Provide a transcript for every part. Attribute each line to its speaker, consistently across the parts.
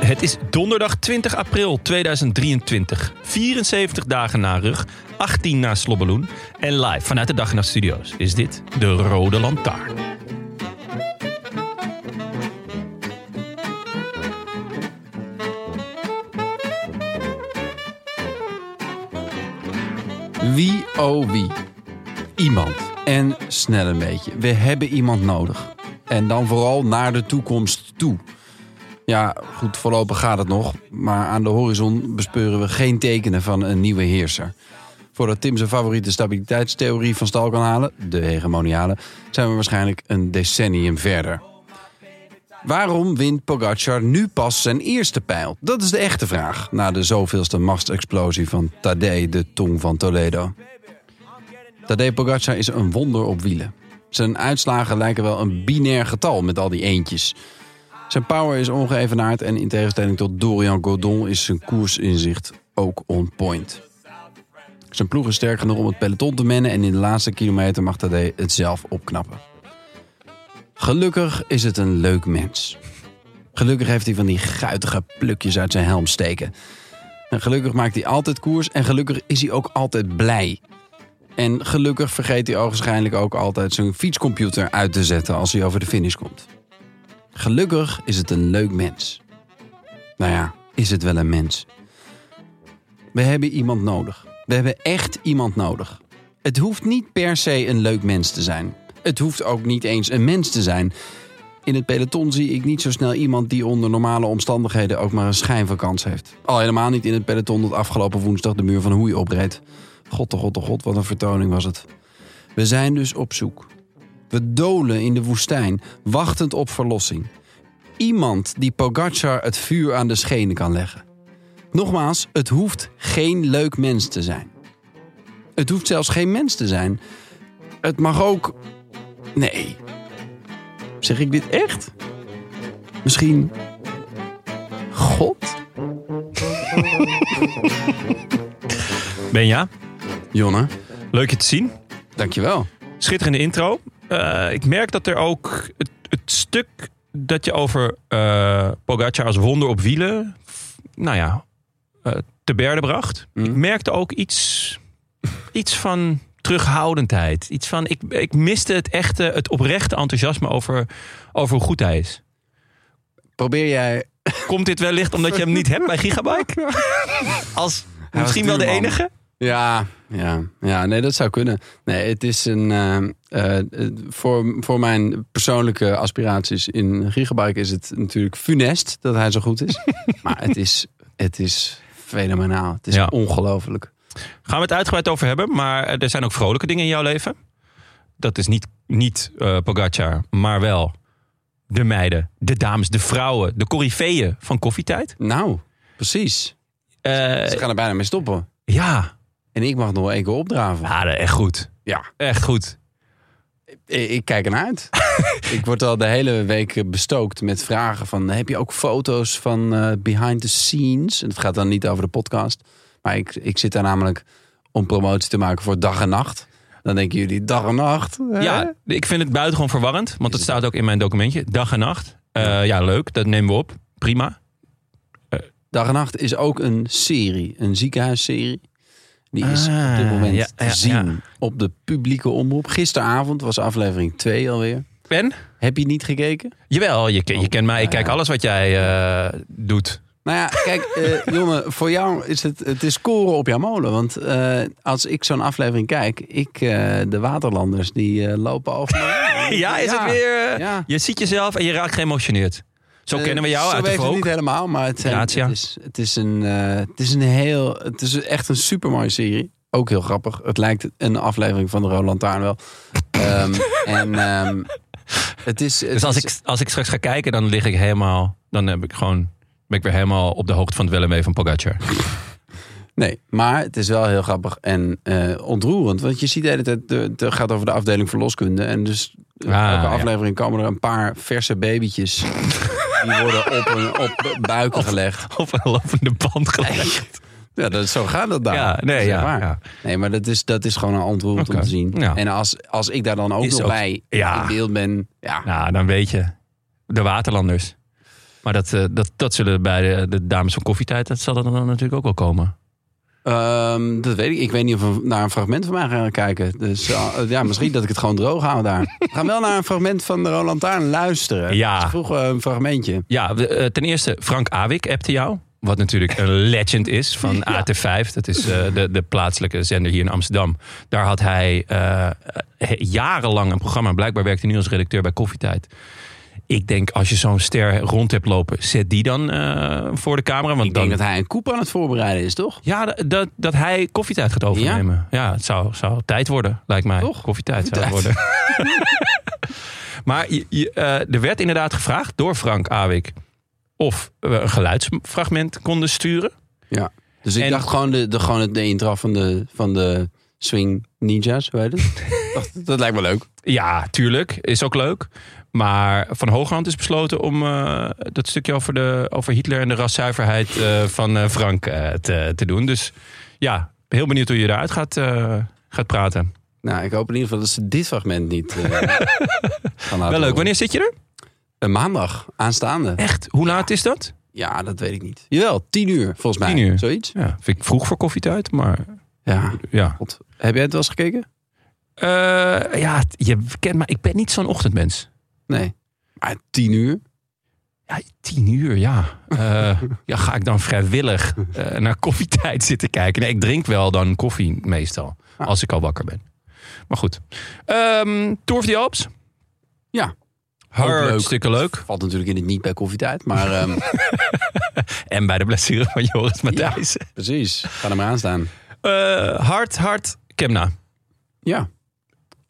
Speaker 1: Het is donderdag 20 april 2023. 74 dagen na rug, 18 na Slobbeloen. En live vanuit de Dag en Nacht Studio's is dit de Rode Lantaarn.
Speaker 2: Wie oh wie. Iemand. En snel een beetje. We hebben iemand nodig. En dan vooral naar de toekomst toe. Ja, goed, voorlopig gaat het nog. Maar aan de horizon bespeuren we geen tekenen van een nieuwe heerser. Voordat Tim zijn favoriete stabiliteitstheorie van stal kan halen, de hegemoniale, zijn we waarschijnlijk een decennium verder. Waarom wint Pogacar nu pas zijn eerste pijl? Dat is de echte vraag, na de zoveelste machtsexplosie van Tadej de Tong van Toledo. Tadej Pogacar is een wonder op wielen. Zijn uitslagen lijken wel een binair getal met al die eentjes. Zijn power is ongeëvenaard en in tegenstelling tot Dorian Godon is zijn koersinzicht ook on point. Zijn ploeg is sterk genoeg om het peloton te mennen en in de laatste kilometer mag Tadej het zelf opknappen. Gelukkig is het een leuk mens. Gelukkig heeft hij van die guitige plukjes uit zijn helm steken. En gelukkig maakt hij altijd koers en gelukkig is hij ook altijd blij. En gelukkig vergeet hij waarschijnlijk ook altijd zijn fietscomputer uit te zetten als hij over de finish komt. Gelukkig is het een leuk mens. Nou ja, is het wel een mens? We hebben iemand nodig. We hebben echt iemand nodig. Het hoeft niet per se een leuk mens te zijn. Het hoeft ook niet eens een mens te zijn. In het peloton zie ik niet zo snel iemand die onder normale omstandigheden ook maar een schijn van kans heeft. Al helemaal niet in het peloton dat afgelopen woensdag de muur van Hoei opreed. God, de god, de god, wat een vertoning was het. We zijn dus op zoek. We dolen in de woestijn, wachtend op verlossing. Iemand die Pogacar het vuur aan de schenen kan leggen. Nogmaals, het hoeft geen leuk mens te zijn. Het hoeft zelfs geen mens te zijn. Het mag ook. Nee. Zeg ik dit echt? Misschien. God?
Speaker 1: Benja,
Speaker 2: Jonne,
Speaker 1: leuk je te zien.
Speaker 2: dankjewel.
Speaker 1: Schitterende intro. Eh, ik merk dat er ook het, het stuk dat je over eh Pogacar als wonder op wielen, f- nou ja, eh, te berde bracht.
Speaker 2: Mm.
Speaker 1: Ik merkte ook iets, iets van terughoudendheid. Iets van, ik, ik miste het echte, het oprechte enthousiasme over, over hoe goed hij is.
Speaker 2: Probeer jij.
Speaker 1: Komt dit wellicht omdat je hem niet hebt bij Gigabyte? Als
Speaker 2: was
Speaker 1: misschien wel de
Speaker 2: duur, man.
Speaker 1: enige?
Speaker 2: Ja, ja, ja, nee, dat zou kunnen. Nee, het is een. eh, eh, voor, voor mijn persoonlijke aspiraties in Gigabyte is het natuurlijk funest dat hij zo goed is. maar het is, het is fenomenaal. Het is
Speaker 1: Ja.
Speaker 2: ongelooflijk.
Speaker 1: Gaan we het uitgebreid over hebben. Maar eh, er zijn ook vrolijke dingen in jouw leven. Dat is niet, niet eh, Pogacar, maar wel de meiden, de dames, de vrouwen, de coryfeeën van koffietijd.
Speaker 2: Nou, precies.
Speaker 1: Eh,
Speaker 2: Ze gaan er bijna mee stoppen.
Speaker 1: ja,
Speaker 2: En ik mag nog één keer opdraven.
Speaker 1: Ja, dat- echt goed.
Speaker 2: Ja,
Speaker 1: Echt goed.
Speaker 2: ik, ik kijk ernaar uit. ik word al de hele week eh, bestookt met vragen van... heb je ook foto's van eh, behind the scenes? En het gaat dan niet over de podcast. Maar ik, ik zit daar namelijk om promotie te maken voor dag en nacht. Dan denken jullie, dag en nacht? hè?
Speaker 1: Ja, ik vind het buitengewoon verwarrend, want dat staat ook in mijn documentje. Dag en nacht. Eh, ja, leuk, dat nemen we op. Prima.
Speaker 2: Dag en nacht is ook een serie, een ziekenhuisserie. Die is op dit
Speaker 1: Ah,
Speaker 2: moment
Speaker 1: ja,
Speaker 2: te
Speaker 1: ja,
Speaker 2: zien
Speaker 1: ja.
Speaker 2: op de publieke omroep. Gisteravond was aflevering 2 alweer.
Speaker 1: Ben?
Speaker 2: Heb je niet gekeken?
Speaker 1: Jawel, je, ken- je
Speaker 2: Oh,
Speaker 1: kent mij. Ik
Speaker 2: ja,
Speaker 1: kijk
Speaker 2: ja.
Speaker 1: alles wat jij eh, doet.
Speaker 2: Nou ja, kijk, eh, Jonne, voor jou is het, het is koren op jouw molen. Want eh, als ik zo'n aflevering kijk, ik, eh, de Waterlanders, die eh, lopen over. me.
Speaker 1: Ja, is het weer... eh,
Speaker 2: ja.
Speaker 1: Je ziet jezelf en je raakt geëmotioneerd. Zo
Speaker 2: Eh,
Speaker 1: kennen we jou
Speaker 2: zo
Speaker 1: uit de
Speaker 2: weet ik het
Speaker 1: volk.
Speaker 2: niet helemaal, maar het, zijn-
Speaker 1: Gratia.
Speaker 2: het, is, het, is een, eh, het is een heel. Het is echt een supermooie serie. Ook heel grappig. Het lijkt een aflevering van de Roland Lantaarn wel. Ehm, en ehm, het is. het
Speaker 1: Dus als
Speaker 2: is-
Speaker 1: ik, als ik straks ga kijken, dan lig ik helemaal... Dan heb ik gewoon, ben ik weer helemaal op de hoogte van het wel en wee van Pogacar.
Speaker 2: Nee, maar het is wel heel grappig en eh, ontroerend. Want je ziet de hele tijd, de- het gaat over de afdeling verloskunde. En dus
Speaker 1: Ah,
Speaker 2: elke
Speaker 1: ja.
Speaker 2: aflevering komen er een paar verse babytjes. die worden op, een, op buiken gelegd.
Speaker 1: Of een lopende band gelijk.
Speaker 2: Ja, dat, zo gaat dat daar.
Speaker 1: Ja, nee,
Speaker 2: Dat is echt
Speaker 1: ja,
Speaker 2: waar.
Speaker 1: ja.
Speaker 2: Nee, maar dat is, dat is gewoon een ontroerend
Speaker 1: Oké,
Speaker 2: om te zien.
Speaker 1: ja.
Speaker 2: En als, als ik daar dan ook
Speaker 1: Is
Speaker 2: nog
Speaker 1: ook-
Speaker 2: bij
Speaker 1: ja.
Speaker 2: in beeld ben. Ja,
Speaker 1: Nou, dan weet je. De Waterlanders. Maar dat, eh, dat, dat zullen bij de, de dames van koffietijd, dat zal dat dan natuurlijk ook wel komen.
Speaker 2: Ehm, dat weet ik. Ik weet niet of we naar een fragment van mij gaan kijken. Dus eh, ja, misschien dat ik het gewoon droog hou daar. We gaan wel naar een fragment van de Roland Taarn luisteren.
Speaker 1: Ja.
Speaker 2: Ze vroegen een fragmentje.
Speaker 1: Ja, we, eh, ten eerste, Frank Awik appte jou. Wat natuurlijk een legend is van AT5. Dat is eh, de, de plaatselijke zender hier in Amsterdam. Daar had hij eh, eh, jarenlang een programma. Blijkbaar werkte hij nu als redacteur bij Koffietijd. Ik denk, als je zo'n ster rond hebt lopen, zet die dan eh, voor de camera. Want
Speaker 2: Ik denk
Speaker 1: dan,
Speaker 2: dat hij een koep aan het voorbereiden is, toch?
Speaker 1: Ja, dat- dat, dat hij koffietijd gaat overnemen. Ja, het zou, zou tijd worden, lijkt mij.
Speaker 2: Toch?
Speaker 1: Koffietijd zou het
Speaker 2: Koffietijd.
Speaker 1: worden. maar je- je, eh, er werd inderdaad gevraagd door Frank Awik... of we een geluidsfragment konden sturen.
Speaker 2: Dus ik
Speaker 1: En-
Speaker 2: dacht gewoon de, de, gewoon het- de intro van de, van de Swing Ninjas, hoe heet het? dacht, dat lijkt me leuk.
Speaker 1: Ja, tuurlijk. Is ook leuk. Maar Van Hoogland is besloten om eh, dat stukje over, de, over Hitler en de raszuiverheid eh, van eh, Frank eh, te, te doen. Dus ja, heel benieuwd hoe je eruit gaat, eh, gaat praten.
Speaker 2: Nou, ik hoop in ieder geval dat ze dit fragment niet eh, gaan laten
Speaker 1: Wel leuk.
Speaker 2: horen.
Speaker 1: Wanneer zit je er?
Speaker 2: Een maandag, aanstaande.
Speaker 1: Echt? Hoe laat is dat?
Speaker 2: Ja, dat weet ik niet. Jawel, tien uur volgens mij.
Speaker 1: 10 uur.
Speaker 2: Zoiets.
Speaker 1: Ja, vind ik vroeg voor koffietijd, maar
Speaker 2: Ja.
Speaker 1: ja.
Speaker 2: God. Heb jij het wel eens gekeken?
Speaker 1: Eh, ja, t- je kent maar ik ben niet zo'n ochtendmens.
Speaker 2: Nee. Maar Ah, tien uur?
Speaker 1: Ja, tien uur, ja. Eh, ja ga ik dan vrijwillig eh, naar koffietijd zitten kijken? Nee, ik drink wel dan koffie meestal,
Speaker 2: Ah.
Speaker 1: als ik al wakker ben. Maar goed. Ehm Tour of the Alps?
Speaker 2: Ja.
Speaker 1: Hartstikke leuk.
Speaker 2: Valt natuurlijk in het niet bij koffietijd, maar ehm,
Speaker 1: En bij de blessure van Joris Matthijs.
Speaker 2: precies. Ga er maar aan staan.
Speaker 1: Eh, hard, hard, Kemna.
Speaker 2: Ja.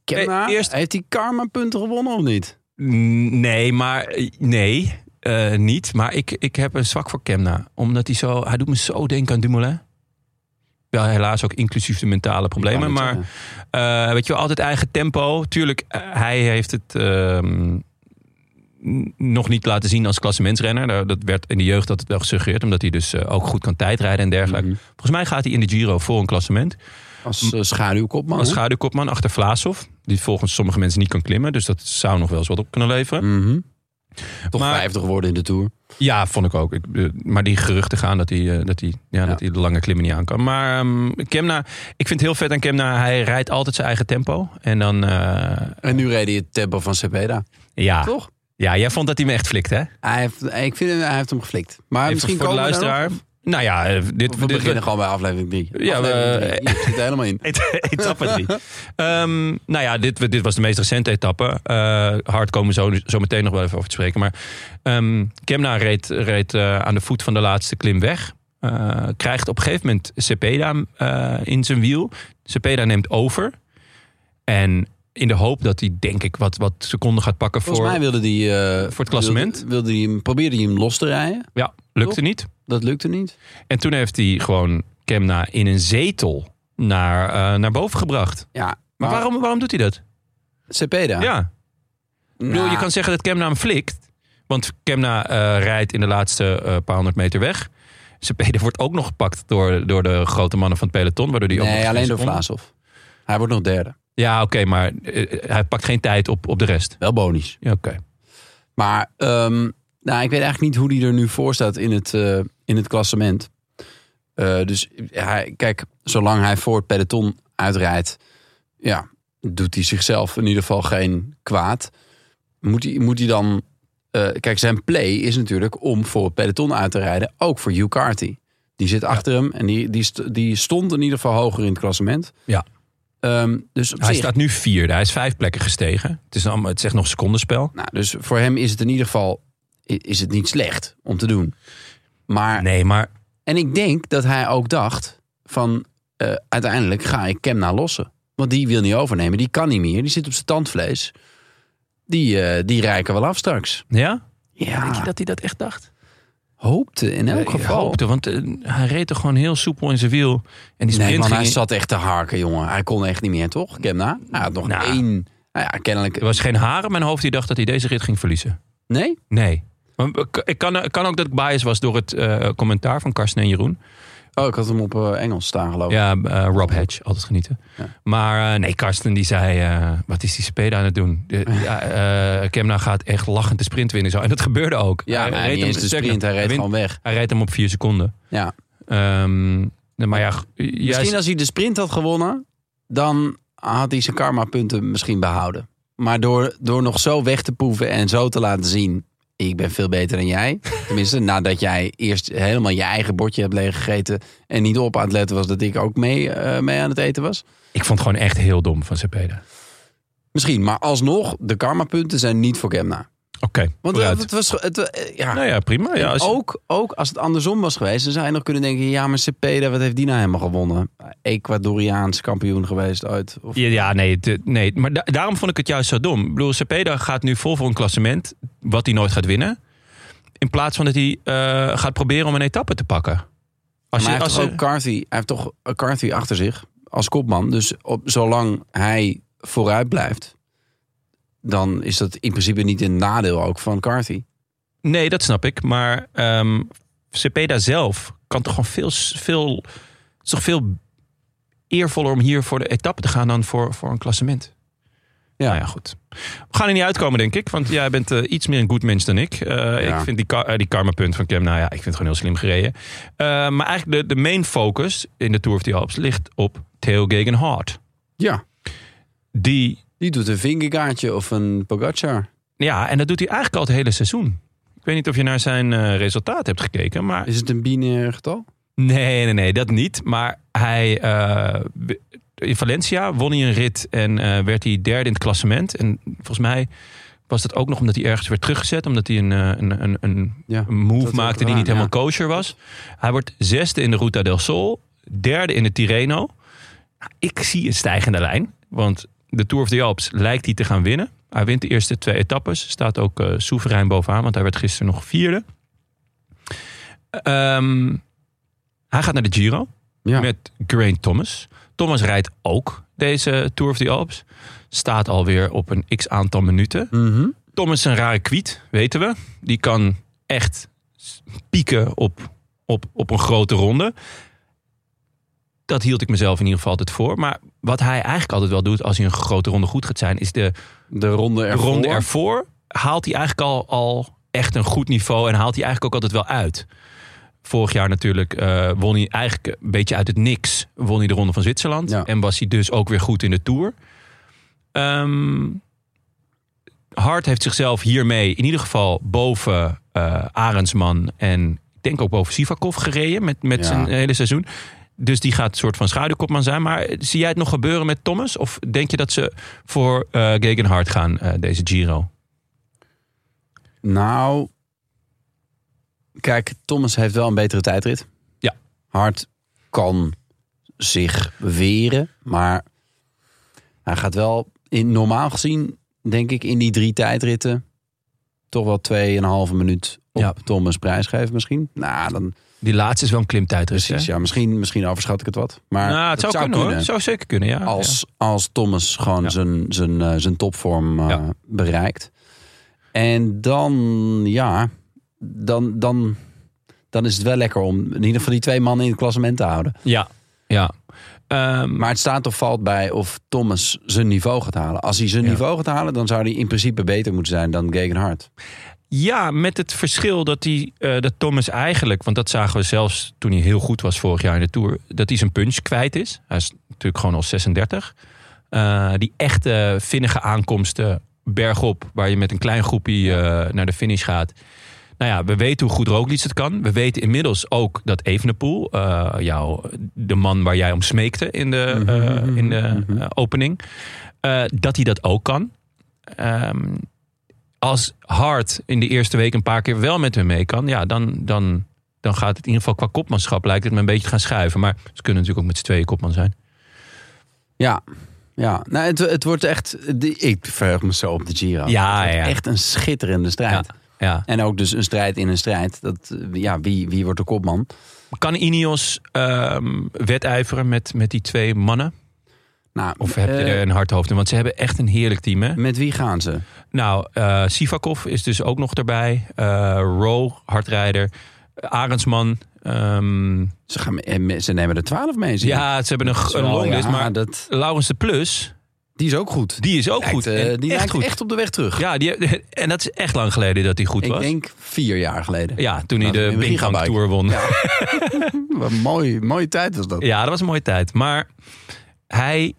Speaker 2: Kemna,
Speaker 1: Nee, eerst-
Speaker 2: heeft hij karma punten gewonnen of niet?
Speaker 1: N- Nee, maar eh, nee, eh, niet. Maar ik, ik heb een zwak voor Kemna. Omdat hij zo, hij doet me zo denken aan Dumoulin. Wel helaas ook inclusief de mentale problemen.
Speaker 2: Ik wou
Speaker 1: Maar
Speaker 2: net
Speaker 1: eh, weet je wel, altijd eigen tempo. Tuurlijk, eh, hij heeft het ehm, n- nog niet laten zien als klassementsrenner. Daar- Dat werd in de jeugd altijd wel gesuggereerd. Omdat hij dus eh, ook goed kan tijdrijden en dergelijke.
Speaker 2: Mhm.
Speaker 1: Volgens mij gaat hij in de Giro voor een klassement.
Speaker 2: Als eh, schaduwkopman.
Speaker 1: Als
Speaker 2: hè?
Speaker 1: schaduwkopman achter Vlaasov. Die volgens sommige mensen niet kan klimmen. Dus dat zou nog wel eens wat op kunnen leveren.
Speaker 2: Mhm. Toch
Speaker 1: Maar-
Speaker 2: 50 geworden in de Tour.
Speaker 1: Ja, vond ik ook. Ik, eh, maar die geruchten gaan dat hij, eh, dat hij, ja,
Speaker 2: Ja.
Speaker 1: Dat hij de lange klimmen niet aan kan. Maar ehm, Kemna, ik vind het heel vet aan Kemna. Hij rijdt altijd zijn eigen tempo. En dan, eh,
Speaker 2: En nu reed hij het tempo van Cepeda.
Speaker 1: ja.
Speaker 2: Toch?
Speaker 1: ja, jij vond dat hij me echt flikt, hè?
Speaker 2: Hij heeft, ik vind hem, hij heeft hem geflikt. Maar
Speaker 1: Even
Speaker 2: misschien
Speaker 1: voor de
Speaker 2: komen we daar
Speaker 1: luisteraar. Nou ja, eh, dit,
Speaker 2: nog-
Speaker 1: dit-
Speaker 2: We beginnen gewoon bij aflevering 3.
Speaker 1: Ja, we-
Speaker 2: Ik zit er helemaal in.
Speaker 1: Et- etappe 3. nou ja, dit, dit was de meest recente etappe. Eh hard komen we zo, zo meteen nog wel even over te spreken. Maar ehm, Kemna reed, reed eh, aan de voet van de laatste klim weg. Eh, krijgt op een gegeven moment Cepeda eh, in zijn wiel. Cepeda neemt over. En in de hoop dat hij, denk ik, wat, wat seconden gaat pakken
Speaker 2: Volgens
Speaker 1: voor...
Speaker 2: mij wilde hij... eh,
Speaker 1: Voor het klassement?
Speaker 2: Wilde, wilde hij hem, probeerde hij hem los te rijden.
Speaker 1: Ja, lukte niet.
Speaker 2: Dat lukte niet.
Speaker 1: En toen heeft hij gewoon Kemna in een zetel naar, eh, naar boven gebracht.
Speaker 2: Ja, maar,
Speaker 1: Maar waarom, waarom doet hij dat?
Speaker 2: Cepeda.
Speaker 1: ja. Ik bedoel, je
Speaker 2: Nou,
Speaker 1: kan zeggen dat Kemna hem flikt. Want Kemna eh, rijdt in de laatste eh, paar honderd meter weg. Cepeda wordt ook nog gepakt door, door de grote mannen van het peloton. Waardoor die ook nog
Speaker 2: Nee,
Speaker 1: geen
Speaker 2: alleen door
Speaker 1: seconde-
Speaker 2: Vlaasov. Hij wordt nog derde.
Speaker 1: Ja, oké, maar eh, hij pakt geen tijd op, op de rest.
Speaker 2: Wel bonus.
Speaker 1: Ja, oké.
Speaker 2: Maar ehm, nou, ik weet eigenlijk niet hoe hij er nu voor staat in het, eh, in het klassement. Eh, dus hij, kijk, zolang hij voor het peloton uitrijdt, ja, doet hij zichzelf in ieder geval geen kwaad. Moet hij, moet hij dan eh, kijk, zijn play is natuurlijk om voor het peloton uit te rijden. Ook voor Hugh Carty. Die zit achter hem en die, die, st- die stond in ieder geval hoger in het klassement.
Speaker 1: Ja.
Speaker 2: Ehm, dus op
Speaker 1: Hij
Speaker 2: zich-
Speaker 1: staat nu vierde. Hij is vijf plekken gestegen. Het, is allemaal, het zegt nog secondenspel.
Speaker 2: Nou, dus voor hem is het in ieder geval i- is het niet slecht om te doen. Maar,
Speaker 1: Nee, maar
Speaker 2: En ik denk dat hij ook dacht van eh, uiteindelijk ga ik Kemna lossen. Want die wil niet overnemen, die kan niet meer, die zit op zijn tandvlees. Die, eh, die rijken wel af straks.
Speaker 1: ja? Denk je
Speaker 2: Ja,
Speaker 1: dat hij dat echt dacht?
Speaker 2: hoopte in elk
Speaker 1: Ik
Speaker 2: geval.
Speaker 1: hoopte, want eh, hij reed er gewoon heel soepel in zijn wiel. En die sprint
Speaker 2: Nee, man,
Speaker 1: ging
Speaker 2: hij
Speaker 1: in-
Speaker 2: zat echt te harken, jongen. Hij kon echt niet meer, toch? Kemna? Hij had nog
Speaker 1: Nou.
Speaker 2: één... Nou ja, kennelijk...
Speaker 1: Er was geen haar in mijn hoofd die dacht dat hij deze rit ging verliezen.
Speaker 2: Nee?
Speaker 1: Nee. Maar ik- Ik kan, ik kan ook dat ik biased was door het eh, commentaar van Karsten en Jeroen.
Speaker 2: Oh, ik had hem op eh, Engels staan, geloof ik.
Speaker 1: Ja, eh, Rob Hedge, altijd genieten.
Speaker 2: Ja.
Speaker 1: Maar eh, nee, Karsten die zei, eh, wat is die speda aan het doen? De, ja, eh, Kemna gaat echt lachend de sprint winnen. Zo. En dat gebeurde ook.
Speaker 2: Ja, maar niet eens de
Speaker 1: sterker
Speaker 2: sprint, hij reed
Speaker 1: wint-
Speaker 2: gewoon weg.
Speaker 1: hij reed hem op vier seconden.
Speaker 2: Ja.
Speaker 1: Ehm, maar ja, g- juist,
Speaker 2: Misschien als hij de sprint had gewonnen, dan had hij zijn karma-punten misschien behouden. Maar door, door nog zo weg te proeven en zo te laten zien: ik ben veel beter dan jij. Tenminste, nadat jij eerst helemaal je eigen bordje hebt leeggegeten. en niet op aan het letten was dat ik ook mee, eh, mee aan het eten was.
Speaker 1: ik vond het gewoon echt heel dom van Sepeda.
Speaker 2: Misschien, maar alsnog, de karma-punten zijn niet voor Kemna.
Speaker 1: Oké,
Speaker 2: Want eh,
Speaker 1: vooruit.
Speaker 2: het was. Het, wa- eh, ja.
Speaker 1: nou ja, prima. Ja, als je-
Speaker 2: ook, ook als het andersom was geweest, dan zou je nog kunnen denken: ja, maar Cepeda, wat heeft die nou helemaal gewonnen? Ecuadoriaans kampioen geweest uit. Of
Speaker 1: Ja, ja, nee, het- nee. maar da- daarom vond ik het juist zo dom. Ik bedoel, Cepeda gaat nu vol voor een klassement wat hij nooit gaat winnen. In plaats van dat hij eh, gaat proberen om een etappe te pakken. Als
Speaker 2: maar
Speaker 1: je,
Speaker 2: hij
Speaker 1: als
Speaker 2: heeft toch ook Carthy, hij heeft toch eh, Carthy achter zich als kopman. Dus op, zolang hij vooruit blijft, dan is dat in principe niet een nadeel ook van Carthy.
Speaker 1: Nee, dat snap ik. Maar ehm Cepeda zelf kan toch gewoon veel, veel, het is toch veel eervoller om hier voor de etappe te gaan dan voor, voor een klassement. Ja.
Speaker 2: Ja.
Speaker 1: Nou ja, goed. We gaan er niet uitkomen, denk ik. Want jij bent eh, iets meer een goed mens dan ik. Eh, Ik vind die, kar- eh, die karma-punt van Cam, nou ja, ik vind het gewoon heel slim gereden. Eh, maar eigenlijk de, de main focus in de Tour of the Alps ligt op Theo Gegenhardt.
Speaker 2: Ja,
Speaker 1: Die,
Speaker 2: die doet een vingergaatje of een Pogacar.
Speaker 1: ja, en dat doet hij eigenlijk al het hele seizoen. Ik weet niet of je naar zijn eh, resultaat hebt gekeken, maar
Speaker 2: Is het een binair getal?
Speaker 1: Nee, nee, nee, dat niet. Maar hij, eh, in Valencia won hij een rit en eh, werd hij derde in het klassement. En volgens mij was dat ook nog omdat hij ergens werd teruggezet. Omdat hij een, eh, een, een, een,
Speaker 2: Ja,
Speaker 1: een move
Speaker 2: dat werd
Speaker 1: maakte die
Speaker 2: gedaan,
Speaker 1: niet helemaal
Speaker 2: ja.
Speaker 1: kosher was. Hij wordt zesde in de Ruta del Sol. Derde in de Tirreno. Nou, Ik zie een stijgende lijn. Want de Tour of the Alps lijkt hij te gaan winnen. Hij wint de eerste twee etappes. Staat ook eh, soeverein bovenaan, want hij werd gisteren nog vierde. Ehm, hij gaat naar de Giro
Speaker 2: Ja.
Speaker 1: met Geraint Thomas. Thomas rijdt ook deze Tour of the Alps. Staat alweer op een x aantal minuten.
Speaker 2: Mhm.
Speaker 1: Thomas is een rare kwiet, weten we. Die kan echt s- pieken op, op, op een grote ronde. Dat hield ik mezelf in ieder geval altijd voor. Maar wat hij eigenlijk altijd wel doet als hij een grote ronde goed gaat zijn, is de
Speaker 2: De ronde ervoor.
Speaker 1: ronde ervoor haalt hij eigenlijk al, al echt een goed niveau en haalt hij eigenlijk ook altijd wel uit. Vorig jaar natuurlijk eh, won hij eigenlijk een beetje uit het niks. Won hij de Ronde van Zwitserland.
Speaker 2: Ja.
Speaker 1: En was hij dus ook weer goed in de Tour. Ehm Hart heeft zichzelf hiermee in ieder geval boven eh Arendsman en ik denk ook boven Sivakov gereden met, met
Speaker 2: Ja.
Speaker 1: zijn hele seizoen. Dus die gaat een soort van schaduwkopman zijn. Maar eh, zie jij het nog gebeuren met Thomas? Of denk je dat ze voor eh Gegenhard gaan, eh, deze Giro?
Speaker 2: Nou, kijk, Thomas heeft wel een betere tijdrit.
Speaker 1: Ja.
Speaker 2: Hart kan zich weren, maar hij gaat wel in, normaal gezien, denk ik, in die drie tijdritten toch wel 2,5 minuut op
Speaker 1: Ja.
Speaker 2: Thomas prijsgeven misschien. Nou, dan
Speaker 1: Die laatste is wel een klimtijdrit.
Speaker 2: precies.
Speaker 1: Dus, hè?
Speaker 2: Ja, misschien, misschien overschat ik het wat. Maar
Speaker 1: nou, het
Speaker 2: dat
Speaker 1: zou, kunnen, hoor. Het zou zeker kunnen, ja.
Speaker 2: als, als Thomas gewoon
Speaker 1: Ja.
Speaker 2: zijn, zijn, eh, zijn topvorm eh,
Speaker 1: Ja.
Speaker 2: bereikt. En dan, ja, dan, dan, dan is het wel lekker om in ieder geval die twee mannen in het klassement te houden.
Speaker 1: Ja, ja. Ehm,
Speaker 2: Maar het staat of valt bij of Thomas zijn niveau gaat halen. Als hij zijn
Speaker 1: Ja.
Speaker 2: niveau gaat halen, dan zou hij in principe beter moeten zijn dan Gegenhard.
Speaker 1: Ja, met het verschil dat, die, eh, dat Thomas eigenlijk... want dat zagen we zelfs toen hij heel goed was vorig jaar in de Tour... dat hij zijn punch kwijt is. Hij is natuurlijk gewoon al 36. Eh, die echte vinnige aankomsten bergop, waar je met een klein groepje eh, naar de finish gaat. Nou ja, we weten hoe goed Roglic het kan. We weten inmiddels ook dat Evenepoel, eh, jou, de man waar jij om smeekte in de, eh, in de eh, opening, eh, dat hij dat ook kan. Ehm, als Hart in de eerste week een paar keer wel met hun mee kan, ja, dan, dan, dan gaat het in ieder geval qua kopmanschap lijkt het me een beetje te gaan schuiven. Maar ze kunnen natuurlijk ook met z'n tweeën kopman zijn.
Speaker 2: Ja, ja. Nou, het, het wordt echt. de- Ik verheug me zo op de Giro.
Speaker 1: Ja,
Speaker 2: Het wordt
Speaker 1: ja.
Speaker 2: Echt een schitterende strijd.
Speaker 1: Ja.
Speaker 2: En ook dus een strijd in een strijd. Dat, eh, ja, wie, wie wordt de kopman?
Speaker 1: Kan Ineos ehm wedijveren met, met die twee mannen?
Speaker 2: Nou,
Speaker 1: Of heb je
Speaker 2: eh,
Speaker 1: er een hard hoofd in? Want ze hebben echt een heerlijk team, hè?
Speaker 2: Met wie gaan ze?
Speaker 1: Nou, eh Sivakov is dus ook nog erbij. Eh Rowe, hardrijder. Arendsman. ehm,
Speaker 2: Ze, gaan, en me- ze nemen er twaalf mee. zie je.
Speaker 1: ja, ze hebben een, g-
Speaker 2: Zo,
Speaker 1: een longlist,
Speaker 2: ja, Ah,
Speaker 1: maar
Speaker 2: dat,
Speaker 1: Laurens de Plus,
Speaker 2: die is ook goed.
Speaker 1: die is ook
Speaker 2: Lijkt,
Speaker 1: goed.
Speaker 2: eh,
Speaker 1: En
Speaker 2: die
Speaker 1: echt
Speaker 2: lijkt
Speaker 1: goed.
Speaker 2: echt op de weg terug.
Speaker 1: Ja, die, en dat is echt lang geleden dat hij goed
Speaker 2: Ik
Speaker 1: was.
Speaker 2: denk vier jaar geleden.
Speaker 1: ja, toen hij
Speaker 2: Nou,
Speaker 1: de
Speaker 2: in mijn
Speaker 1: Pinkbank
Speaker 2: gigabike.
Speaker 1: Tour won. Ja.
Speaker 2: Wat een mooie, mooie tijd was dat.
Speaker 1: dat was een mooie tijd. Maar hij,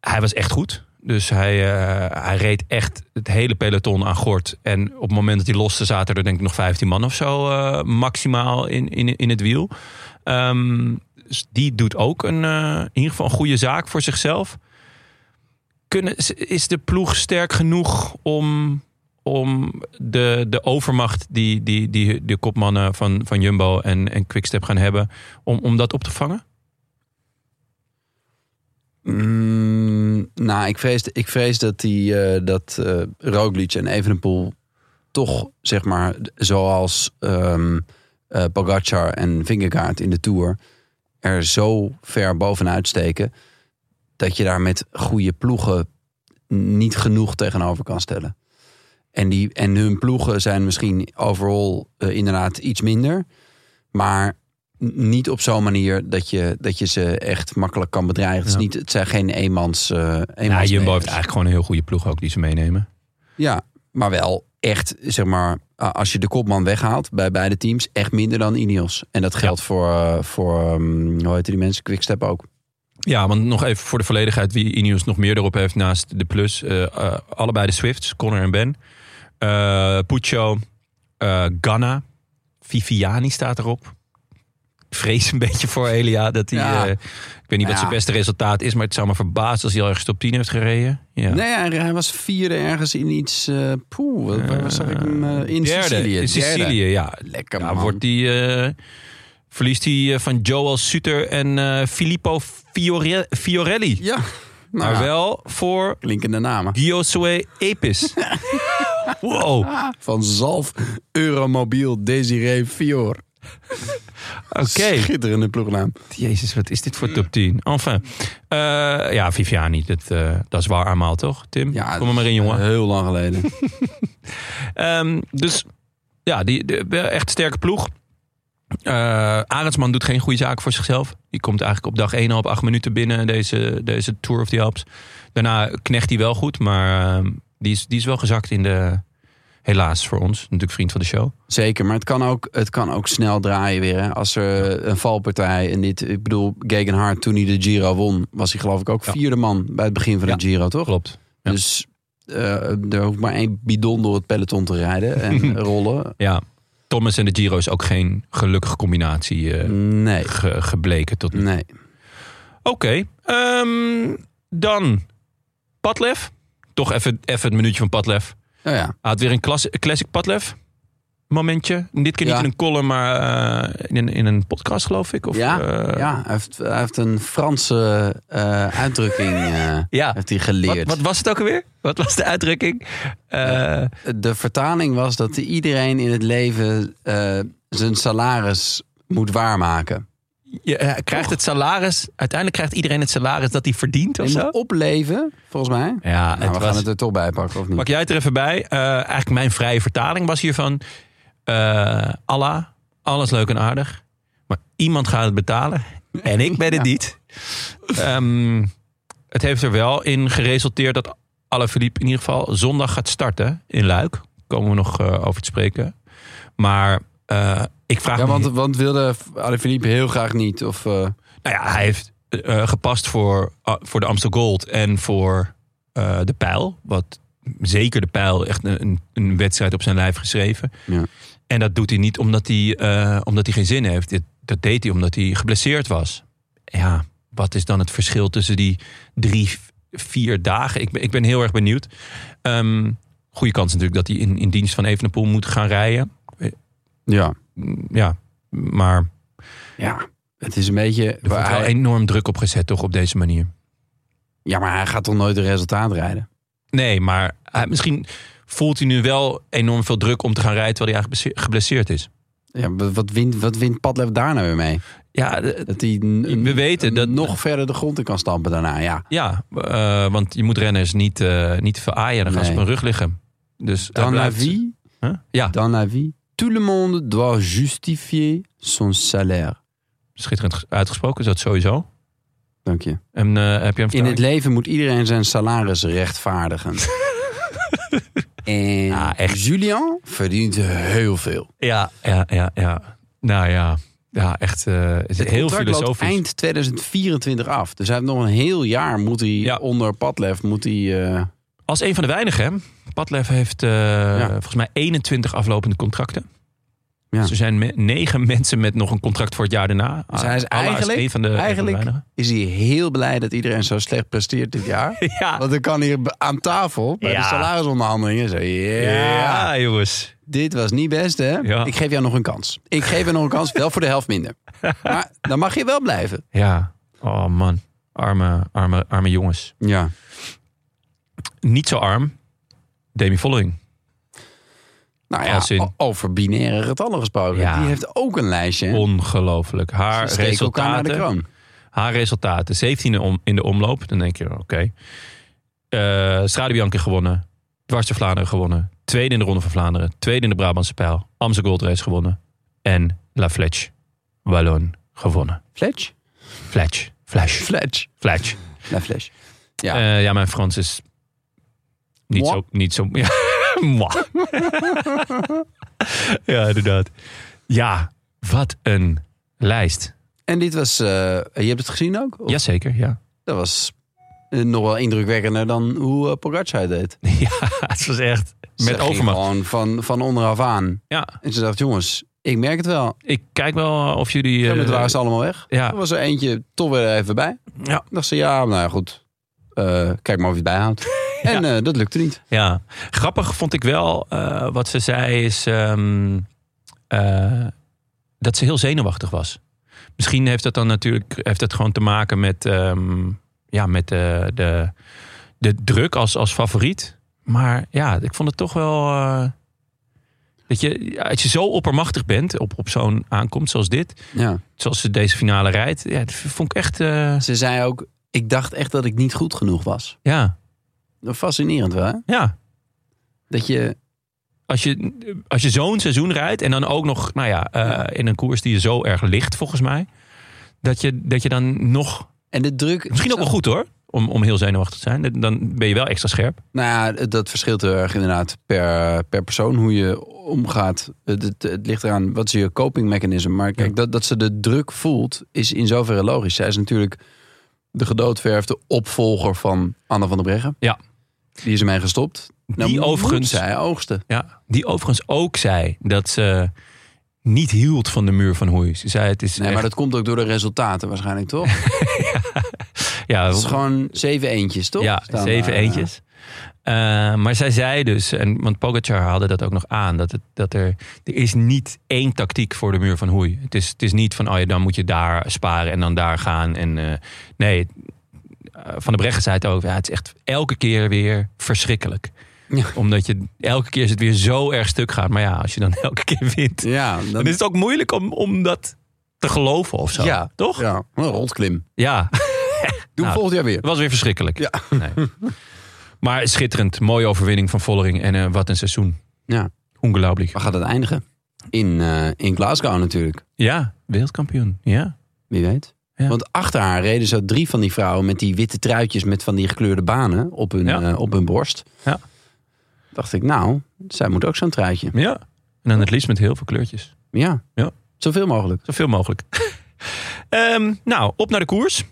Speaker 1: hij was echt goed. Dus hij, eh, hij reed echt het hele peloton aan gort. En op het moment dat hij loste, zaten er denk ik nog 15 man of zo eh, maximaal in, in, in het wiel. Ehm, dus die doet ook een, eh, in ieder geval een goede zaak voor zichzelf. Kunnen, is- is de ploeg sterk genoeg om, om de, de overmacht die, die, die de kopmannen van, van Jumbo en, en Quickstep gaan hebben, om, om dat op te vangen?
Speaker 2: Mm, nou, ik vrees, ik vrees dat, die, eh, dat eh Roglic en Evenepoel toch, zeg maar, d- zoals ehm eh, Pogacar en Vingegaard in de Tour er zo ver bovenuit steken dat je daar met goede ploegen niet genoeg tegenover kan stellen. En, die, en hun ploegen zijn misschien overal eh, inderdaad iets minder, maar n- niet op zo'n manier dat je, dat je ze echt makkelijk kan bedreigen. Het, is
Speaker 1: Ja.
Speaker 2: niet, het zijn geen eenmans. eh
Speaker 1: Ja,
Speaker 2: eenmans-
Speaker 1: Jumbo heeft eigenlijk gewoon een heel goede ploeg ook die ze meenemen.
Speaker 2: ja, maar wel echt, zeg maar, a- als je de kopman weghaalt bij beide teams, echt minder dan Ineos. En dat geldt voor, eh, voor ehm, hoe heet die mensen, Quickstep ook.
Speaker 1: Ja, want nog even voor de volledigheid wie Ineos nog meer erop heeft naast de Plus. eh, eh, allebei de Swifts, Connor en Ben. Eh Puccio, eh Ganna, Viviani staat erop. Ik vrees een beetje voor Elia dat hij...
Speaker 2: Ja.
Speaker 1: eh, ik weet niet wat
Speaker 2: Ja.
Speaker 1: zijn beste resultaat is, maar het zou me verbazen als hij al ergens top 10 heeft gereden. Ja.
Speaker 2: Nee, hij, hij was vierde ergens in iets, eh poeh, waar- waar zag ik hem? eh, in
Speaker 1: Derde,
Speaker 2: Sicilië.
Speaker 1: In
Speaker 2: Derde.
Speaker 1: Sicilië, ja.
Speaker 2: Lekker
Speaker 1: Ja,
Speaker 2: man.
Speaker 1: wordt die, eh, verliest hij eh, van Joel Suter en eh, Filippo Fiore- Fiorelli.
Speaker 2: Ja, nou,
Speaker 1: maar
Speaker 2: ja,
Speaker 1: wel voor
Speaker 2: klinkende namen.
Speaker 1: Giosue Epis. wow.
Speaker 2: Van Zalf, Euromobiel, Desiree, Fior.
Speaker 1: Oké.
Speaker 2: Schitterende ploegnaam.
Speaker 1: Jezus, wat is dit voor top 10? Enfin. Eh, ja, Viviani, dat, eh, dat is waar allemaal, toch, Tim?
Speaker 2: Ja,
Speaker 1: Kom er maar in, jongen.
Speaker 2: Heel lang geleden.
Speaker 1: Ehm, dus ja, die, de, wel echt sterke ploeg. Eh Arendsman doet geen goede zaken voor zichzelf. Die komt eigenlijk op dag 1 al op 8 minuten binnen deze, deze Tour of the Alps. Daarna knecht hij wel goed, maar ehm, die, is, die is wel gezakt in de... Helaas voor ons, natuurlijk vriend van de show.
Speaker 2: Zeker, maar het kan ook, het kan ook snel draaien weer. Hè? Als er eh, een valpartij en dit, ik bedoel, Gegenhard toen hij de Giro won, was hij geloof ik ook
Speaker 1: Ja.
Speaker 2: vierde man bij het begin van
Speaker 1: Ja,
Speaker 2: de Giro, toch?
Speaker 1: Klopt. ja.
Speaker 2: Dus eh, er hoeft maar één bidon door het peloton te rijden en rollen.
Speaker 1: Ja, Thomas en de Giro is ook geen gelukkige combinatie eh,
Speaker 2: Nee,
Speaker 1: ge- gebleken tot nu
Speaker 2: nee.
Speaker 1: Oké, ehm, dan Padlef. Toch even, even het minuutje van Padlef.
Speaker 2: Oh ja,
Speaker 1: Hij had weer een klas- classic Padlef momentje. En Dit keer
Speaker 2: Ja.
Speaker 1: niet in een column, maar eh, in, een- in een podcast geloof ik. Of,
Speaker 2: ja,
Speaker 1: eh,
Speaker 2: ja hij, heeft, hij heeft een Franse eh, uitdrukking eh,
Speaker 1: ja.
Speaker 2: heeft hij
Speaker 1: Wat,
Speaker 2: geleerd.
Speaker 1: wat was het ook alweer? Wat was de uitdrukking? Eh,
Speaker 2: De vertaling was dat iedereen in het leven eh, zijn salaris moet waarmaken.
Speaker 1: je, hij krijgt het salaris. Uiteindelijk krijgt iedereen het salaris dat hij verdient of
Speaker 2: Je
Speaker 1: zo.
Speaker 2: moet opleven, volgens mij.
Speaker 1: Ja,
Speaker 2: Nou, we
Speaker 1: het was,
Speaker 2: gaan het er toch bij pakken, of niet?
Speaker 1: Pak jij het er even bij. Eh, eigenlijk mijn vrije vertaling was hiervan... eh Allah, alles leuk en aardig. Maar iemand gaat het betalen. En ik ben het niet. Ehm, het heeft er wel in geresulteerd dat Alaphilippe in ieder geval zondag gaat starten in Luik. Komen we nog eh, over te spreken. Maar eh, ik vraag
Speaker 2: Ja,
Speaker 1: me...
Speaker 2: want, want wilde Alaphilippe heel graag niet. Of, eh,
Speaker 1: Nou ja, hij heeft eh, eh, gepast voor, ah, voor de Amstel Gold en voor eh, de Pijl. Wat zeker de pijl echt een, een wedstrijd op zijn lijf geschreven.
Speaker 2: Ja.
Speaker 1: En dat doet hij niet omdat hij, eh, omdat hij geen zin heeft. Dit- Dat deed hij omdat hij geblesseerd was. Ja, wat is dan het verschil tussen die drie, vier dagen? Ik ben, ik ben heel erg benieuwd. Ehm goede kans natuurlijk dat hij in, in dienst van Evenepoel moet gaan rijden.
Speaker 2: Ja.
Speaker 1: Ja, maar
Speaker 2: ja. Het is een beetje...
Speaker 1: er wordt
Speaker 2: waar
Speaker 1: wel
Speaker 2: hij-
Speaker 1: enorm druk op gezet toch op deze manier.
Speaker 2: Ja, maar hij gaat toch nooit een resultaat rijden?
Speaker 1: Nee, maar hij- misschien voelt hij nu wel enorm veel druk om te gaan rijden terwijl hij eigenlijk blesse- geblesseerd is.
Speaker 2: Ja, wat wat wint, wat wint Padlef daar nou weer mee?
Speaker 1: Ja, de-
Speaker 2: Dat hij n-
Speaker 1: We weten dat-
Speaker 2: nog verder de grond in kan stampen daarna. Ja,
Speaker 1: ja eh, want je moet renners niet, eh niet veraaien. Dan gaan ze
Speaker 2: Nee.
Speaker 1: op hun rug liggen. Dus hij
Speaker 2: dan naar
Speaker 1: blijft-
Speaker 2: wie?
Speaker 1: Huh? Ja,
Speaker 2: Dans la vie, tout le monde doit justifier son salaire.
Speaker 1: schitterend ges- uitgesproken is dat sowieso.
Speaker 2: Dank je.
Speaker 1: En eh, heb je een
Speaker 2: In
Speaker 1: vertaling?
Speaker 2: het leven moet iedereen zijn salaris rechtvaardigen. en
Speaker 1: Ah, echt.
Speaker 2: Julian verdient heel veel.
Speaker 1: Ja, ja, ja, ja. Nou ja, ja echt eh, het is
Speaker 2: Het
Speaker 1: heel
Speaker 2: contract loopt
Speaker 1: filosofisch.
Speaker 2: eind 2024 af. Dus hij heeft nog een heel jaar moet hij
Speaker 1: Ja.
Speaker 2: onder Padlef moet hij... eh,
Speaker 1: Als een van de weinigen, hè. Padlef heeft eh, volgens mij 21 aflopende contracten.
Speaker 2: Ja.
Speaker 1: Dus er zijn me- negen mensen met nog een contract voor het jaar daarna.
Speaker 2: Dus hij is
Speaker 1: Allah
Speaker 2: eigenlijk-
Speaker 1: één van de, één van de
Speaker 2: eigenlijk-
Speaker 1: weinigen.
Speaker 2: is hij heel blij dat iedereen zo slecht presteert dit jaar.
Speaker 1: Ja.
Speaker 2: Want dan kan hier aan tafel bij de
Speaker 1: Ja.
Speaker 2: salarisonderhandelingen zeggen... ja,
Speaker 1: ja, jongens.
Speaker 2: Dit was niet best, hè?
Speaker 1: Ja.
Speaker 2: Ik geef jou nog een kans. Ik geef jou nog een kans, wel voor de helft minder. Maar dan mag je wel blijven.
Speaker 1: Ja. Oh man, arme, arme, arme jongens.
Speaker 2: Ja.
Speaker 1: Niet zo arm. Demi Vollering.
Speaker 2: Nou ja,
Speaker 1: Als in-
Speaker 2: o- over binaire getallen gesproken.
Speaker 1: Ja.
Speaker 2: Die heeft ook een lijstje. hè?
Speaker 1: Ongelooflijk. Haar
Speaker 2: Ze steken elkaar naar de
Speaker 1: resultaten.
Speaker 2: kroon.
Speaker 1: Haar resultaten. 17 om, in de omloop. Dan denk je, oké. Eh, Strade Bianca gewonnen. Dwars door Vlaanderen gewonnen. Tweede in de Ronde van Vlaanderen. Tweede in de Brabantse Pijl. Amstel Gold Race gewonnen. En La Fletch. Wallon gewonnen.
Speaker 2: Fletch?
Speaker 1: Fletch. Flash.
Speaker 2: Fletch.
Speaker 1: Fletch.
Speaker 2: Nou, Fletch. Ja.
Speaker 1: Eh, ja, mijn Frans is niet
Speaker 2: Moi.
Speaker 1: zo... Niet zo ja, moi. ja, inderdaad. Ja, wat een lijst.
Speaker 2: En dit was... eh, je hebt het gezien ook? Of-
Speaker 1: Jazeker, ja.
Speaker 2: Dat was eh, nog wel indrukwekkender dan hoe eh, Pogacar het deed.
Speaker 1: ja, het was echt
Speaker 2: Ze
Speaker 1: met
Speaker 2: ging
Speaker 1: overmacht.
Speaker 2: Gewoon van, van onderaf aan.
Speaker 1: Ja,
Speaker 2: En ze dacht, jongens, ik merk het wel.
Speaker 1: ik kijk wel of jullie...
Speaker 2: En het
Speaker 1: eh,
Speaker 2: waren ze allemaal weg.
Speaker 1: ja.
Speaker 2: Er was er eentje toch weer even bij.
Speaker 1: Ja.
Speaker 2: dacht ze, ja, nou ja, goed. Eh, kijk maar of je het bijhoudt. En eh, dat lukte niet.
Speaker 1: Ja, grappig vond ik wel eh, wat ze zei is ehm, eh, dat ze heel zenuwachtig was. Misschien heeft dat dan natuurlijk heeft dat gewoon te maken met, ehm, ja, met de, de, de druk als, als favoriet. Maar ja, ik vond het toch wel. eh, dat je, als je zo oppermachtig bent op, op zo'n aankomst zoals dit,
Speaker 2: Ja.
Speaker 1: zoals ze deze finale rijdt, ja, dat vond ik echt. eh,
Speaker 2: Ze zei ook, ik dacht echt dat ik niet goed genoeg was.
Speaker 1: ja,
Speaker 2: Fascinerend wel, hè?
Speaker 1: ja.
Speaker 2: Dat je...
Speaker 1: als je, als je zo'n seizoen rijdt en dan ook nog nou ja, eh, in een koers die je zo erg ligt, volgens mij. Dat je, dat je dan nog.
Speaker 2: En de druk...
Speaker 1: Misschien ook wel goed hoor, om, om heel zenuwachtig te zijn. Dan ben je wel extra scherp.
Speaker 2: Nou ja, dat verschilt heel erg inderdaad per, per persoon hoe je omgaat. Het, het, het ligt eraan, wat is je coping mechanism? Maar kijk,
Speaker 1: Ja.
Speaker 2: dat, dat ze de druk voelt, is in zoverre logisch. Zij is natuurlijk de gedoodverfde opvolger van Anne van der Breggen.
Speaker 1: Ja.
Speaker 2: Die is ermee gestopt. Nou
Speaker 1: Die
Speaker 2: moet
Speaker 1: overigens-
Speaker 2: zij oogsten.
Speaker 1: Ja. Die overigens ook zei dat ze niet hield van de muur van Hoei. Ze zei het is.
Speaker 2: Nee, maar
Speaker 1: echt-
Speaker 2: dat komt ook door de resultaten waarschijnlijk, toch?
Speaker 1: ja,
Speaker 2: Het is gewoon zeven eentjes, toch?
Speaker 1: Ja,
Speaker 2: Staan
Speaker 1: zeven
Speaker 2: daar, eh,
Speaker 1: eentjes. Eh, maar zij zei dus, en, want Pogacar haalde dat ook nog aan, dat, het, dat er, er is niet één tactiek voor de muur van Hoei. Het is, het is niet van, oh ja, dan moet je daar sparen en dan daar gaan. En, eh, nee, eh, Van de Breggen zei het ook, ja, het is echt elke keer weer verschrikkelijk.
Speaker 2: Ja.
Speaker 1: Omdat je elke keer is het weer zo erg stuk gaat. Maar ja, als je dan elke keer wint,
Speaker 2: Ja, dan,
Speaker 1: dan is het ook moeilijk om, om dat te geloven of zo.
Speaker 2: Ja.
Speaker 1: Toch?
Speaker 2: ja, een rotklim.
Speaker 1: ja.
Speaker 2: Doe
Speaker 1: Nou,
Speaker 2: volgend jaar weer.
Speaker 1: Het was weer verschrikkelijk.
Speaker 2: Ja.
Speaker 1: Nee. Maar schitterend. Mooie overwinning van Vollering. En eh, wat een seizoen.
Speaker 2: Ja.
Speaker 1: Ongelooflijk.
Speaker 2: Waar gaat het eindigen? In, eh, in Glasgow natuurlijk.
Speaker 1: Ja, wereldkampioen. Ja.
Speaker 2: Wie weet.
Speaker 1: Ja.
Speaker 2: Want achter haar reden zo drie van die vrouwen met die witte truitjes met van die gekleurde banen op hun,
Speaker 1: Ja.
Speaker 2: eh, op hun borst.
Speaker 1: Ja.
Speaker 2: Dacht ik, nou, zij moet ook zo'n truitje.
Speaker 1: ja. En dan het liefst met heel veel kleurtjes.
Speaker 2: Ja.
Speaker 1: Ja.
Speaker 2: Zoveel mogelijk.
Speaker 1: Zoveel mogelijk. Ehm, nou, op naar de koers.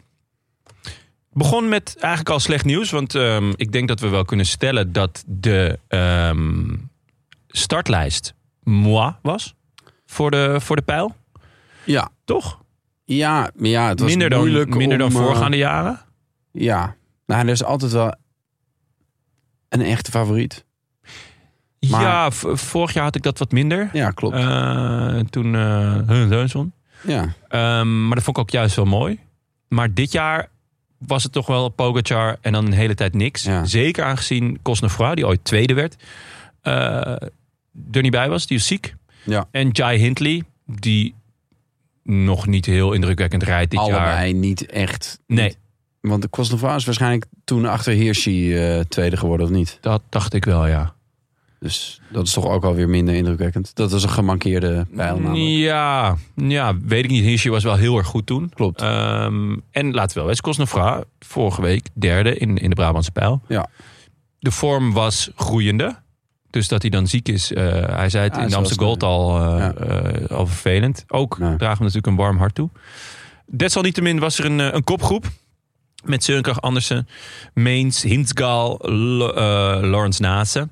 Speaker 1: begon met eigenlijk al slecht nieuws. Want ehm, ik denk dat we wel kunnen stellen dat de ehm, startlijst moi was voor de, voor de pijl.
Speaker 2: Ja,
Speaker 1: Toch?
Speaker 2: ja, maar ja het was
Speaker 1: Minder dan,
Speaker 2: moeilijk
Speaker 1: minder dan
Speaker 2: om, eh,
Speaker 1: voorgaande jaren.
Speaker 2: Ja, nou, er is altijd wel een echte favoriet. maar-
Speaker 1: ja, v- vorig jaar had ik dat wat minder.
Speaker 2: Ja, klopt.
Speaker 1: Eh, toen eh Hun Deunson.
Speaker 2: ja.
Speaker 1: Ehm, maar dat vond ik ook juist wel mooi. Maar dit jaar was het toch wel Pogacar en dan een hele tijd niks.
Speaker 2: Ja.
Speaker 1: Zeker aangezien Cosnefroid, die ooit tweede werd, eh, er niet bij was. Die is ziek.
Speaker 2: Ja.
Speaker 1: En Jai Hindley, die nog niet heel indrukwekkend rijdt dit jaar.
Speaker 2: Allebei niet echt.
Speaker 1: Nee,
Speaker 2: Want de Cosnefroid is waarschijnlijk toen achter Hirschi eh, tweede geworden, of niet?
Speaker 1: dat dacht ik wel, ja.
Speaker 2: Dus dat is toch ook alweer minder indrukwekkend. Dat is een gemankeerde pijl namelijk.
Speaker 1: Ja, ja, weet ik niet. Hirschi was wel heel erg goed toen.
Speaker 2: Klopt.
Speaker 1: Ehm, en laten we wel eens, Cosnefra, vorige week derde in, in de Brabantse pijl.
Speaker 2: Ja.
Speaker 1: De vorm was groeiende. Dus dat hij dan ziek is, eh, hij zei het
Speaker 2: Ja,
Speaker 1: in de
Speaker 2: zoals
Speaker 1: Amsterdam Gold
Speaker 2: het,
Speaker 1: al, eh,
Speaker 2: ja.
Speaker 1: eh, al vervelend. Ook
Speaker 2: Ja.
Speaker 1: dragen we natuurlijk een warm hart toe. Desalniettemin was er een, eh, een kopgroep. Met Sørenkrach, Andersen, Meens, Hintsgaal, L- eh, Lawrence Nase.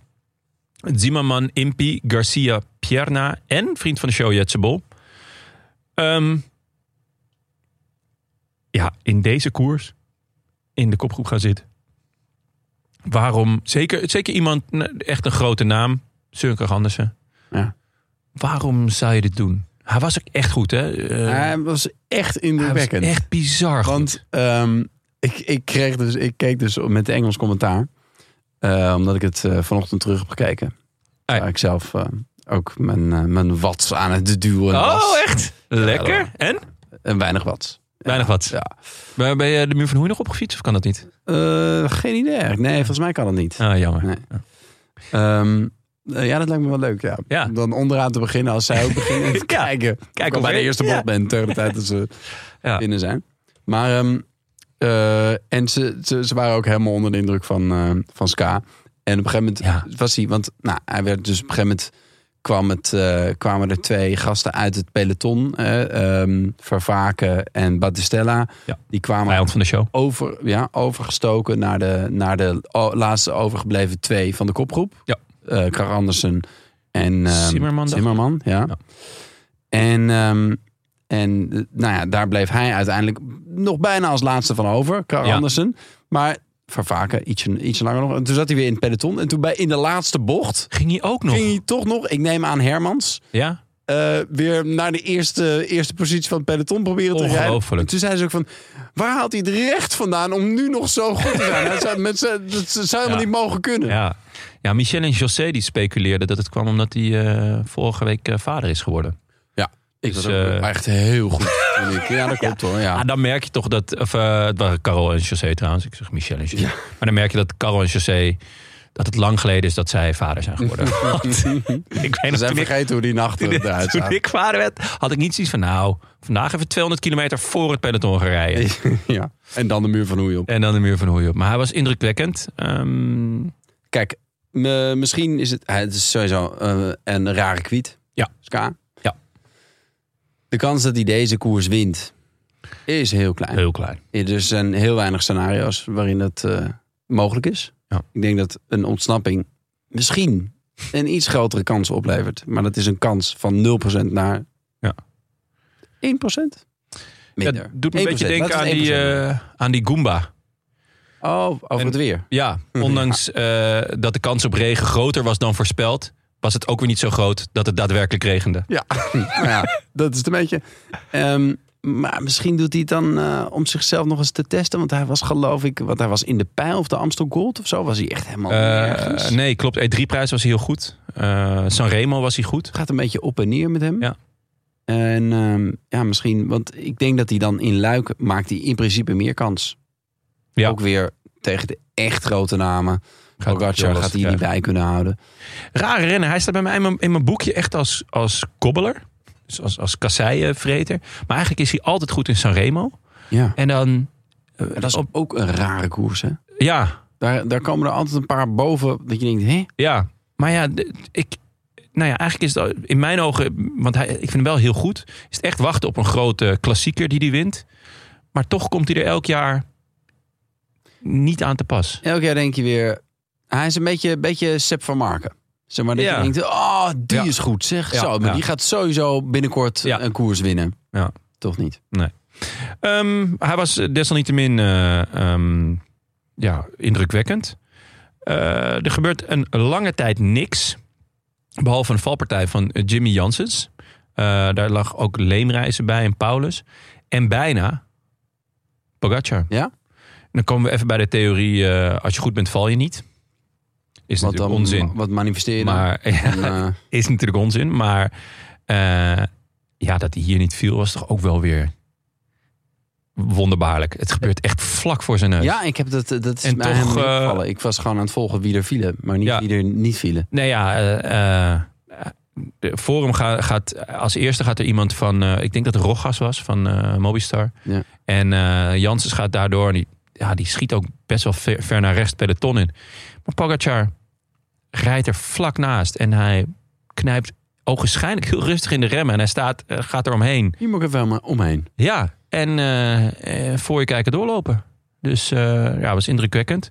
Speaker 1: Zimmerman, Impi, Garcia, Pierna en vriend van de show Jetse Bol. Ehm, ja, in deze koers in de kopgroep gaan zitten. Waarom? Zeker, zeker iemand, n- echt een grote naam, Sørenkrach Andersen.
Speaker 2: Ja.
Speaker 1: Waarom zou je dit doen? Hij was ook echt goed, hè? Eh,
Speaker 2: Hij was echt
Speaker 1: hij was
Speaker 2: indrukwekkend.
Speaker 1: echt bizar goed.
Speaker 2: Want ehm, ik, ik, kreeg dus, ik keek dus met Engels commentaar. Eh, omdat ik het eh, vanochtend terug heb gekeken.
Speaker 1: Ah, ja.
Speaker 2: Waar ik zelf eh, ook mijn, eh, mijn watts aan het duwen was.
Speaker 1: Oh, echt? Lekker.
Speaker 2: Ja,
Speaker 1: en?
Speaker 2: En weinig watts.
Speaker 1: Weinig wat.
Speaker 2: Ja.
Speaker 1: Ben ben je de muur van Hoei nog opgefietst of kan dat niet?
Speaker 2: Eh, geen idee. eigenlijk. Nee, volgens mij kan het niet.
Speaker 1: Ah, jammer.
Speaker 2: Nee. Ehm, eh, ja, dat lijkt me wel leuk. Ja.
Speaker 1: Ja.
Speaker 2: Om dan onderaan te beginnen als zij ook beginnen. Even
Speaker 1: Ja.
Speaker 2: kijken.
Speaker 1: Kijk
Speaker 2: Kijk of ik
Speaker 1: of
Speaker 2: al bij de
Speaker 1: je-
Speaker 2: eerste bot
Speaker 1: Ja.
Speaker 2: ben tegen de tijd dat ze
Speaker 1: Ja.
Speaker 2: binnen zijn. Maar, ehm, eh, en ze, ze, ze waren ook helemaal onder de indruk van, eh, van Ska. En op een gegeven moment
Speaker 1: Ja.
Speaker 2: was hij, want nou, hij werd dus op een gegeven moment kwam het, eh, kwamen er twee gasten uit het peloton, eh, ehm, Vervaken en Battistella.
Speaker 1: Ja.
Speaker 2: Die kwamen
Speaker 1: Vijand van de show.
Speaker 2: over, ja, overgestoken naar de, naar de o- laatste overgebleven twee van de kopgroep.
Speaker 1: Ja.
Speaker 2: Eh, Kar Andersen en ehm,
Speaker 1: Zimmerman, dacht ik.
Speaker 2: Zimmerman ja.
Speaker 1: Ja.
Speaker 2: En, ehm, en eh, nou ja, daar bleef hij uiteindelijk nog bijna als laatste van over, Kar
Speaker 1: Ja.
Speaker 2: Andersen. Maar Vervaken ietsje, ietsje langer nog. En toen zat hij weer in het peloton. En toen bij, in de laatste bocht
Speaker 1: Ging hij ook nog?
Speaker 2: ging hij toch nog, ik neem aan Hermans,
Speaker 1: Ja?
Speaker 2: eh, weer naar de eerste, eerste positie van het peloton proberen te rijden.
Speaker 1: Ongelooflijk.
Speaker 2: En toen zei ze ook van, waar haalt hij het recht vandaan om nu nog zo goed te zijn? Hij zei, met z'n- dat zou helemaal
Speaker 1: Ja.
Speaker 2: niet mogen kunnen.
Speaker 1: Ja. Ja, Michel en José die speculeerden dat het kwam omdat hij eh, vorige week eh, vader is geworden.
Speaker 2: Ik
Speaker 1: Dus,
Speaker 2: was ook
Speaker 1: eh,
Speaker 2: echt heel goed. vond ik. Ja, dat klopt hoor. Ja.
Speaker 1: Ah, dan merk je toch dat... Of, eh, het waren Carol en José trouwens. Ik zeg Michel en José. Maar dan merk je dat Carol en José... Dat het lang geleden is dat zij vader zijn geworden. Want ik weet
Speaker 2: Ze
Speaker 1: nog,
Speaker 2: zijn
Speaker 1: toen ik,
Speaker 2: vergeten hoe die nacht eruit
Speaker 1: toen
Speaker 2: zag.
Speaker 1: ik vader werd, had ik niet zoiets van... Nou, vandaag even 200 kilometer voor het peloton gaan rijden.
Speaker 2: Ja. En dan de muur van Hoei op.
Speaker 1: En dan de muur van Hoei op. Maar hij was indrukwekkend. Ehm,
Speaker 2: Kijk, me- misschien is het, het is sowieso eh, een rare kwiet.
Speaker 1: Ja.
Speaker 2: Ska.
Speaker 1: Ja.
Speaker 2: De kans dat hij deze koers wint is heel klein.
Speaker 1: heel klein.
Speaker 2: Er zijn heel weinig scenario's waarin dat eh, mogelijk is.
Speaker 1: Ja.
Speaker 2: Ik denk dat een ontsnapping misschien een iets grotere kans oplevert. Maar dat is een kans van 0% naar
Speaker 1: Ja.
Speaker 2: 1%. Minder.
Speaker 1: Ja, het doet me een
Speaker 2: 1%,
Speaker 1: beetje denken
Speaker 2: laten
Speaker 1: aan
Speaker 2: we het
Speaker 1: die,
Speaker 2: 1% doen.
Speaker 1: eh, aan die Goomba.
Speaker 2: oh, over
Speaker 1: en-
Speaker 2: het weer.
Speaker 1: Ja, ondanks eh, dat de kans op regen groter was dan voorspeld... was het ook weer niet zo groot dat het daadwerkelijk regende.
Speaker 2: Ja. Nou ja, dat is het een beetje. Ehm, maar misschien doet hij het dan eh, om zichzelf nog eens te testen. Want hij was geloof ik, want hij was in de pijl of de Amstel Gold of zo. Was hij echt helemaal Oh, nergens.
Speaker 1: Eh, nee, klopt. E3-prijs was hij heel goed. Eh Sanremo was hij goed.
Speaker 2: Het gaat een beetje op en neer met hem.
Speaker 1: Ja.
Speaker 2: En ehm, ja, misschien, want ik denk dat hij dan in Luik maakt hij in principe meer kans.
Speaker 1: Ja.
Speaker 2: Ook weer tegen de echt grote namen.
Speaker 1: Gaat heel
Speaker 2: Pogacar
Speaker 1: lastig
Speaker 2: gaat hij niet
Speaker 1: krijgen.
Speaker 2: bij kunnen houden.
Speaker 1: Rare renner. Hij staat bij mij in mijn, in mijn boekje echt als, als kobbeler. Dus als, als kasseienvreter. Maar eigenlijk is hij altijd goed in Sanremo.
Speaker 2: Ja.
Speaker 1: En dan... eh,
Speaker 2: Dat is
Speaker 1: op-
Speaker 2: ook een rare koers, hè?
Speaker 1: ja,
Speaker 2: Daar, daar komen er altijd een paar boven dat je denkt, hè?
Speaker 1: Ja, maar ja, d- ik. Nou ja, eigenlijk is het in mijn ogen, want hij, ik vind hem wel heel goed. Is het echt wachten op een grote klassieker die hij wint. Maar toch komt hij er elk jaar niet aan te pas.
Speaker 2: Elk jaar denk je weer... Hij is een beetje, beetje Sepp van Marken. Zeg maar dat
Speaker 1: Ja.
Speaker 2: je denkt, oh, die
Speaker 1: Ja.
Speaker 2: is goed zeg.
Speaker 1: Ja,
Speaker 2: Zo, maar
Speaker 1: ja.
Speaker 2: die gaat sowieso binnenkort
Speaker 1: Ja.
Speaker 2: een koers winnen.
Speaker 1: Ja.
Speaker 2: Toch niet?
Speaker 1: Ehm, hij was desalniettemin eh, ehm, ja, indrukwekkend. Eh, er gebeurt een lange tijd niks. Behalve een valpartij van eh, Jimmy Janssens. Eh, daar lag ook Leemreizen bij en Paulus. En bijna Pogacar.
Speaker 2: Ja?
Speaker 1: Dan komen we even bij de theorie... eh, als je goed bent, val je niet. Is
Speaker 2: Wat dan?
Speaker 1: natuurlijk onzin.
Speaker 2: Wat manifesteer je dan?
Speaker 1: Maar
Speaker 2: En, eh,
Speaker 1: is natuurlijk onzin. Maar eh, ja, dat hij hier niet viel was toch ook wel weer wonderbaarlijk. Het gebeurt echt vlak voor zijn neus.
Speaker 2: ja, ik heb dat, dat is
Speaker 1: En
Speaker 2: mij
Speaker 1: toch,
Speaker 2: helemaal niet
Speaker 1: eh,
Speaker 2: opgevallen. Ik was gewoon aan het volgen wie er vielen, maar niet
Speaker 1: Ja.
Speaker 2: wie er niet vielen.
Speaker 1: Nee, ja. eh, eh, de forum ga- gaat, als eerste gaat er iemand van, eh, ik denk dat het Rogas was van eh, Mobistar.
Speaker 2: Ja.
Speaker 1: En eh Janssens gaat daardoor en die, ja, die schiet ook best wel ver, ver naar rechts peloton in. Maar Pogacar rijdt er vlak naast en hij knijpt ogenschijnlijk heel rustig in de remmen. En hij staat, eh, gaat er omheen.
Speaker 2: Hier moet ik even helemaal omheen.
Speaker 1: Ja, en eh, eh, voor je kijken doorlopen. Dus eh, ja, was indrukwekkend.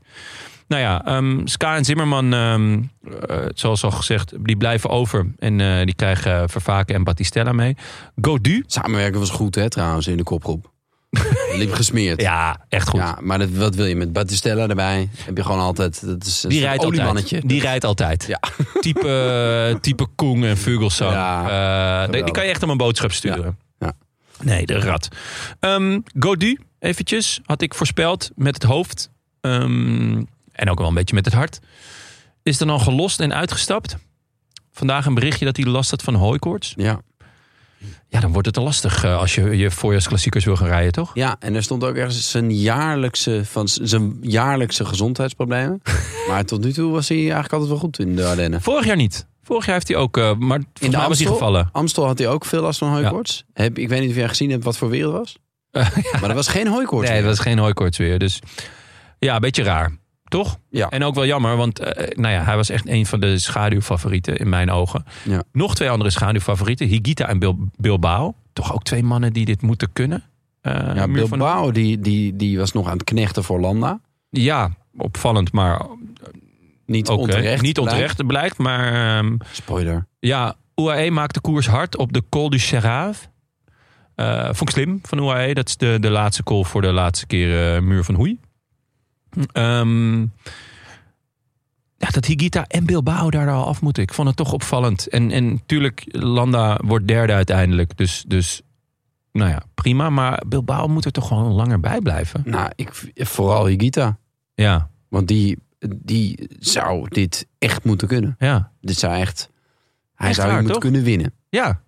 Speaker 1: Nou ja, ehm Ska en Zimmerman, ehm, eh, zoals al gezegd, die blijven over. En eh, die krijgen eh, Vervaken en Battistella mee. Godu.
Speaker 2: Samenwerken was goed, hè, trouwens, in de kopgroep. Liep gesmeerd.
Speaker 1: Ja, echt goed.
Speaker 2: Ja, maar dat, wat wil je met Battistella erbij? Heb je gewoon altijd. Dat is Dus een
Speaker 1: die
Speaker 2: soort
Speaker 1: rijdt
Speaker 2: oliemannetje. dus.
Speaker 1: altijd. Die rijdt altijd.
Speaker 2: Ja.
Speaker 1: Type, eh, type Koen en Vugelsang.
Speaker 2: Ja,
Speaker 1: Eh, die, die
Speaker 2: geweldig.
Speaker 1: kan je echt om een boodschap sturen.
Speaker 2: Ja,
Speaker 1: Nee, de rat. Ehm Godu, eventjes, had ik voorspeld met het hoofd. ehm, en ook wel een beetje met het hart. Is dan al gelost en uitgestapt. Vandaag een berichtje dat hij last had van hooikoorts.
Speaker 2: ja.
Speaker 1: Ja, dan wordt het al lastig eh, als je je voorjaarsklassiekers wil gaan rijden, toch?
Speaker 2: ja, en er stond ook ergens zijn jaarlijkse, van z- zijn jaarlijkse gezondheidsproblemen. maar tot nu toe was hij eigenlijk altijd wel goed in de Ardennen.
Speaker 1: Vorig jaar niet. Vorig jaar heeft hij ook, eh, maar volgens mij was hij
Speaker 2: Amstel?
Speaker 1: gevallen.
Speaker 2: Amstel had hij ook veel last van hooikoorts. Heb, ik weet niet of jij gezien hebt wat voor weer het was. Maar er was geen hooikoorts.
Speaker 1: Nee,
Speaker 2: meer.
Speaker 1: dat was geen hooikoorts weer. Dus ja, een beetje raar. Toch?
Speaker 2: Ja.
Speaker 1: En ook wel jammer, want eh, nou ja, hij was echt een van de schaduwfavorieten in mijn ogen.
Speaker 2: Ja.
Speaker 1: Nog twee andere schaduwfavorieten, Higita en Bil- Bilbao. Toch ook twee mannen die dit moeten kunnen. Eh,
Speaker 2: Ja,
Speaker 1: Muur van-
Speaker 2: Bilbao die, die, die was nog aan het knechten voor Landa.
Speaker 1: Ja, opvallend, maar
Speaker 2: Niet
Speaker 1: ook eh,
Speaker 2: onterecht.
Speaker 1: niet onterecht blijkt. Maar ehm,
Speaker 2: blijkt. Spoiler.
Speaker 1: ja, UAE maakt de koers hard op de Col du Serrave. Eh vond ik slim van UAE. Dat is de, de laatste call voor de laatste keer eh, muur van Hoei. Ehm, ja, dat Higita en Bilbao daar al af moeten. Ik vond het toch opvallend. En, en tuurlijk, Landa wordt derde uiteindelijk. Dus, dus nou ja, prima. Maar Bilbao moet er toch gewoon langer bij blijven.
Speaker 2: Nou, ik, vooral Higita.
Speaker 1: Ja,
Speaker 2: Want die, die zou dit echt moeten kunnen.
Speaker 1: ja,
Speaker 2: Dit zou echt... Hij
Speaker 1: Echt
Speaker 2: zou hier
Speaker 1: waar,
Speaker 2: moeten
Speaker 1: toch?
Speaker 2: kunnen winnen.
Speaker 1: ja.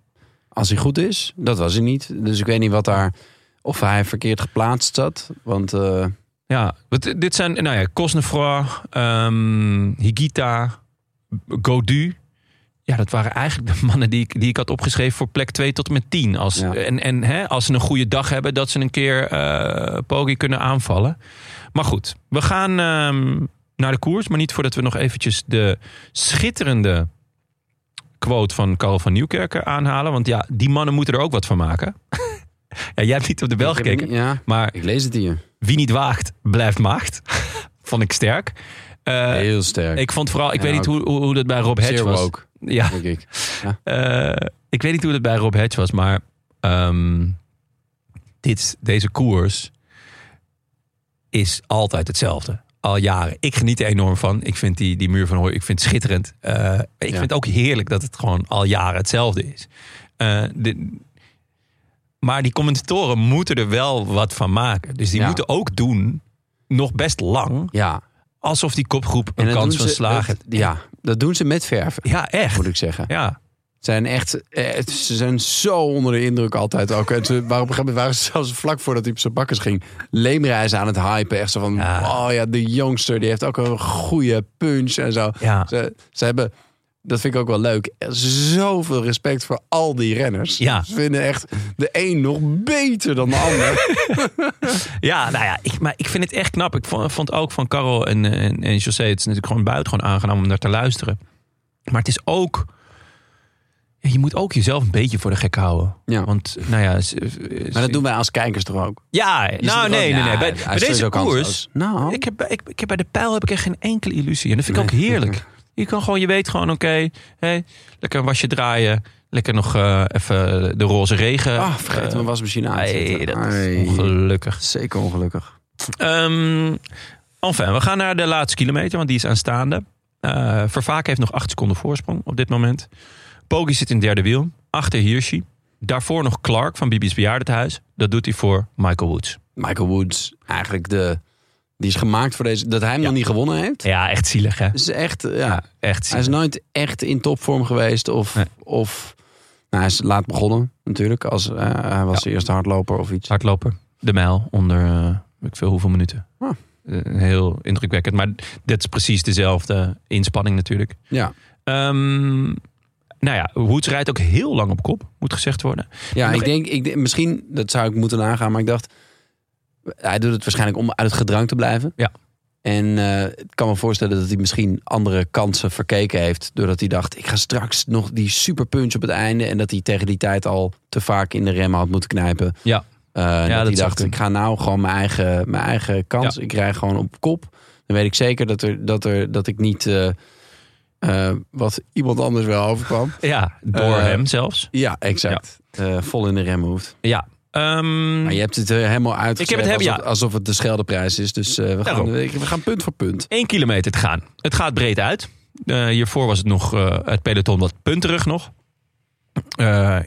Speaker 2: Als hij goed is, dat was hij niet. Dus ik weet niet wat daar... Of hij verkeerd geplaatst zat. Want eh,
Speaker 1: Ja, want dit zijn, nou ja, Cosnefroy, ehm, Higita, Godu. Ja, dat waren eigenlijk de mannen die ik, die ik had opgeschreven voor plek 2 tot en met 10. Als,
Speaker 2: Ja.
Speaker 1: En, en hè, als ze een goede dag hebben, dat ze een keer eh Poggi kunnen aanvallen. Maar goed, we gaan ehm, naar de koers. Maar niet voordat we nog eventjes de schitterende quote van Karel van Nieuwkerken aanhalen. Want ja, die mannen moeten er ook wat van maken. ja, jij hebt niet op de bel
Speaker 2: ik heb-
Speaker 1: gekeken.
Speaker 2: Ja,
Speaker 1: Maar
Speaker 2: ik lees het hier.
Speaker 1: wie niet waagt, blijft maagd. Vond ik sterk. Eh,
Speaker 2: Heel sterk.
Speaker 1: ik vond vooral, ik
Speaker 2: Ja,
Speaker 1: weet niet hoe, hoe, hoe dat bij Rob Hedge
Speaker 2: Zeer
Speaker 1: was.
Speaker 2: woke,
Speaker 1: Ja,
Speaker 2: denk ik.
Speaker 1: eh, ik weet niet hoe dat bij Rob Hedge was, maar ehm, dit, deze koers is altijd hetzelfde. Al jaren. Ik geniet er enorm van. Ik vind die, die muur van Hooi, ik vind het schitterend. Eh, ik vind het ook heerlijk dat het gewoon al jaren hetzelfde is. Eh, de, maar die commentatoren moeten er wel wat van maken. Dus die
Speaker 2: Ja.
Speaker 1: moeten ook doen, nog best lang,
Speaker 2: Ja,
Speaker 1: alsof die kopgroep een
Speaker 2: dat
Speaker 1: kans
Speaker 2: doen
Speaker 1: van
Speaker 2: ze-
Speaker 1: slagen.
Speaker 2: dat- ja, dat doen ze met verven,
Speaker 1: Ja, echt.
Speaker 2: moet ik zeggen.
Speaker 1: Ja.
Speaker 2: Ze Zijn echt, eh, ze zijn zo onder de indruk altijd ook. En ze, maar op een gegeven moment waren ze zelfs vlak voordat hij op zijn bakkers ging... leemreizen aan het hypen. Echt zo van,
Speaker 1: Ja.
Speaker 2: oh ja, de jongster die heeft ook een goede punch en zo.
Speaker 1: Ja.
Speaker 2: Ze, ze hebben, dat vind ik ook wel leuk, zoveel respect voor al die renners.
Speaker 1: Ja.
Speaker 2: Ze vinden echt de een nog beter dan de ander.
Speaker 1: Ja, nou ja, ik, maar ik vind het echt knap. Ik vond, vond ook van Karel en, en, en José, het is natuurlijk gewoon buitengewoon aangenaam om naar te luisteren. Maar het is ook, Ja, je moet ook jezelf een beetje voor de gek houden.
Speaker 2: Ja.
Speaker 1: Want, nou ja... s- s-
Speaker 2: Maar dat doen wij als kijkers toch ook?
Speaker 1: Ja,
Speaker 2: Je
Speaker 1: nou
Speaker 2: zit er
Speaker 1: nee,
Speaker 2: ook-
Speaker 1: nee, nee.
Speaker 2: Ja,
Speaker 1: Bij,
Speaker 2: hij is
Speaker 1: bij deze
Speaker 2: sowieso
Speaker 1: koers...
Speaker 2: kansloos. Nou,
Speaker 1: Ik heb, bij- ik, ik heb bij de pijl heb ik echt geen enkele illusie. En dat vind ik ook
Speaker 2: Nee.
Speaker 1: heerlijk. Je kan gewoon, je weet gewoon, oké, hé, lekker een wasje draaien. Lekker nog eh, even de roze regen.
Speaker 2: ah, vergeet
Speaker 1: Eh,
Speaker 2: mijn wasmachine aan te
Speaker 1: Nee,
Speaker 2: zetten.
Speaker 1: dat
Speaker 2: Ai.
Speaker 1: is ongelukkig.
Speaker 2: Zeker ongelukkig.
Speaker 1: Ehm enfin, we gaan naar de laatste kilometer, want die is aanstaande. Eh Vervaak heeft nog 8 seconden voorsprong op dit moment. Poggi zit in derde wiel, achter Hirschi. Daarvoor nog Clark van Bibi's Bejaardentehuis. Dat doet hij voor Michael Woods.
Speaker 2: Michael Woods, eigenlijk de... Die is gemaakt voor deze... Dat hij hem
Speaker 1: Ja.
Speaker 2: nog niet gewonnen heeft.
Speaker 1: Ja, echt zielig hè?
Speaker 2: Is echt, ja.
Speaker 1: echt
Speaker 2: Hij is
Speaker 1: zielig.
Speaker 2: nooit echt in topvorm geweest. Of,
Speaker 1: Nee.
Speaker 2: of nou, hij is laat begonnen natuurlijk. Als, eh, hij was
Speaker 1: Ja.
Speaker 2: de eerste hardloper of iets.
Speaker 1: Hardloper, de mijl onder, eh, weet ik veel hoeveel minuten.
Speaker 2: Ah.
Speaker 1: Eh, heel indrukwekkend, maar dit is precies dezelfde inspanning natuurlijk.
Speaker 2: Ja,
Speaker 1: Ehm, nou ja, Woods rijdt ook heel lang op kop, moet gezegd worden.
Speaker 2: ja
Speaker 1: Nog e-
Speaker 2: ik denk, ik, denk- misschien, dat zou ik moeten nagaan. Maar ik dacht, hij doet het waarschijnlijk om uit het gedrang te blijven.
Speaker 1: Ja.
Speaker 2: En eh, ik kan me voorstellen dat hij misschien andere kansen verkeken heeft. Doordat hij dacht, ik ga straks nog die superpunch op het einde. En dat hij tegen die tijd al te vaak in de remmen had moeten knijpen.
Speaker 1: Ja.
Speaker 2: Eh, dat,
Speaker 1: dat
Speaker 2: hij
Speaker 1: zou
Speaker 2: dacht,
Speaker 1: kunnen.
Speaker 2: ik ga nou gewoon mijn eigen, mijn eigen kans.
Speaker 1: Ja.
Speaker 2: Ik rij gewoon op kop. Dan weet ik zeker dat, er, dat, er, dat ik niet... eh, eh, wat iemand anders wel overkwam.
Speaker 1: Ja, door
Speaker 2: Eh,
Speaker 1: hem zelfs.
Speaker 2: Ja, exact. Eh, vol in de remmen hoeft.
Speaker 1: Ja. Ehm,
Speaker 2: Maar je hebt het er helemaal uitgezet
Speaker 1: Ik heb het helemaal-
Speaker 2: alsof, alsof het de Scheldeprijs is. Dus eh, we, gaan,
Speaker 1: Daarom.
Speaker 2: we gaan punt voor punt.
Speaker 1: één kilometer te gaan. Het gaat breed uit. Eh, hiervoor was het nog eh, het peloton wat punterig nog. Eh,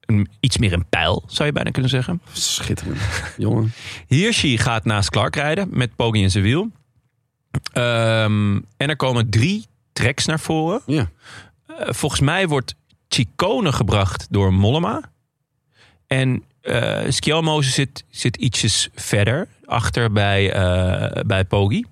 Speaker 1: een- iets meer een pijl, zou je bijna kunnen zeggen.
Speaker 2: Schitterend. Jongen.
Speaker 1: Hirschi gaat naast Clark rijden met Poggi in zijn wiel. Ehm, en er komen drie treks naar voren.
Speaker 2: Ja.
Speaker 1: Eh, volgens mij wordt Chicone gebracht door Mollema. En eh Schielmoze zit, zit ietsjes verder achter bij, eh bij Poggi.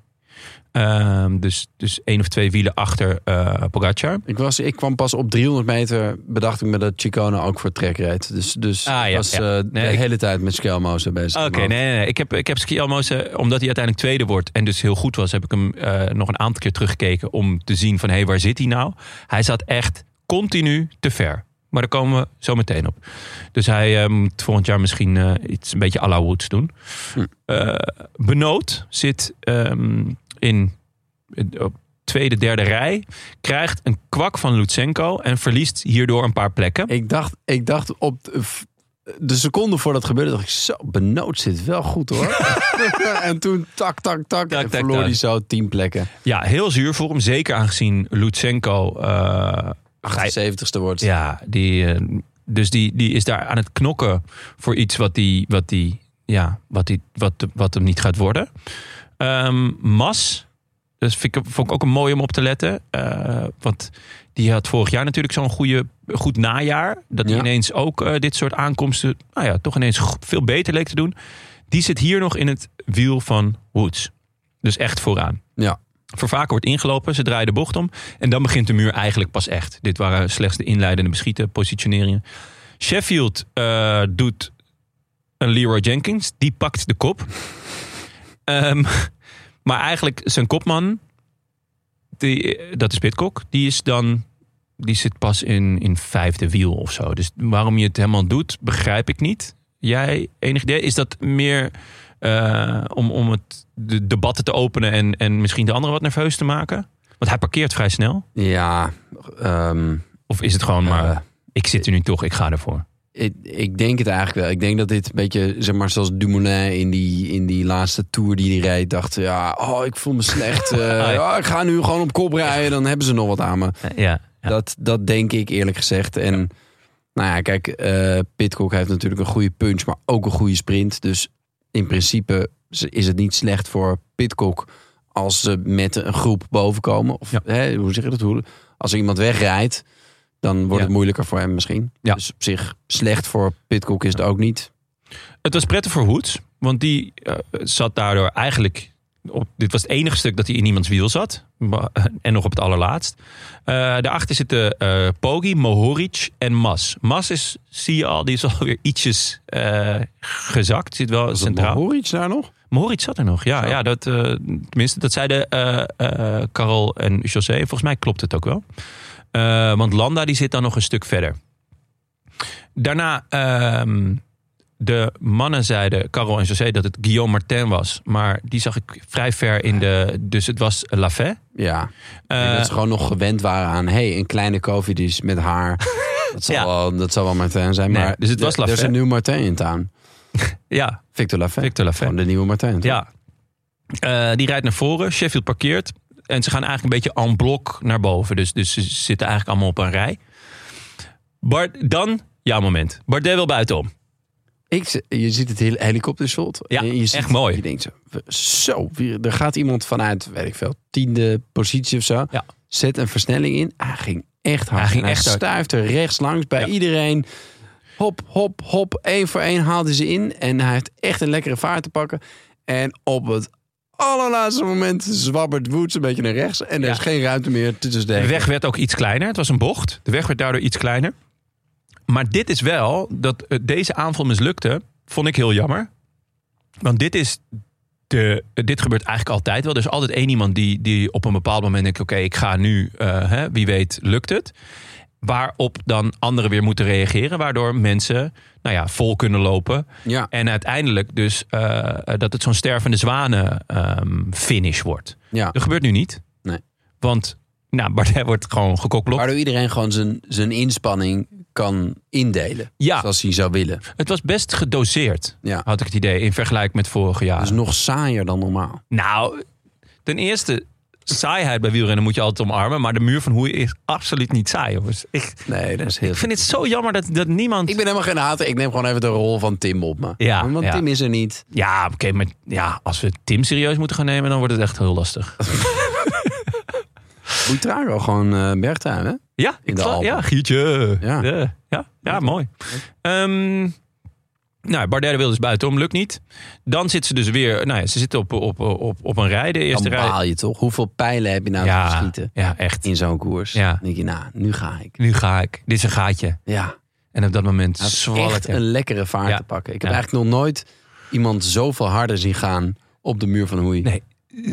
Speaker 1: Ehm, dus, dus één of twee wielen achter eh Pogacar.
Speaker 2: Ik, was, ik kwam pas op 300 meter, bedacht ik me dat Chicone ook voor trek reed. Dus, dus
Speaker 1: Ah,
Speaker 2: ik
Speaker 1: ja,
Speaker 2: was
Speaker 1: ja.
Speaker 2: eh,
Speaker 1: Nee,
Speaker 2: de
Speaker 1: ik-
Speaker 2: hele tijd met Schelmozen bezig.
Speaker 1: Oké,
Speaker 2: Maar-
Speaker 1: nee, nee, nee. Ik heb, ik heb Schielmoze, omdat hij uiteindelijk tweede wordt en dus heel goed was, heb ik hem eh, nog een aantal keer teruggekeken om te zien van hé, waar zit hij nou? Hij zat echt continu te ver. Maar daar komen we zo meteen op. Dus hij eh, moet volgend jaar misschien eh, iets een beetje à la Woods doen.
Speaker 2: Hm.
Speaker 1: Eh, Benoot zit ehm, in eh, op tweede, derde rij. Krijgt een kwak van Lutsenko en verliest hierdoor een paar plekken.
Speaker 2: Ik dacht, ik dacht op de, f- de seconde voor dat gebeurde, dacht ik zo, benoot zit wel goed hoor. en toen tak, tak, tak,
Speaker 1: Tak,
Speaker 2: en
Speaker 1: tak,
Speaker 2: verloor
Speaker 1: tak.
Speaker 2: hij zo 10 plekken.
Speaker 1: Ja, heel zuur voor hem. Zeker aangezien Lutsenko... eh,
Speaker 2: 78ste wordt.
Speaker 1: Ja, die, eh, dus die, die is daar aan het knokken voor iets wat, die, wat, die, ja, wat, die, wat, wat hem niet gaat worden. Ehm, Mas, dat vind ik, vond ik ook een mooi om op te letten. eh, want die had vorig jaar natuurlijk zo'n goede, goed najaar. Dat hij
Speaker 2: Ja.
Speaker 1: ineens ook eh, dit soort aankomsten nou ja, toch ineens go- veel beter leek te doen. Die zit hier nog in het wiel van Woods. Dus echt vooraan.
Speaker 2: Ja.
Speaker 1: Vervaken wordt ingelopen, ze draaien de bocht om. En dan begint de muur eigenlijk pas echt. Dit waren slechts de inleidende beschieten positioneringen. Sheffield eh, doet een Leroy Jenkins. Die pakt de kop. Ehm, maar eigenlijk zijn kopman, die, eh, dat is Pitcock, die is dan... Die zit pas in, in vijfde wiel of zo. Dus waarom je het helemaal doet, begrijp ik niet. Jij, enig idee? Is dat meer eh, om, om het, de debatten te openen en, en misschien de anderen wat nerveus te maken? Want hij parkeert vrij snel.
Speaker 2: Ja, ehm,
Speaker 1: Of is het gewoon maar,
Speaker 2: eh,
Speaker 1: ik zit er nu toch, ik ga ervoor.
Speaker 2: ik, ik denk het eigenlijk wel. Ik denk dat dit een beetje, zeg maar, zoals Dumoulin in die, in die laatste tour die hij reed, dacht, ja, oh, ik voel me slecht. Eh,
Speaker 1: ja.
Speaker 2: ja, ik ga nu gewoon op kop rijden, dan hebben ze nog wat aan me.
Speaker 1: Eh, ja, ja.
Speaker 2: Dat, dat denk ik eerlijk gezegd. En nou ja, kijk, eh Pitcock heeft natuurlijk een goede punch, maar ook een goede sprint. Dus in principe is- is het niet slecht voor Pitcock als ze met een groep bovenkomen. Of
Speaker 1: Ja.
Speaker 2: hè, hoe zeg je dat? Hoe- Als er iemand wegrijdt, dan wordt
Speaker 1: Ja.
Speaker 2: het moeilijker voor hem misschien.
Speaker 1: Ja.
Speaker 2: Dus op zich slecht voor Pitcock is het ook niet.
Speaker 1: Het was prettig voor Woods, want die eh, zat daardoor eigenlijk... Op, dit was het enige stuk dat hij in iemands wiel zat. Maar- En nog op het allerlaatst. Eh, daarachter zitten eh Poggi, Mohoric en Mas. Mas is, zie je al, die is alweer ietsjes eh, gezakt. Zit wel centraal.
Speaker 2: Hoor iets daar nog?
Speaker 1: Moritz zat er nog, ja. ja dat, eh, tenminste, dat zeiden eh eh Karel en José. Volgens mij klopt het ook wel. Ehm, Eh, want Landa die zit dan nog een stuk verder. Daarna, ehm, de mannen zeiden, Carol en José, dat het Guillaume Martin was. Maar die zag ik vrij ver in de... Dus het was Lafay.
Speaker 2: Ja.
Speaker 1: Eh,
Speaker 2: En dat ze gewoon nog gewend waren aan... hey, een kleine COVID is met haar. Dat zal,
Speaker 1: Ja.
Speaker 2: wel, dat zal wel Martijn zijn.
Speaker 1: Nee,
Speaker 2: maar
Speaker 1: dus het was
Speaker 2: er- Er is
Speaker 1: Lafay.
Speaker 2: een nieuwe Martijn in town.
Speaker 1: ja,
Speaker 2: Victor Lafay.
Speaker 1: Victor Lafay.
Speaker 2: Gewoon de nieuwe Martijn. toch?
Speaker 1: Ja. Eh, die rijdt naar voren, Sheffield parkeert. En ze gaan eigenlijk een beetje en blok naar boven. Dus, dus ze zitten eigenlijk allemaal op een rij. Bart, dan jouw moment. Bardet wil buitenom.
Speaker 2: Ik, z- je ziet het hele helikoptershot.
Speaker 1: Ja,
Speaker 2: En je
Speaker 1: echt mooi.
Speaker 2: Je denkt zo, we- zo, hier- er gaat iemand vanuit, weet ik veel, tiende positie of zo.
Speaker 1: Ja.
Speaker 2: Zet een versnelling in. Hij ging echt hard.
Speaker 1: Hij ging
Speaker 2: En
Speaker 1: echt hard.
Speaker 2: stuift er rechts langs bij
Speaker 1: Ja.
Speaker 2: iedereen. Hop, hop, hop. Eén voor één haalde ze in. En hij heeft echt een lekkere vaart te pakken. En op het allerlaatste moment zwabbert Woods een beetje naar rechts. En er
Speaker 1: Ja.
Speaker 2: is geen ruimte meer tussen de
Speaker 1: De
Speaker 2: hekken.
Speaker 1: weg werd ook iets kleiner. Het was een bocht. De weg werd daardoor iets kleiner. Maar dit is wel, dat eh, deze aanval mislukte, vond ik heel jammer. Want dit is de, eh, dit gebeurt eigenlijk altijd wel. Er is altijd één iemand die, die op een bepaald moment denkt... oké, ik ga nu, eh, hè, wie weet lukt het. Waarop dan anderen weer moeten reageren. Waardoor mensen nou ja, vol kunnen lopen.
Speaker 2: Ja,
Speaker 1: En uiteindelijk dus eh, eh, dat het zo'n stervende zwanen ehm, finish wordt.
Speaker 2: ja.
Speaker 1: Ah. Dat gebeurt nu niet.
Speaker 2: Nee.
Speaker 1: Want nou, Bardet wordt gewoon gekokblokt.
Speaker 2: Waardoor iedereen gewoon zijn, zijn inspanning kan indelen.
Speaker 1: Ja.
Speaker 2: Zoals hij zou willen.
Speaker 1: Het was best gedoseerd,
Speaker 2: Ja. Dus-
Speaker 1: had ik het idee, in vergelijking met vorig jaar.
Speaker 2: Dat is nog saaier dan normaal.
Speaker 1: Nou, ten eerste, saaiheid bij wielrennen moet je altijd omarmen. Maar de muur van hoe is absoluut niet saai, jongens. Ik,
Speaker 2: Nee, dat is heel...
Speaker 1: ik vind het zo jammer dat, dat niemand...
Speaker 2: Ik ben helemaal geen hater. Ik neem gewoon even de rol van Tim op me.
Speaker 1: Ja,
Speaker 2: Want
Speaker 1: ja.
Speaker 2: Tim is er niet.
Speaker 1: Ja, oké, maar ja, als we Tim serieus moeten gaan nemen, dan wordt het echt heel lastig.
Speaker 2: Boetraro gewoon eh bergtuin, hè?
Speaker 1: Ja,
Speaker 2: In
Speaker 1: ik
Speaker 2: de
Speaker 1: sla-
Speaker 2: Alpen.
Speaker 1: ja Giertje.
Speaker 2: Ja.
Speaker 1: ja, ja, ja, mooi. Ehm nou, Bardet wil dus buitenom, lukt niet. Dan zitten ze dus weer, nou ja, ze zitten op, op, op, op een rij, de eerste
Speaker 2: Dan
Speaker 1: rij.
Speaker 2: baal je toch? Hoeveel pijlen heb je nou te
Speaker 1: Ja,
Speaker 2: schieten
Speaker 1: ja, echt.
Speaker 2: in zo'n koers?
Speaker 1: Ja.
Speaker 2: Dan denk je, nou, nu ga ik.
Speaker 1: Nu ga ik. Dit is een gaatje.
Speaker 2: Ja,
Speaker 1: En op dat moment
Speaker 2: Hij had
Speaker 1: zwal
Speaker 2: echt
Speaker 1: het.
Speaker 2: een
Speaker 1: hem.
Speaker 2: lekkere vaart
Speaker 1: Ja.
Speaker 2: te pakken. Ik heb
Speaker 1: Ja.
Speaker 2: eigenlijk nog nooit iemand zoveel harder zien gaan op de muur van Hoei.
Speaker 1: Nee.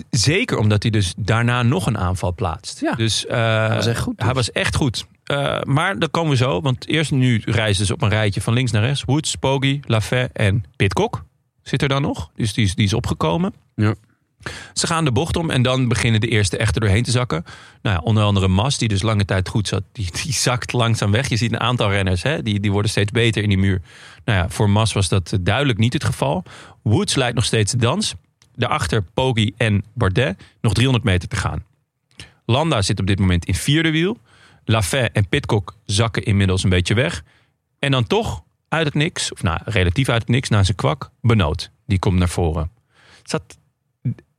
Speaker 1: Zeker omdat hij dus daarna nog een aanval plaatst.
Speaker 2: Ja.
Speaker 1: Dus, eh,
Speaker 2: was echt goed, dus.
Speaker 1: Hij was echt goed. Eh, maar dat komen we zo. Want eerst nu reizen ze op een rijtje van links naar rechts. Woods, Poggi, Lafay en Pitcock zit er dan nog. Dus die is, die is opgekomen.
Speaker 2: Ja.
Speaker 1: Ze gaan de bocht om en dan beginnen de eerste echter doorheen te zakken. Nou ja, onder andere Mas, die dus lange tijd goed zat, die, die zakt langzaam weg. Je ziet een aantal renners, hè, die, die worden steeds beter in die muur. Nou ja, voor Mas was dat eh, duidelijk niet het geval. Woods leidt nog steeds de dans. Daarachter Poggi en Bardet nog 300 meter te gaan. Landa zit op dit moment in vierde wiel. Lafay en Pitcock zakken inmiddels een beetje weg. En dan toch uit het niks, of nou relatief uit het niks, na zijn kwak, Benoot. Die komt naar voren. Zat,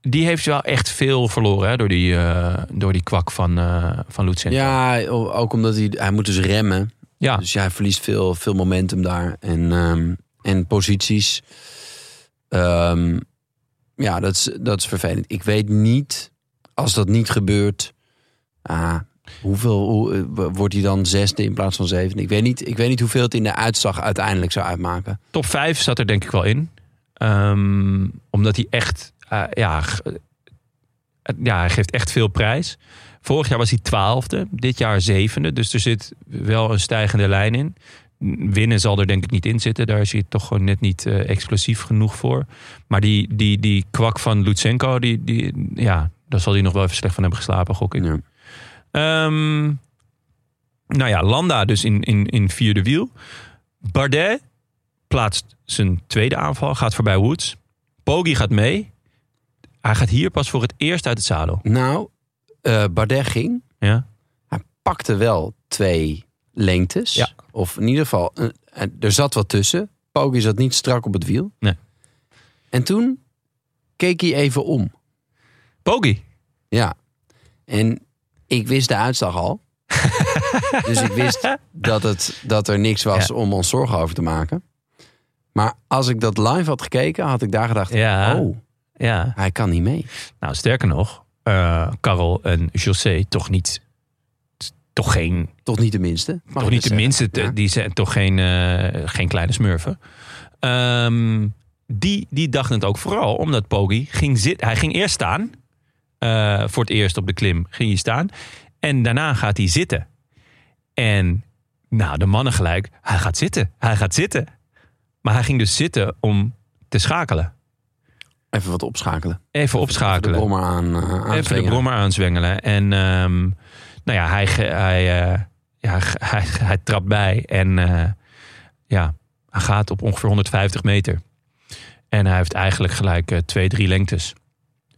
Speaker 1: die heeft wel echt veel verloren hè, door, die, eh, door die kwak van, eh van Lutsen.
Speaker 2: Ja, o- ook omdat hij, hij moet dus remmen.
Speaker 1: Ja.
Speaker 2: Dus ja, hij verliest veel, veel momentum daar. En, ehm, en posities. Ehm, ja, dat is, dat is vervelend. Ik weet niet, als dat niet gebeurt... ah, hoeveel hoe, eh, wo- wordt hij dan zesde in plaats van zevende? Ik weet, niet, ik weet niet hoeveel het in de uitslag uiteindelijk zou uitmaken.
Speaker 1: top 5 zat er denk ik wel in. Ehm, omdat hij echt, eh, ja, g- eh, ja, hij geeft echt veel prijs. Vorig jaar was hij twaalfde, dit jaar zevende. Dus er zit wel een stijgende lijn in. Winnen zal er denk ik niet in zitten. Daar is hij toch gewoon net niet eh, explosief genoeg voor. Maar die, die, die kwak van Lutsenko, die, die, ja, daar zal hij nog wel even slecht van hebben geslapen, gok ik.
Speaker 2: Ja.
Speaker 1: Ehm, nou ja, Landa dus in, in, in vierde wiel. Bardet plaatst zijn tweede aanval, gaat voorbij Woods. Poggi gaat mee. Hij gaat hier pas voor het eerst uit het zadel.
Speaker 2: Nou, eh, Bardet ging.
Speaker 1: Ja.
Speaker 2: Hij pakte wel twee lengtes.
Speaker 1: Ja.
Speaker 2: Of in ieder geval, eh, eh, er zat wat tussen. Poggi zat niet strak op het wiel.
Speaker 1: Nee.
Speaker 2: En toen keek hij even om.
Speaker 1: Poggi.
Speaker 2: Ja. En ik wist de uitslag al. dus ik wist dat, het, dat er niks was om ons zorgen over te maken. Maar als ik dat live had gekeken, had ik daar gedacht...
Speaker 1: Ja.
Speaker 2: Oh,
Speaker 1: Ja.
Speaker 2: hij kan niet mee.
Speaker 1: Nou, sterker nog, eh Karel en José toch niet. t- Toch geen,
Speaker 2: Toch niet de minste. Mag ik
Speaker 1: toch
Speaker 2: dat
Speaker 1: niet de
Speaker 2: zeggen?
Speaker 1: minste, t-
Speaker 2: Ja.
Speaker 1: die zijn toch geen, eh, geen kleine smurfen. Ehm, die, die dachten het ook vooral omdat Poggi ging zitten. Hij ging eerst staan. Eh, voor het eerst op de klim ging hij staan. En daarna gaat hij zitten. En nou, de mannen gelijk. Hij gaat zitten. Hij gaat zitten. Maar hij ging dus zitten om te schakelen.
Speaker 2: Even wat opschakelen.
Speaker 1: Even
Speaker 2: Even de
Speaker 1: opschakelen.
Speaker 2: brommer aan, eh,
Speaker 1: Even de
Speaker 2: aanslingeren.
Speaker 1: brommer aanzwengelen. En ehm, nou ja, hij, ge- hij, eh, ja, g- hij, hij trapt bij. En eh, ja, hij gaat op ongeveer 150 meter. En hij heeft eigenlijk gelijk eh, twee, drie lengtes.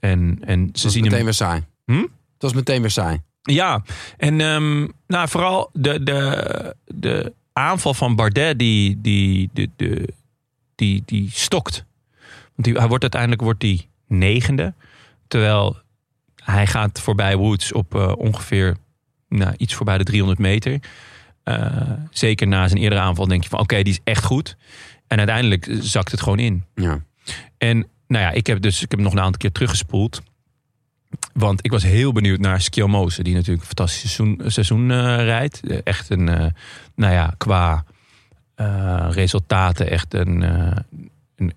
Speaker 1: En, en ze
Speaker 2: Dat is
Speaker 1: zien
Speaker 2: meteen
Speaker 1: hem
Speaker 2: weer saai.
Speaker 1: Hm?
Speaker 2: Dat is meteen weer saai.
Speaker 1: Ja, en ehm, nou, vooral de, de, de aanval van Bardet, die, die, de, de, die, die stokt. Want die, hij wordt uiteindelijk wordt die negende. Terwijl hij gaat voorbij Woods op eh, ongeveer nou, iets voorbij de 300 meter. Eh, zeker na zijn eerdere aanval denk je van oké, die is echt goed. En uiteindelijk zakt het gewoon in.
Speaker 2: Ja.
Speaker 1: En nou ja, ik heb dus ik heb nog een aantal keer teruggespoeld. Want ik was heel benieuwd naar Skjelmoze, die natuurlijk een fantastisch seizoen, seizoen eh, rijdt. Eh, Echt een, eh, nou ja, qua eh, resultaten echt een, eh een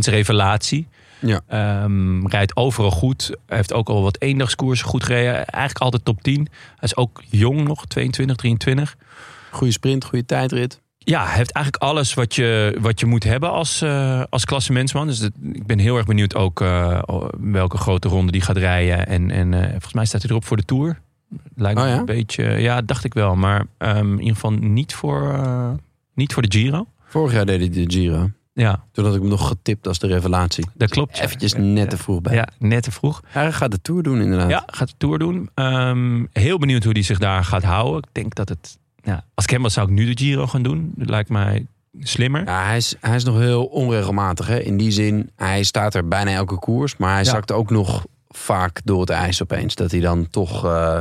Speaker 1: klassementsrevelatie.
Speaker 2: Ja.
Speaker 1: Ehm, rijdt overal goed. Hij heeft ook al wat eendagskoersen goed gereden. Eigenlijk altijd top 10. Hij is ook jong nog, 22, 23
Speaker 2: Goede sprint, goede tijdrit.
Speaker 1: ja, hij heeft eigenlijk alles wat je, wat je moet hebben als, eh als klassementsman. Dus dat- ik ben heel erg benieuwd ook eh, welke grote ronde die gaat rijden. En, en eh, volgens mij staat hij erop voor de Tour. Lijkt
Speaker 2: Oh
Speaker 1: me
Speaker 2: ja?
Speaker 1: een beetje, eh, ja, dacht ik wel. Maar ehm, in ieder geval niet voor, eh, niet voor de Giro.
Speaker 2: Vorig jaar deed hij de Giro.
Speaker 1: Ja,
Speaker 2: Toen had ik hem nog getipt als de revelatie.
Speaker 1: dat klopt. ja.
Speaker 2: Eventjes net te vroeg bij.
Speaker 1: Ja, net te vroeg.
Speaker 2: Hij gaat de Tour doen inderdaad.
Speaker 1: Ja, gaat de Tour doen. Ehm, heel benieuwd hoe hij zich daar gaat houden. Ik denk dat het... Ja, als ik hem was, zou ik nu de Giro gaan doen. Dat lijkt mij slimmer.
Speaker 2: Ja, hij, is, hij is nog heel onregelmatig. Hè? In die zin, hij staat er bijna elke koers. Maar hij
Speaker 1: Ja.
Speaker 2: zakt ook nog vaak door het ijs opeens. Dat hij dan toch eh,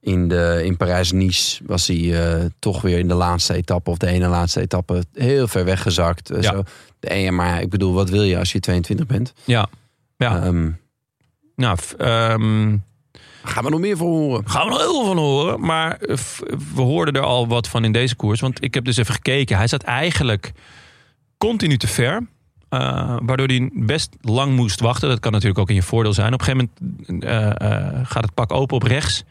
Speaker 2: in, de, in Parijs-Nice was hij eh, toch weer in de laatste etappe. Of de ene laatste etappe heel ver weggezakt. eh,
Speaker 1: Ja.
Speaker 2: zo. De ene, maar ik bedoel, wat wil je als je 22 bent?
Speaker 1: Ja. Ja.
Speaker 2: Ehm,
Speaker 1: Nou, f- ehm,
Speaker 2: gaan we nog meer voor horen.
Speaker 1: Gaan we nog heel veel van horen. Maar eh, f- we hoorden er al wat van in deze koers. Want ik heb dus even gekeken. Hij zat eigenlijk continu te ver. eh, waardoor hij best lang moest wachten. Dat kan natuurlijk ook in je voordeel zijn. Op een gegeven moment eh, eh, gaat het pak open op rechts.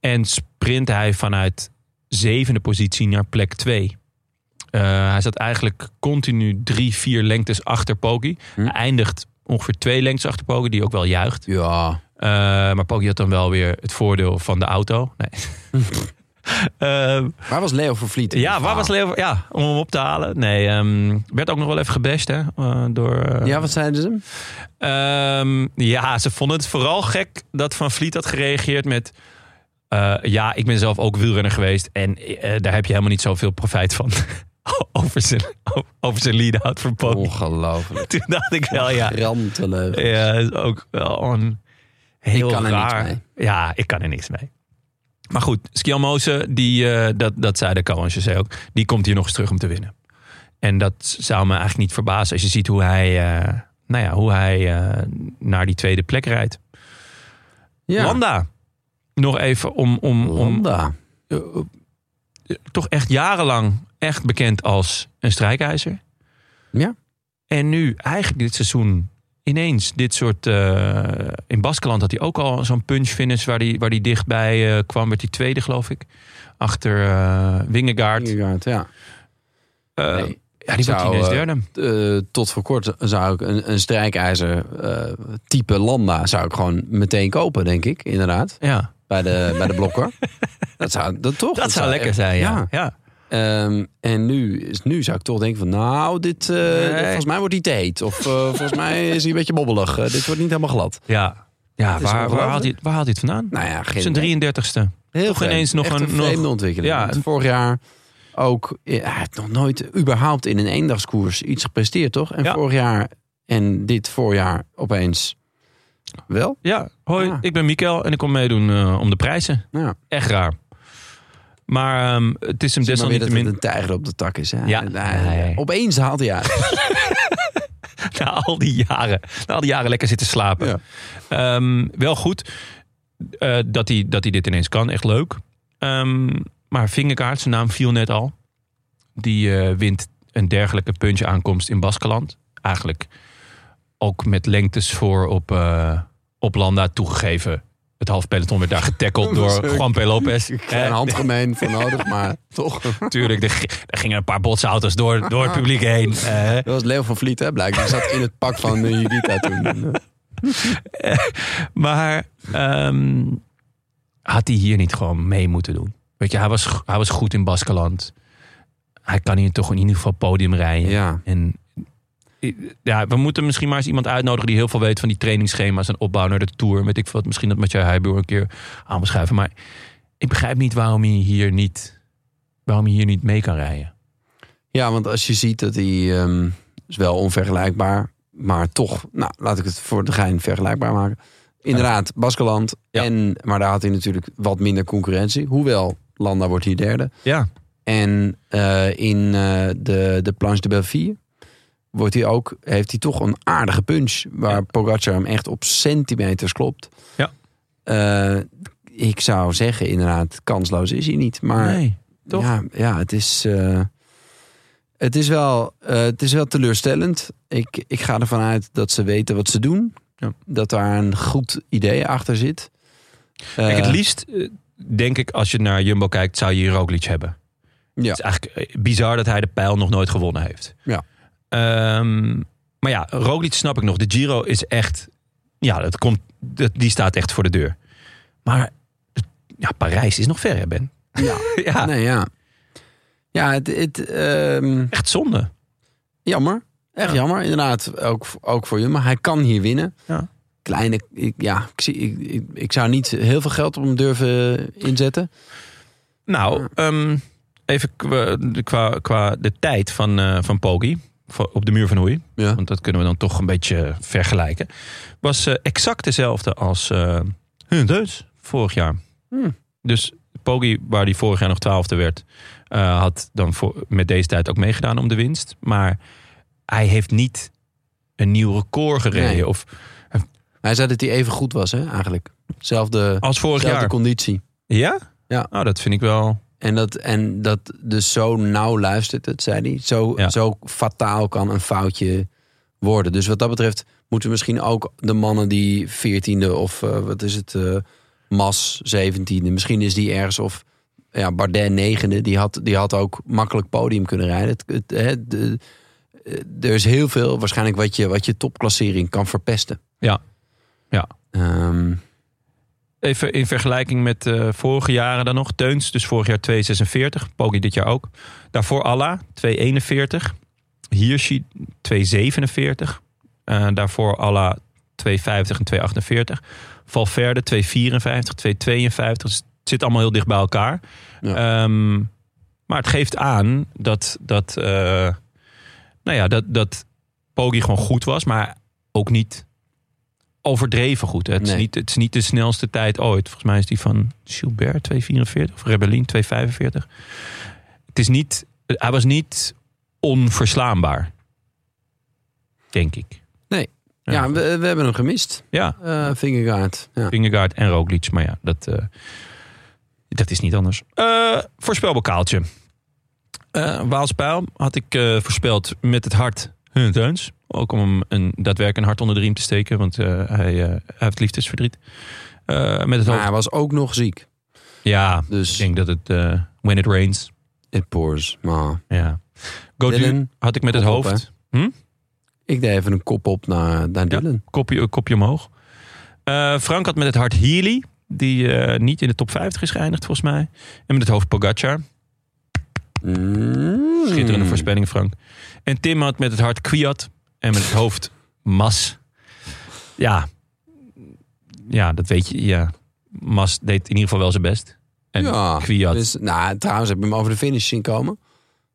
Speaker 1: En sprint hij vanuit zevende positie naar plek twee. Eh, hij zat eigenlijk continu drie, vier lengtes achter Poggi.
Speaker 2: Hm.
Speaker 1: Hij eindigt ongeveer twee lengtes achter Poggi, die ook wel juicht.
Speaker 2: Ja,
Speaker 1: Eh, maar Poggi had dan wel weer het voordeel van de auto. Nee. Ehm,
Speaker 2: waar was Leo Vervliet? in
Speaker 1: ja,
Speaker 2: dit
Speaker 1: waar was
Speaker 2: verhaal?
Speaker 1: Leo? Ja, om hem op te halen. Nee, ehm, werd ook nog wel even gebashed hè, eh, door... eh,
Speaker 2: Ja, wat zeiden ze?
Speaker 1: Ehm, ja, ze vonden het vooral gek dat Van Vliet had gereageerd met... eh, ja, ik ben zelf ook wielrenner geweest en eh, daar heb je helemaal niet zoveel profijt van. over zijn, over zijn lead-out voor Poggi.
Speaker 2: Oh. Ongelooflijk.
Speaker 1: Toen dacht ik wel, ja, Eh,
Speaker 2: Rantelen.
Speaker 1: ja, is ook wel een heel
Speaker 2: Ik kan er niks
Speaker 1: raar.
Speaker 2: mee.
Speaker 1: Ja, ik kan er niks mee. Maar goed, Skjelmoze, die, eh, dat, dat zei de Cohen zei ook, die komt hier nog eens terug om te winnen. En dat zou me eigenlijk niet verbazen als je ziet hoe hij, eh, nou ja, hoe hij eh, naar die tweede plek rijdt.
Speaker 2: Ja.
Speaker 1: Landa, nog even om, om, om
Speaker 2: Landa.
Speaker 1: eh, eh, toch echt jarenlang echt bekend als een strijkijzer.
Speaker 2: Ja.
Speaker 1: En nu eigenlijk dit seizoen ineens dit soort... eh, in Baskeland had hij ook al zo'n punch finish waar hij, waar hij dichtbij eh, kwam. Werd hij tweede geloof ik. Achter eh Wingegaard.
Speaker 2: Vingegaard, ja.
Speaker 1: Eh,
Speaker 2: Nee.
Speaker 1: ja, die wordt
Speaker 2: Zou,
Speaker 1: ineens
Speaker 2: eh,
Speaker 1: derde.
Speaker 2: eh, tot voor kort zou ik een, een strijkijzer eh, type Landa zou ik gewoon meteen kopen, denk ik, inderdaad.
Speaker 1: Ja,
Speaker 2: Bij de, bij de blokker. Dat zou dat toch?
Speaker 1: dat zou lekker
Speaker 2: echt-
Speaker 1: zijn ja. ja.
Speaker 2: Ehm, en nu, is, nu zou ik toch denken van, nou, dit, eh,
Speaker 1: Nee.
Speaker 2: volgens mij wordt die te heet. Of eh, volgens mij is hij een beetje bobbelig. Eh, dit wordt niet helemaal glad.
Speaker 1: Ja, ja
Speaker 2: is
Speaker 1: waar, waar,
Speaker 2: ongelooflijk.
Speaker 1: haalt hij, waar haalt hij het vandaan?
Speaker 2: Nou ja, geen
Speaker 1: Zijn
Speaker 2: idee.
Speaker 1: 33ste.
Speaker 2: Heel
Speaker 1: Toch ineens nog
Speaker 2: Echt
Speaker 1: een-
Speaker 2: een vreemde
Speaker 1: nog-
Speaker 2: ontwikkeling.
Speaker 1: ja.
Speaker 2: Want vorig jaar ook. eh, Hij heeft nog nooit überhaupt in een eendagskoers iets gepresteerd, toch? En
Speaker 1: Ja.
Speaker 2: vorig jaar en dit voorjaar opeens wel.
Speaker 1: Ja, hoi,
Speaker 2: Ja.
Speaker 1: ik ben Mikkel en ik kom meedoen eh, om de prijzen.
Speaker 2: Nou, ja.
Speaker 1: Echt raar. Maar ehm, het is hem
Speaker 2: Zie maar weer dat het
Speaker 1: desalniettemin...
Speaker 2: een tijger op de tak is. Hè?
Speaker 1: Ja.
Speaker 2: En hij-
Speaker 1: Nee.
Speaker 2: Opeens haalt hij uit.
Speaker 1: Na al die jaren, na al die jaren lekker zitten slapen.
Speaker 2: Ja.
Speaker 1: Ehm, wel goed eh, dat, hij, dat hij dit ineens kan. Echt leuk. Ehm, maar Vingerkaart, zijn naam viel net al. Die eh, wint een dergelijke puntje aankomst in Baskeland. Eigenlijk ook met lengtes voor op, eh, op Landa toegegeven. Het half peloton werd daar getackled door Juan P. Lopez.
Speaker 2: Een
Speaker 1: Eh,
Speaker 2: handgemeen voor nodig, maar toch.
Speaker 1: Tuurlijk, er, g- er gingen een paar botsauto's door, door het publiek heen. Eh,
Speaker 2: Dat was Leo van Vliet, hè, blijkbaar. Die zat in het pak van eh, Judita toen.
Speaker 1: maar ehm, had hij hier niet gewoon mee moeten doen? Weet je, hij was, g- hij was goed in Baskeland. Hij kan hier toch in ieder geval podium rijden.
Speaker 2: Ja.
Speaker 1: En eh, ja, we moeten misschien maar eens iemand uitnodigen die heel veel weet van die trainingsschema's en opbouw naar de tour. Weet ik veel wat. Misschien dat Mathieu Heijboer een keer aan moet schuiven. Maar ik begrijp niet waarom hij hier niet, waarom hij hier niet mee kan rijden.
Speaker 2: ja, want als je ziet dat hij... ehm, is wel onvergelijkbaar, maar toch. Nou, laat ik het voor de gein vergelijkbaar maken. Inderdaad, Baskeland.
Speaker 1: Ja.
Speaker 2: En, maar daar had hij natuurlijk wat minder concurrentie. Hoewel, Landa wordt hier derde.
Speaker 1: Ja,
Speaker 2: En eh, in eh, de, de Planche de Belleville wordt hij ook, heeft hij toch een aardige punch. Waar
Speaker 1: Ja.
Speaker 2: Pogacar hem echt op centimeters klopt.
Speaker 1: Ja.
Speaker 2: Eh, ik zou zeggen, inderdaad, kansloos is hij niet. Maar
Speaker 1: nee. toch?
Speaker 2: Ja, ja het, is, eh, het, is wel, eh, het is wel teleurstellend. Ik, ik ga ervan uit dat ze weten wat ze doen.
Speaker 1: Ja.
Speaker 2: Dat daar een goed idee achter zit.
Speaker 1: Kijk, het
Speaker 2: Eh,
Speaker 1: liefst eh, denk ik als je naar Jumbo kijkt, zou je hier Roglic hebben.
Speaker 2: Ja.
Speaker 1: Het is eigenlijk eh, bizar dat hij de pijl nog nooit gewonnen heeft.
Speaker 2: Ja.
Speaker 1: Ehm, maar ja, Roglic snap ik nog. De Giro is echt... Ja, dat komt, dat, die staat echt voor de deur. Maar ja, Parijs is nog ver, hè Ben?
Speaker 2: Ja.
Speaker 1: ja,
Speaker 2: Nee, ja. Ja, het, het, ehm,
Speaker 1: echt zonde.
Speaker 2: Jammer. Echt
Speaker 1: Ja.
Speaker 2: jammer, inderdaad. Ook, ook voor je. Maar hij kan hier winnen.
Speaker 1: Ja.
Speaker 2: Kleine, ik, ja, ik, zie, ik, ik, ik zou niet heel veel geld op hem durven inzetten.
Speaker 1: Nou, ehm, even qua, qua, qua de tijd van, eh van Poggi voor- op de muur van Hoei.
Speaker 2: Ja.
Speaker 1: Want dat kunnen we dan toch een beetje vergelijken. Was eh, exact dezelfde als eh hun Deus vorig jaar.
Speaker 2: Hmm.
Speaker 1: Dus Poggi, waar die vorig jaar nog twaalfde werd, eh, had dan voor, met deze tijd ook meegedaan om de winst. Maar hij heeft niet een nieuw record gereden.
Speaker 2: Nee.
Speaker 1: Of
Speaker 2: Hij zei dat hij even goed was, hè, eigenlijk. Zelfde,
Speaker 1: als vorig
Speaker 2: zelfde
Speaker 1: jaar.
Speaker 2: conditie.
Speaker 1: Ja?
Speaker 2: Ja.
Speaker 1: Nou, dat vind ik wel.
Speaker 2: En dat, en dat dus zo nauw luistert het, zei hij. Zo,
Speaker 1: Ja.
Speaker 2: zo fataal kan een foutje worden. Dus wat dat betreft moeten we misschien ook de mannen die veertiende of eh, wat is het, eh, Mas zeventiende. Misschien is die ergens of ja, Bardet negende. Die had, die had ook makkelijk podium kunnen rijden. Het, het, hè, de- eh, er is heel veel waarschijnlijk wat je, wat je topklassering kan verpesten.
Speaker 1: Ja. Ja.
Speaker 2: Ehm,
Speaker 1: Even in vergelijking met eh, vorige jaren dan nog. Teuns, dus vorig jaar 2,46. Poggi dit jaar ook. Daarvoor Alla, 2,41. Hirschi, 2,47. Eh, daarvoor Alla, 2,50 en 2,48. Valverde, 2,54, 2,52. Dus het zit allemaal heel dicht bij elkaar. Ehm, maar het geeft aan dat, dat, eh, nou ja, dat, dat Poggi gewoon goed was, maar ook niet overdreven goed. Hè? Het, is
Speaker 2: Nee.
Speaker 1: niet, het is niet de snelste tijd ooit. Volgens mij is die van Gilbert 244 of Rebellin 245. Het is niet, hij was niet onverslaanbaar, denk ik.
Speaker 2: Nee. ja, we, we hebben hem gemist.
Speaker 1: ja.
Speaker 2: eh Vingegaard. Ja.
Speaker 1: Vingegaard en Roglic. Maar ja, dat, eh, dat is niet anders. Eh voorspelbokaaltje. Eh Waalspijl had ik eh, voorspeld met het hart hun teuns. Ook om hem een, daadwerkelijk een hart onder de riem te steken. Want eh, hij, eh, hij heeft liefdesverdriet. Eh, met het
Speaker 2: Maar
Speaker 1: hoofd.
Speaker 2: hij was ook nog ziek.
Speaker 1: Ja, ik
Speaker 2: Dus
Speaker 1: denk dat het eh, When It Rains.
Speaker 2: It pours. Maar
Speaker 1: Ja. Godu
Speaker 2: Dylan,
Speaker 1: had ik met het
Speaker 2: kop op,
Speaker 1: hoofd.
Speaker 2: ik deed even een kop op naar, naar
Speaker 1: Ja.
Speaker 2: Dylan.
Speaker 1: kopje, kopje omhoog. Eh, Frank had met het hart Healy, die eh, niet in de top 50 is geëindigd volgens mij. En met het hoofd Pogacar.
Speaker 2: Mm.
Speaker 1: Schitterende voorspelling, Frank. En Tim had met het hart Kwiat en met het hoofd Mas. Ja. Ja, dat weet je. Ja. Mas deed in ieder geval wel zijn best. En
Speaker 2: Ja,
Speaker 1: Kwiat.
Speaker 2: Dus, nou, trouwens heb je hem over de finish zien komen.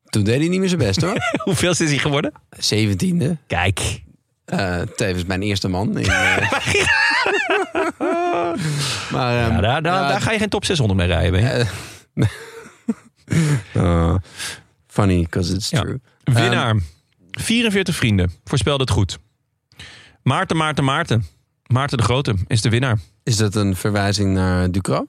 Speaker 2: Toen deed hij niet meer zijn best hoor.
Speaker 1: Hoeveel is hij geworden?
Speaker 2: 17e.
Speaker 1: Kijk.
Speaker 2: Eh, tevens mijn eerste man. In, eh. maar ehm,
Speaker 1: Ja, Nou, daar, daar,
Speaker 2: ja,
Speaker 1: daar ga je geen top 600 mee rijden. Ben je?
Speaker 2: eh, eh, funny, because it's
Speaker 1: Ja.
Speaker 2: true.
Speaker 1: Winnaar. 44 Ehm, vrienden. Voorspelde het goed. Maarten, Maarten, Maarten. Maarten de Grote is de winnaar.
Speaker 2: Is dat een verwijzing naar Ducro?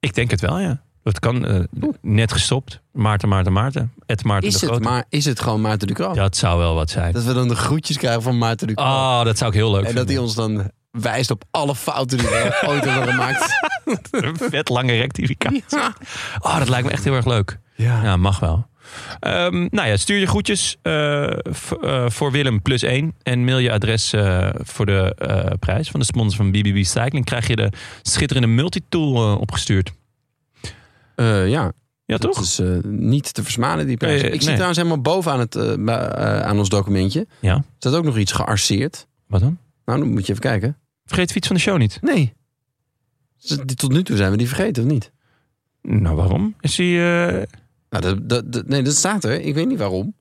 Speaker 1: Ik denk het wel, ja. Dat kan. eh, net gestopt. Maarten, Maarten, Maarten. Het Maarten
Speaker 2: Is
Speaker 1: de
Speaker 2: het,
Speaker 1: Grote.
Speaker 2: maar, is het gewoon Maarten Ducro?
Speaker 1: Dat zou wel wat zijn.
Speaker 2: Dat we dan de groetjes krijgen van Maarten Ducro.
Speaker 1: Oh, dat zou ik heel leuk
Speaker 2: en
Speaker 1: vinden.
Speaker 2: dat hij ons dan wijst op alle fouten die we ooit hebben gemaakt.
Speaker 1: Een vet lange rectificatie. Oh, dat lijkt me echt heel erg leuk. Ja, mag wel. Ehm, nou ja, stuur je groetjes eh, v- eh, voor Willem plus 1. En mail je adres eh, voor de eh, prijs van de sponsor van BBB Cycling. Krijg je de schitterende multitool eh, opgestuurd.
Speaker 2: Eh, ja,
Speaker 1: Ja,
Speaker 2: dat
Speaker 1: toch?
Speaker 2: is eh, niet te versmaden, die prijs.
Speaker 1: Nee,
Speaker 2: ik zie
Speaker 1: nee.
Speaker 2: trouwens helemaal boven aan, het, eh, bij- eh, aan ons documentje.
Speaker 1: Ja.
Speaker 2: staat ook nog iets gearseerd.
Speaker 1: Wat dan?
Speaker 2: Nou, dan moet je even kijken.
Speaker 1: Vergeet de fiets van de show niet.
Speaker 2: Nee. Dus die- Tot nu toe zijn we die vergeten, of niet?
Speaker 1: Nou, waarom? Is die... eh,
Speaker 2: Nou, dat, dat, dat- nee, dat staat er. Ik weet niet
Speaker 1: Dus
Speaker 2: waarom.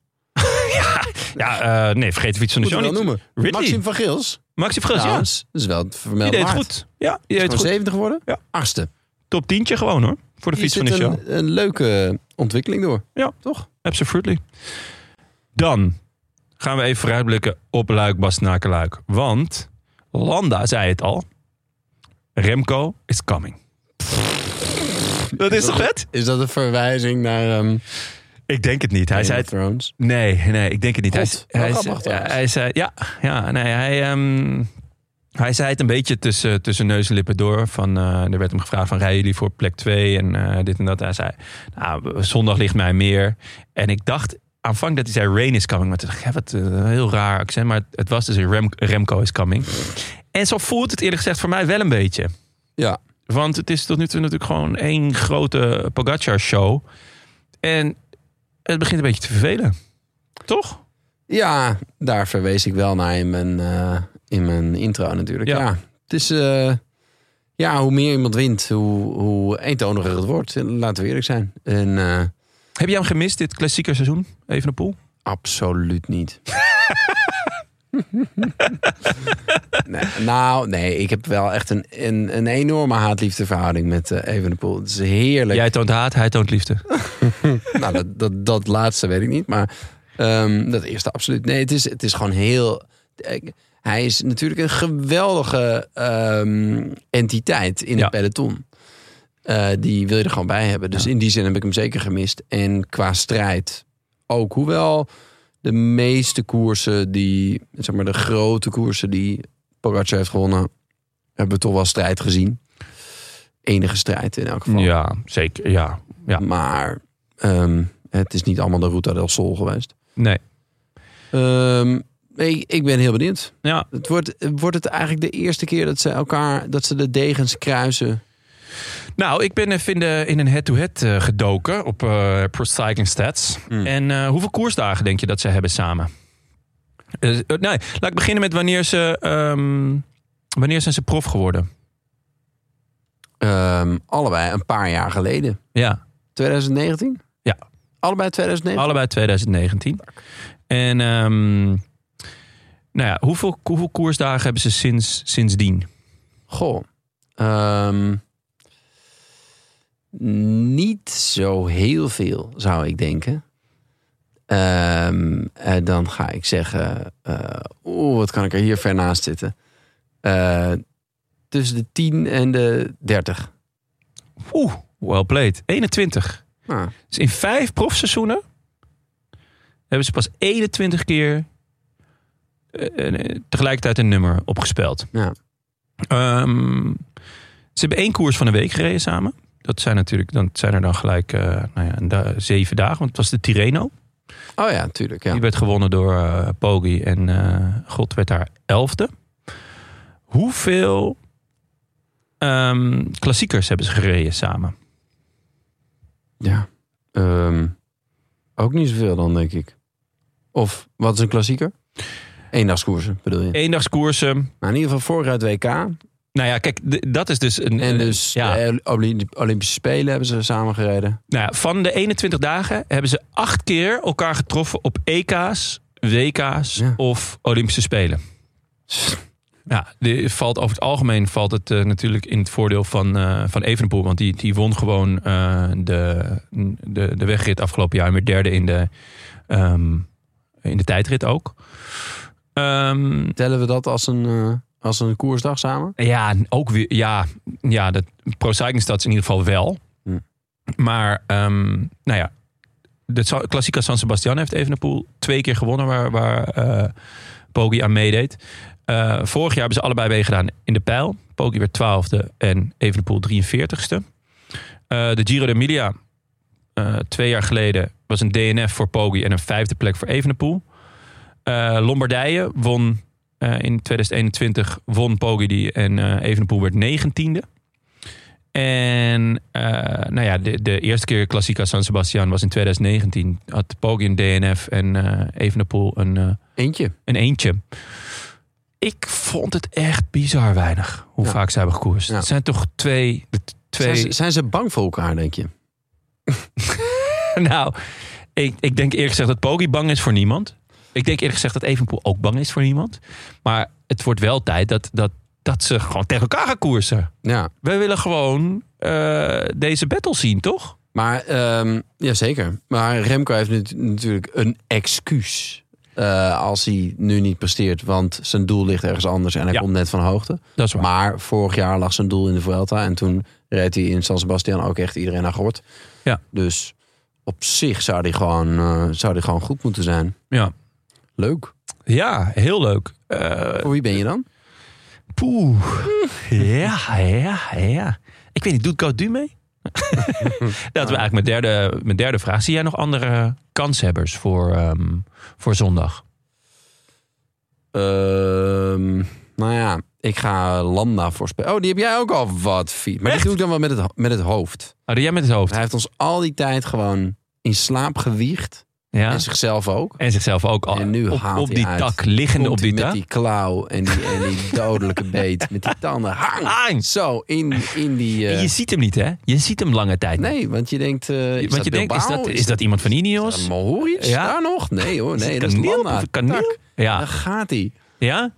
Speaker 1: Ja, eh, nee, vergeet de fiets van de
Speaker 2: Moet ik
Speaker 1: show
Speaker 2: wel
Speaker 1: niet.
Speaker 2: noemen.
Speaker 1: Ridley.
Speaker 2: Maxim van Gils.
Speaker 1: Maxi Frans, ja.
Speaker 2: Trouwens, dat is wel het
Speaker 1: Die
Speaker 2: vermeld
Speaker 1: deed het
Speaker 2: waard.
Speaker 1: goed. Ja, die deed het
Speaker 2: Is gewoon
Speaker 1: goed.
Speaker 2: 70 geworden.
Speaker 1: Ja.
Speaker 2: Achtste.
Speaker 1: Top tientje gewoon hoor. Voor de
Speaker 2: Hier
Speaker 1: fiets van de
Speaker 2: zit
Speaker 1: show.
Speaker 2: een, een leuke ontwikkeling door.
Speaker 1: Absolutely. Dan gaan we even vooruitblikken op Luik Bas Nakeluik. Want Landa zei het al. Remco is coming. Dat is toch vet?
Speaker 2: Is dat een verwijzing naar ehm
Speaker 1: Ik denk het niet. Hij
Speaker 2: Game
Speaker 1: zei
Speaker 2: of
Speaker 1: het.
Speaker 2: Thrones?
Speaker 1: Nee, nee, ik denk het niet. Hij,
Speaker 2: God, wel
Speaker 1: hij,
Speaker 2: grappig
Speaker 1: ja,
Speaker 2: trouwens.
Speaker 1: hij zei. Ja, ja nee, hij, ehm, hij zei het een beetje tussen, tussen neus en lippen door. Van, eh, er werd hem gevraagd: van, rijden jullie voor plek 2 en eh, dit en dat. Hij zei: nou, zondag ligt mij meer. En ik dacht aanvankelijk dat hij zei: Rain is coming. Maar toen dacht ik: hè, wat eh, een heel raar accent. Maar het was dus een Rem- Remco is coming. En zo voelt het eerlijk gezegd voor mij wel een beetje.
Speaker 2: Ja.
Speaker 1: Want het is tot nu toe natuurlijk gewoon één grote Pogacar-show. En het begint een beetje te vervelen. Toch?
Speaker 2: Ja, daar verwees ik wel naar in mijn, eh, in mijn intro natuurlijk.
Speaker 1: Ja.
Speaker 2: Ja. Het is, eh, ja, hoe meer iemand wint, hoe, hoe eentoniger het wordt. eh, Laten we eerlijk zijn. En eh,
Speaker 1: Heb jij hem gemist, dit klassieke seizoen? Even een poel.
Speaker 2: absoluut niet. nee, nou, nee, ik heb wel echt een, een, een enorme haatliefdeverhouding met eh Evenepoel. Het is heerlijk.
Speaker 1: Jij toont haat, hij toont liefde.
Speaker 2: nou, dat, dat, dat laatste weet ik niet. Maar ehm, dat eerste absoluut. Nee, het is, het is gewoon heel. ik- hij is natuurlijk een geweldige ehm, entiteit in
Speaker 1: Ja.
Speaker 2: het peloton. Eh, die wil je er gewoon bij hebben. Dus in die zin heb ik hem zeker gemist. En qua strijd ook. Hoewel de meeste koersen die, zeg maar de grote koersen die Pogacar heeft gewonnen, hebben we toch wel strijd gezien. Enige strijd in elk geval.
Speaker 1: Ja, zeker. Ja. ja.
Speaker 2: Maar ehm, het is niet allemaal de Ruta del Sol geweest.
Speaker 1: Nee.
Speaker 2: Ehm, ik, ik ben heel benieuwd.
Speaker 1: Ja.
Speaker 2: Het wordt, wordt het eigenlijk de eerste keer dat ze elkaar, dat ze de degens kruisen?
Speaker 1: Nou, ik ben even in, de- in een head-to-head eh, gedoken op eh Pro Cycling Stats. En eh, hoeveel koersdagen denk je dat ze hebben samen? Eh, eh, nee, laat ik beginnen met wanneer ze... ehm, wanneer zijn ze prof geworden?
Speaker 2: Ehm, allebei een paar jaar geleden.
Speaker 1: Ja.
Speaker 2: 2019?
Speaker 1: Ja.
Speaker 2: Allebei 2019?
Speaker 1: Allebei 2019. En ehm, nou ja, hoeveel, hoeveel koersdagen hebben ze sinds, sindsdien?
Speaker 2: Goh. Ehm, niet zo heel veel, zou ik denken. Ehm, eh, dan ga ik zeggen... eh Oeh, wat kan ik er hier ver naast zitten? Eh, tussen de 10 en de 30.
Speaker 1: Oeh, well played. 21.
Speaker 2: Nou,
Speaker 1: Dus in vijf profseizoenen hebben ze pas 21 keer eh, eh, tegelijkertijd een nummer opgespeeld.
Speaker 2: Ja.
Speaker 1: Ehm, ze hebben één koers van de week gereden samen. Dat zijn natuurlijk, dan zijn er dan gelijk eh, nou ja, een da- zeven dagen. Want het was de Tirreno.
Speaker 2: oh ja, tuurlijk. Ja.
Speaker 1: Die werd gewonnen door eh Poggi en eh, God werd daar elfde. Hoeveel ehm, klassiekers hebben ze gereden samen?
Speaker 2: ja. Ehm, ook niet zoveel dan, denk ik. Of, wat is een klassieker? Eendagskoersen, bedoel
Speaker 1: Eh.
Speaker 2: je?
Speaker 1: Eendagskoersen.
Speaker 2: Maar in ieder geval vorig jaar het WK...
Speaker 1: Nou ja, kijk, d- dat is dus een.
Speaker 2: En dus
Speaker 1: ja.
Speaker 2: de Olymp- Olympische Spelen hebben ze samen gereden.
Speaker 1: Nou ja, van de 21 dagen hebben ze acht keer elkaar getroffen op E EK's, WK's
Speaker 2: Ja.
Speaker 1: of Olympische Spelen. Ja, die valt over het algemeen valt het eh, natuurlijk in het voordeel van, eh van Evenepoel. Want die, die won gewoon eh, de, de, de wegrit afgelopen jaar. En werd derde in de, ehm, in de tijdrit ook. Ehm,
Speaker 2: Tellen we dat als een, eh, als een koersdag samen?
Speaker 1: ja, ook weer. Ja, ja dat, Pro Cycling Stats in ieder geval wel.
Speaker 2: Hm.
Speaker 1: Maar, ehm, nou ja. De Sa- Classica San Sebastian heeft Evenepoel twee keer gewonnen waar, waar eh Poggi aan meedeed. Eh, vorig jaar hebben ze allebei meegedaan in de pijl. Poggi werd 12e en Evenepoel 43ste. Eh, de Giro d'Emilia eh, twee jaar geleden was een DNF voor Poggi en een vijfde plek voor Evenepoel. Eh, Lombardije won eh, in 2021 won Poggi die en eh, Evenepoel werd 19e. En eh, nou ja, de, de eerste keer Klassica San Sebastian was in 2019. Had Poggi een DNF en eh Evenepoel een eh,
Speaker 2: Eentje.
Speaker 1: een eentje. Ik vond het echt bizar weinig hoe
Speaker 2: Ja.
Speaker 1: vaak ze hebben gekoerst.
Speaker 2: Ja.
Speaker 1: Het zijn toch twee. de t- twee
Speaker 2: Zijn, ze, zijn ze bang voor elkaar, denk je?
Speaker 1: nou, ik, ik denk eerlijk gezegd dat Poggi bang is voor niemand. Ik denk eerlijk gezegd dat Evenpoel ook bang is voor niemand. Maar het wordt wel tijd dat, dat, dat ze gewoon tegen elkaar gaan koersen.
Speaker 2: Ja.
Speaker 1: Wij willen gewoon eh, deze battle zien, toch?
Speaker 2: Maar, ehm jazeker. Maar Remco heeft nat- natuurlijk een excuus. eh, als hij nu niet presteert, want zijn doel ligt ergens anders en hij
Speaker 1: Ja.
Speaker 2: komt net van hoogte.
Speaker 1: Dat is waar.
Speaker 2: Maar vorig jaar lag zijn doel in de Vuelta en toen reed hij in San Sebastian ook echt iedereen naar gort.
Speaker 1: Ja.
Speaker 2: Dus op zich zou hij gewoon, eh, zou die gewoon goed moeten zijn.
Speaker 1: ja.
Speaker 2: Leuk.
Speaker 1: ja, heel leuk. Eh,
Speaker 2: Voor wie ben je dan?
Speaker 1: Poeh. Ja, ja, ja. Ik weet niet, doet Gaudu mee? dat we eigenlijk mijn derde, mijn derde vraag. Zie jij nog andere kanshebbers voor, ehm, voor zondag?
Speaker 2: Ehm, nou ja, ik ga Landa voorspelen. Oh, die heb jij ook al wat fiet. Maar
Speaker 1: Echt?
Speaker 2: die doe ik dan wel met het, ho- met het hoofd.
Speaker 1: Oh, doe jij met het hoofd.
Speaker 2: Hij heeft ons al die tijd gewoon in slaap gewiegd.
Speaker 1: Ja.
Speaker 2: En zichzelf ook.
Speaker 1: En zichzelf ook al
Speaker 2: En nu
Speaker 1: op,
Speaker 2: haalt
Speaker 1: op
Speaker 2: hij
Speaker 1: die
Speaker 2: uit.
Speaker 1: tak, liggende
Speaker 2: Komt
Speaker 1: op die
Speaker 2: hij met
Speaker 1: tak.
Speaker 2: die klauw en die, en die dodelijke beet. Met die tanden. Hang!
Speaker 1: Hang!
Speaker 2: Zo, in, in die... eh,
Speaker 1: En Je ziet hem niet, hè? Je ziet hem lange tijd. niet.
Speaker 2: nee, want je denkt... eh, is
Speaker 1: Want je denkt, is dat, is dat iemand van Ineos?
Speaker 2: Mohoric?
Speaker 1: Ja.
Speaker 2: Daar nog? Nee hoor,
Speaker 1: Is het Ah.
Speaker 2: nee, dat is
Speaker 1: Caniel?
Speaker 2: Landa.
Speaker 1: Of Caniel?
Speaker 2: Tak, Daar
Speaker 1: Ja.
Speaker 2: gaat hij.
Speaker 1: ja?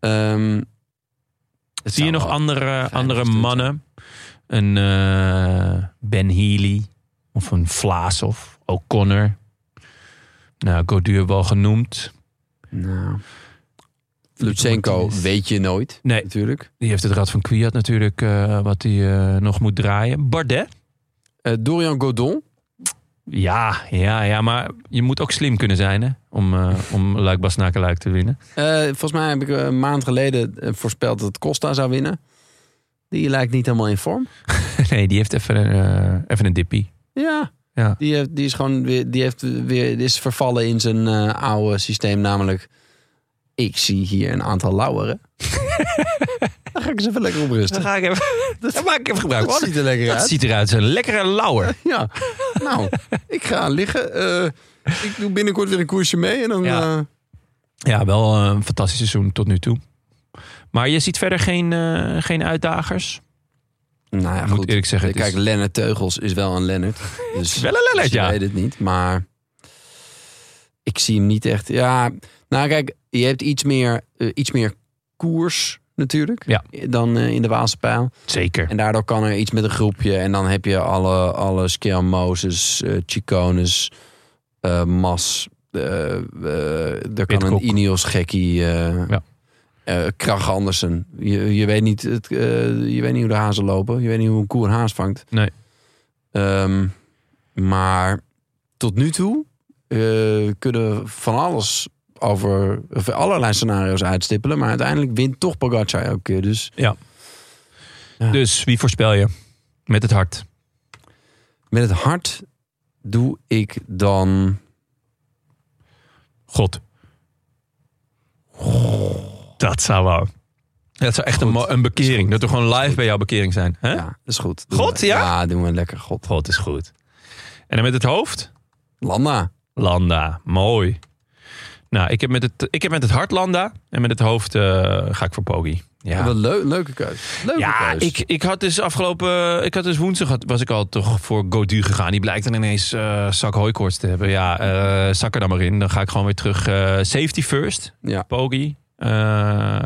Speaker 2: Ehm, het
Speaker 1: Zie je
Speaker 2: zou
Speaker 1: nog
Speaker 2: wel-
Speaker 1: andere,
Speaker 2: fijn
Speaker 1: andere
Speaker 2: gestuurd
Speaker 1: mannen? Een eh, Ben Healy of een Vlaas of O'Connor. Nou, Godur wel genoemd.
Speaker 2: Nou. Lutsenko
Speaker 1: Martinez.
Speaker 2: weet je nooit,
Speaker 1: Nee,
Speaker 2: natuurlijk.
Speaker 1: die heeft het rad van Kwiat natuurlijk, eh, wat hij eh, nog moet draaien. Bardet?
Speaker 2: Eh, Dorian Godon.
Speaker 1: Ja, ja, ja, maar je moet ook slim kunnen zijn hè, om, eh, om Luik Basnakeluik te winnen.
Speaker 2: Eh, volgens mij heb ik eh, een maand geleden eh, voorspeld dat Costa zou winnen. Die lijkt niet helemaal in vorm.
Speaker 1: nee, die heeft even, een, eh, even een dippie.
Speaker 2: Ja.
Speaker 1: Ja.
Speaker 2: Die, heeft, die is gewoon weer, die heeft weer, die is vervallen in zijn eh, oude systeem, namelijk. Ik zie hier een aantal lauweren. Daar ga ik eens even lekker op rusten.
Speaker 1: ga ik even, dat maak ik even gebruik
Speaker 2: Dat ziet er lekker
Speaker 1: Dat
Speaker 2: uit.
Speaker 1: ziet eruit als een lekkere lauwer.
Speaker 2: Ja. Nou, ik ga liggen. Eh, ik doe binnenkort weer een koersje mee en dan.
Speaker 1: Ja.
Speaker 2: eh,
Speaker 1: Ja, wel eh, een fantastisch seizoen tot nu toe. Maar je ziet verder geen, eh, geen uitdagers.
Speaker 2: Nou ja,
Speaker 1: Ik moet
Speaker 2: goed.
Speaker 1: eerlijk zeggen, het
Speaker 2: Kijk,
Speaker 1: is-
Speaker 2: Lennart Teugels is wel een Lennart. Dus
Speaker 1: Wel een Lennart,
Speaker 2: dus je
Speaker 1: ja.
Speaker 2: weet het niet, maar ik zie hem niet echt. Ja, nou kijk, je hebt iets meer, eh, iets meer koers natuurlijk
Speaker 1: Ja.
Speaker 2: dan eh, in de Waalse pijl.
Speaker 1: Zeker.
Speaker 2: En daardoor kan er iets met een groepje en dan heb je alle, alle Skel Moses, eh, Chicones, eh, Mas. eh, eh, er kan
Speaker 1: Pidcock.
Speaker 2: een Ineos gekkie. eh
Speaker 1: Ja.
Speaker 2: eh, Krach Andersen. Je, je, weet niet, het, eh, je weet niet hoe de hazen lopen. Je weet niet hoe een koe een haas vangt.
Speaker 1: Nee.
Speaker 2: Ehm, maar tot nu toe eh, kunnen we van alles over of allerlei scenario's uitstippelen. Maar uiteindelijk wint toch Pogacar elke keer. Dus Ja.
Speaker 1: Dus wie voorspel je? Met het hart.
Speaker 2: met het hart doe ik dan...
Speaker 1: God. Dat zou wel. Dat zou echt een, mo- een bekering. Dat we gewoon live bij jouw bekering zijn. Hè?
Speaker 2: Ja, dat is goed.
Speaker 1: God,
Speaker 2: we-
Speaker 1: ja?
Speaker 2: Ja, doen we lekker God.
Speaker 1: God is goed. En dan met het hoofd?
Speaker 2: Landa.
Speaker 1: Landa. Mooi. Nou, ik heb met het, ik heb met het hart Landa. En met het hoofd eh, ga ik voor Poggi. Ja.
Speaker 2: Wat een leu- leuke keus. Leuke
Speaker 1: Ja,
Speaker 2: keus.
Speaker 1: ik, ik had dus afgelopen... Ik had dus woensdag had- was ik al toch voor Godu gegaan. Die blijkt dan ineens eh zak hooikoorts te hebben. Ja, eh, zak er dan maar in. Dan ga ik gewoon weer terug. eh, safety first.
Speaker 2: Ja.
Speaker 1: Pogi. Eh,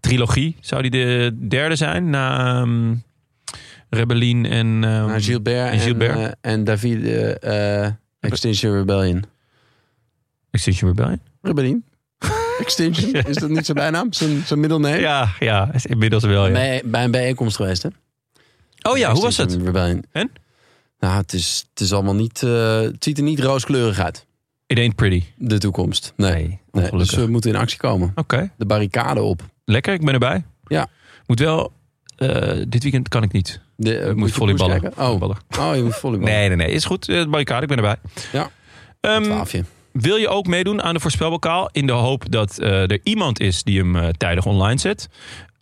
Speaker 1: trilogie. Zou die de derde zijn? Na ehm, Rebellin en... ehm,
Speaker 2: Naar Gilbert en,
Speaker 1: Gilbert.
Speaker 2: eh, en David eh, eh, Extinction Rebellion.
Speaker 1: Extinction Rebellion?
Speaker 2: Rebellion? Extinction? Is dat niet zijn bijnaam? Zijn, zijn middelneem?
Speaker 1: Ja, ja. is Inmiddels wel, ja.
Speaker 2: Bij, bij een bijeenkomst geweest, hè?
Speaker 1: Oh ja, hoe was het?
Speaker 2: Extinction Rebellion.
Speaker 1: En?
Speaker 2: Nou, het is, het is allemaal niet... eh, het ziet er niet rooskleurig uit.
Speaker 1: It ain't pretty.
Speaker 2: de toekomst. Nee. nee,
Speaker 1: ongelukkig.
Speaker 2: Dus we moeten in actie komen.
Speaker 1: Oké,
Speaker 2: De barricade op.
Speaker 1: lekker. Ik ben erbij.
Speaker 2: Ja.
Speaker 1: Moet wel... eh, dit weekend kan ik niet.
Speaker 2: De, eh,
Speaker 1: Ik
Speaker 2: moet
Speaker 1: moet
Speaker 2: je
Speaker 1: volleyballen.
Speaker 2: koers kijken? Oh.
Speaker 1: Volleyballen.
Speaker 2: oh, je moet volleyballen.
Speaker 1: Nee, nee, nee. Is goed. Eh, Barricade, ik ben erbij.
Speaker 2: Ja.
Speaker 1: Ehm,
Speaker 2: Twaafje.
Speaker 1: wil je ook meedoen aan de voorspelbokaal? In de hoop dat eh, er iemand is die hem eh, tijdig online zet.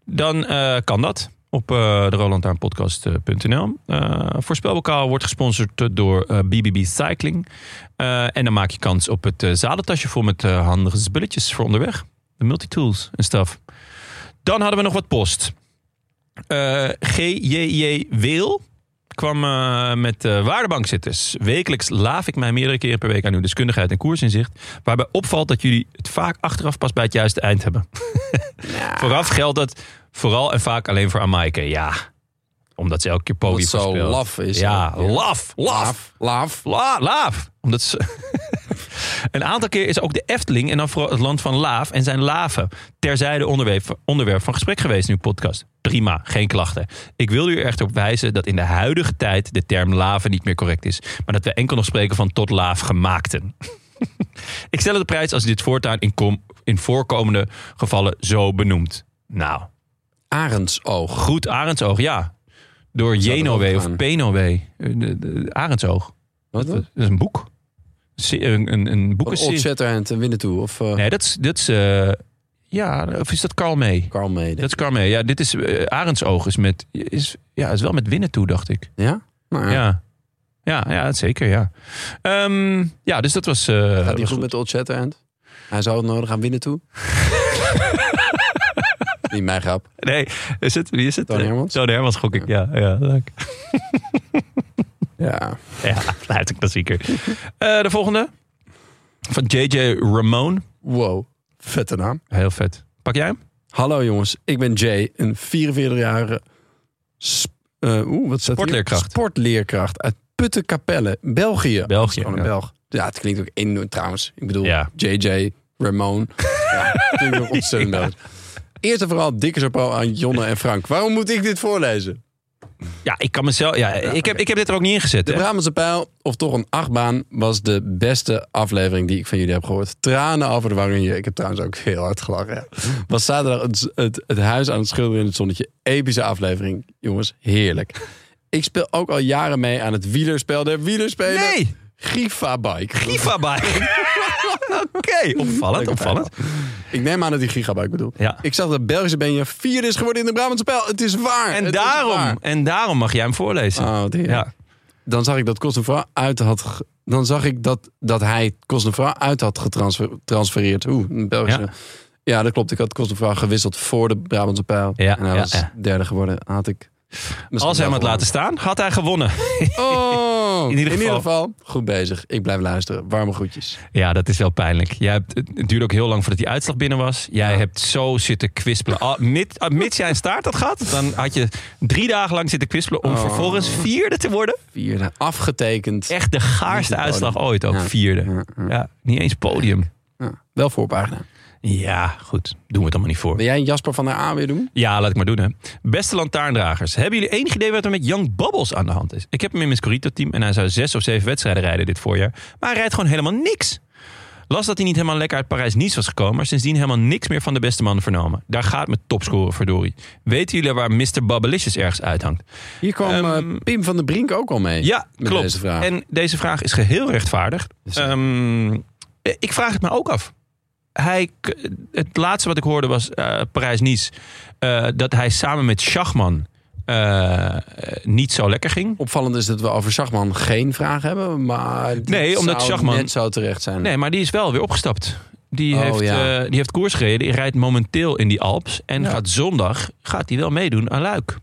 Speaker 1: Dan eh, kan dat op eh de rolandaarnpodcast.nl. Eh voorspelbokaal wordt gesponsord eh, door eh, BBB Cycling. Eh, en dan maak je kans op het eh, zadeltasje vol met eh, handige spulletjes voor onderweg. De multitools en stuff. Dan hadden we nog wat post. Eh GJJ Weel kwam eh, met eh waardebankzitters. Wekelijks laaf ik mij meerdere keren per week aan uw deskundigheid en koersinzicht. Waarbij opvalt dat jullie het vaak achteraf pas bij het juiste eind hebben. Vooraf geldt dat vooral en vaak alleen voor Amaike. Ja, omdat ze elke keer
Speaker 2: Wat
Speaker 1: podium
Speaker 2: zo
Speaker 1: verspeelt.
Speaker 2: laf is.
Speaker 1: Ja, laf, laf.
Speaker 2: Laf. Laf.
Speaker 1: La, laaf. Omdat ze... een aantal keer is ook de Efteling en dan vooral het land van Laaf en zijn laven terzijde onderwerp, onderwerp van gesprek geweest in uw podcast. Prima, geen klachten. Ik wil u er echt op wijzen dat in de huidige tijd de term laven niet meer correct is, maar dat we enkel nog spreken van tot laaf gemaakten. Ik stel het op prijs als u dit voortaan in, kom, in voorkomende gevallen zo benoemt. Nou,
Speaker 2: Arendsoog.
Speaker 1: goed Arendsoog, ja. Door
Speaker 2: Zou er ook
Speaker 1: Jenowe of
Speaker 2: gaan.
Speaker 1: Penowe. Eh, de- de- Arendsoog.
Speaker 2: Wat?
Speaker 1: Dat is een boek. Se- Een, een, een boek
Speaker 2: Opzetter en te winnen toe. Of eh,
Speaker 1: Nee, dat is... Dat is eh, ja, of is dat Carl May?
Speaker 2: Carl Mede.
Speaker 1: Dat is Carl May. Ja, dit is... eh, Arendsoog is met... Is, ja, is wel met winnen toe, dacht ik.
Speaker 2: Ja? Nou,
Speaker 1: Ja.
Speaker 2: ja.
Speaker 1: Ja, ja, zeker, ja. Ehm, ja, dus dat was... eh,
Speaker 2: Gaat hij
Speaker 1: was
Speaker 2: goed met de Old Shatterhand? Hij zou het nodig aan winnen toe. Niet mijn grap.
Speaker 1: Nee, is het, wie is het?
Speaker 2: Toon Hermans?
Speaker 1: Toon Hermans, gok ik. Ja, ja, leuk.
Speaker 2: Ja.
Speaker 1: Ja, uit een klassieker. Eh, de volgende. Van JJ Ramone.
Speaker 2: Wow. Vette naam.
Speaker 1: Heel vet. Pak jij hem?
Speaker 2: Hallo jongens, ik ben Jay, een 44-jarige sp- eh, oeh, wat staat hier?
Speaker 1: Sportleerkracht.
Speaker 2: sportleerkracht uit Puttenkapelle, België. Dat is gewoon een
Speaker 1: ja.
Speaker 2: Belg. Ja, het klinkt ook enorm trouwens. Ik bedoel,
Speaker 1: Ja.
Speaker 2: JJ, Ramon. ja, het klinkt ook ontzettend Belgisch. Eerst en vooral dikke chapeau aan Jonne en Frank. Waarom moet ik dit voorlezen?
Speaker 1: Ja, ik kan mezelf... Ja, ik, heb, ik heb dit er ook niet ingezet.
Speaker 2: De
Speaker 1: Hè?
Speaker 2: Brabantse pijl, of toch een achtbaan, was de beste aflevering die ik van jullie heb gehoord. Tranen over de wangen hier. Ik heb trouwens ook heel hard gelachen. ja. Was zaterdag het, het, het huis aan het schilderen in het zonnetje. Epische aflevering. Jongens, heerlijk. Ik speel ook al jaren mee aan het wielerspel der wielerspelen.
Speaker 1: Nee!
Speaker 2: Gifa Bike.
Speaker 1: Gifabike. Oké, opvallend,
Speaker 2: Leuke
Speaker 1: opvallend.
Speaker 2: Ik neem aan dat die gigabike bedoelt.
Speaker 1: Ja.
Speaker 2: Ik zag dat Belgische Benja vier is geworden in de Brabantse pijl. Het is waar.
Speaker 1: En
Speaker 2: Het is waar.
Speaker 1: daarom, en daarom mag jij hem voorlezen.
Speaker 2: Oh, wat heerlijk.
Speaker 1: ja.
Speaker 2: dan zag ik dat Cosnefra uit had. ge- Dan zag ik dat, dat hij Cosnefra uit had getransfereerd. Oeh, een Belgische.
Speaker 1: Ja.
Speaker 2: Ja. dat klopt. Ik had Cosnefra gewisseld voor de Brabantse pijl.
Speaker 1: Ja,
Speaker 2: en hij
Speaker 1: ja,
Speaker 2: was
Speaker 1: ja.
Speaker 2: derde geworden. Had ik. misschien
Speaker 1: Als hij hem
Speaker 2: wel
Speaker 1: had laten staan, had hij gewonnen.
Speaker 2: gewonnen. Oh,
Speaker 1: In ieder geval.
Speaker 2: Goed bezig. Ik blijf luisteren. Warme groetjes.
Speaker 1: Ja, dat is wel pijnlijk. Jij hebt, het duurde ook heel lang voordat die uitslag binnen was. Jij hebt zo zitten kwispelen. Al, mid, ah, mits jij een staart had gehad, dan had je drie dagen lang zitten kwispelen... om vervolgens vierde te worden.
Speaker 2: Vierde. Afgetekend.
Speaker 1: Echt de gaarste
Speaker 2: Niet het
Speaker 1: uitslag
Speaker 2: podium.
Speaker 1: ooit ook,
Speaker 2: Ja.
Speaker 1: vierde. Ja, niet eens podium.
Speaker 2: Ja, Ah, wel voorpagina.
Speaker 1: Ja, goed. Doen we het allemaal niet voor.
Speaker 2: Wil jij Jasper van der A weer doen?
Speaker 1: Ja, laat ik maar doen, hè. Beste lantaarndragers, hebben jullie enig idee wat er met Young Bubbles aan de hand is? Ik heb hem in mijn Scorito-team en hij zou zes of zeven wedstrijden rijden dit voorjaar. Maar hij rijdt gewoon helemaal niks. Las dat hij niet helemaal lekker uit Parijs-Nice was gekomen, maar sindsdien helemaal niks meer van de beste man vernomen. Daar gaat mijn topscorer, verdorie. Weten jullie waar Mr. Bubblicious ergens uithangt?
Speaker 2: Hier kwam
Speaker 1: Ehm,
Speaker 2: eh, Pim van der Brink ook al mee.
Speaker 1: Ja,
Speaker 2: met
Speaker 1: klopt.
Speaker 2: deze vraag.
Speaker 1: En deze vraag is geheel rechtvaardig.
Speaker 2: Dus-
Speaker 1: Ehm, ik vraag het me ook af. Hij, k- het laatste wat ik hoorde was eh, Parijs-Nice. eh, dat hij samen met Schachman eh, eh, niet zo lekker ging.
Speaker 2: Opvallend is dat we over Schachman geen vraag hebben, maar dit
Speaker 1: Nee, omdat
Speaker 2: zou
Speaker 1: Schachman-
Speaker 2: net zo terecht zijn.
Speaker 1: Nee, maar die is wel weer opgestapt. Die,
Speaker 2: Oh,
Speaker 1: heeft,
Speaker 2: ja.
Speaker 1: eh, die heeft koers gereden. Die rijdt momenteel in die Alps. En gaat zondag gaat hij wel meedoen aan Luik.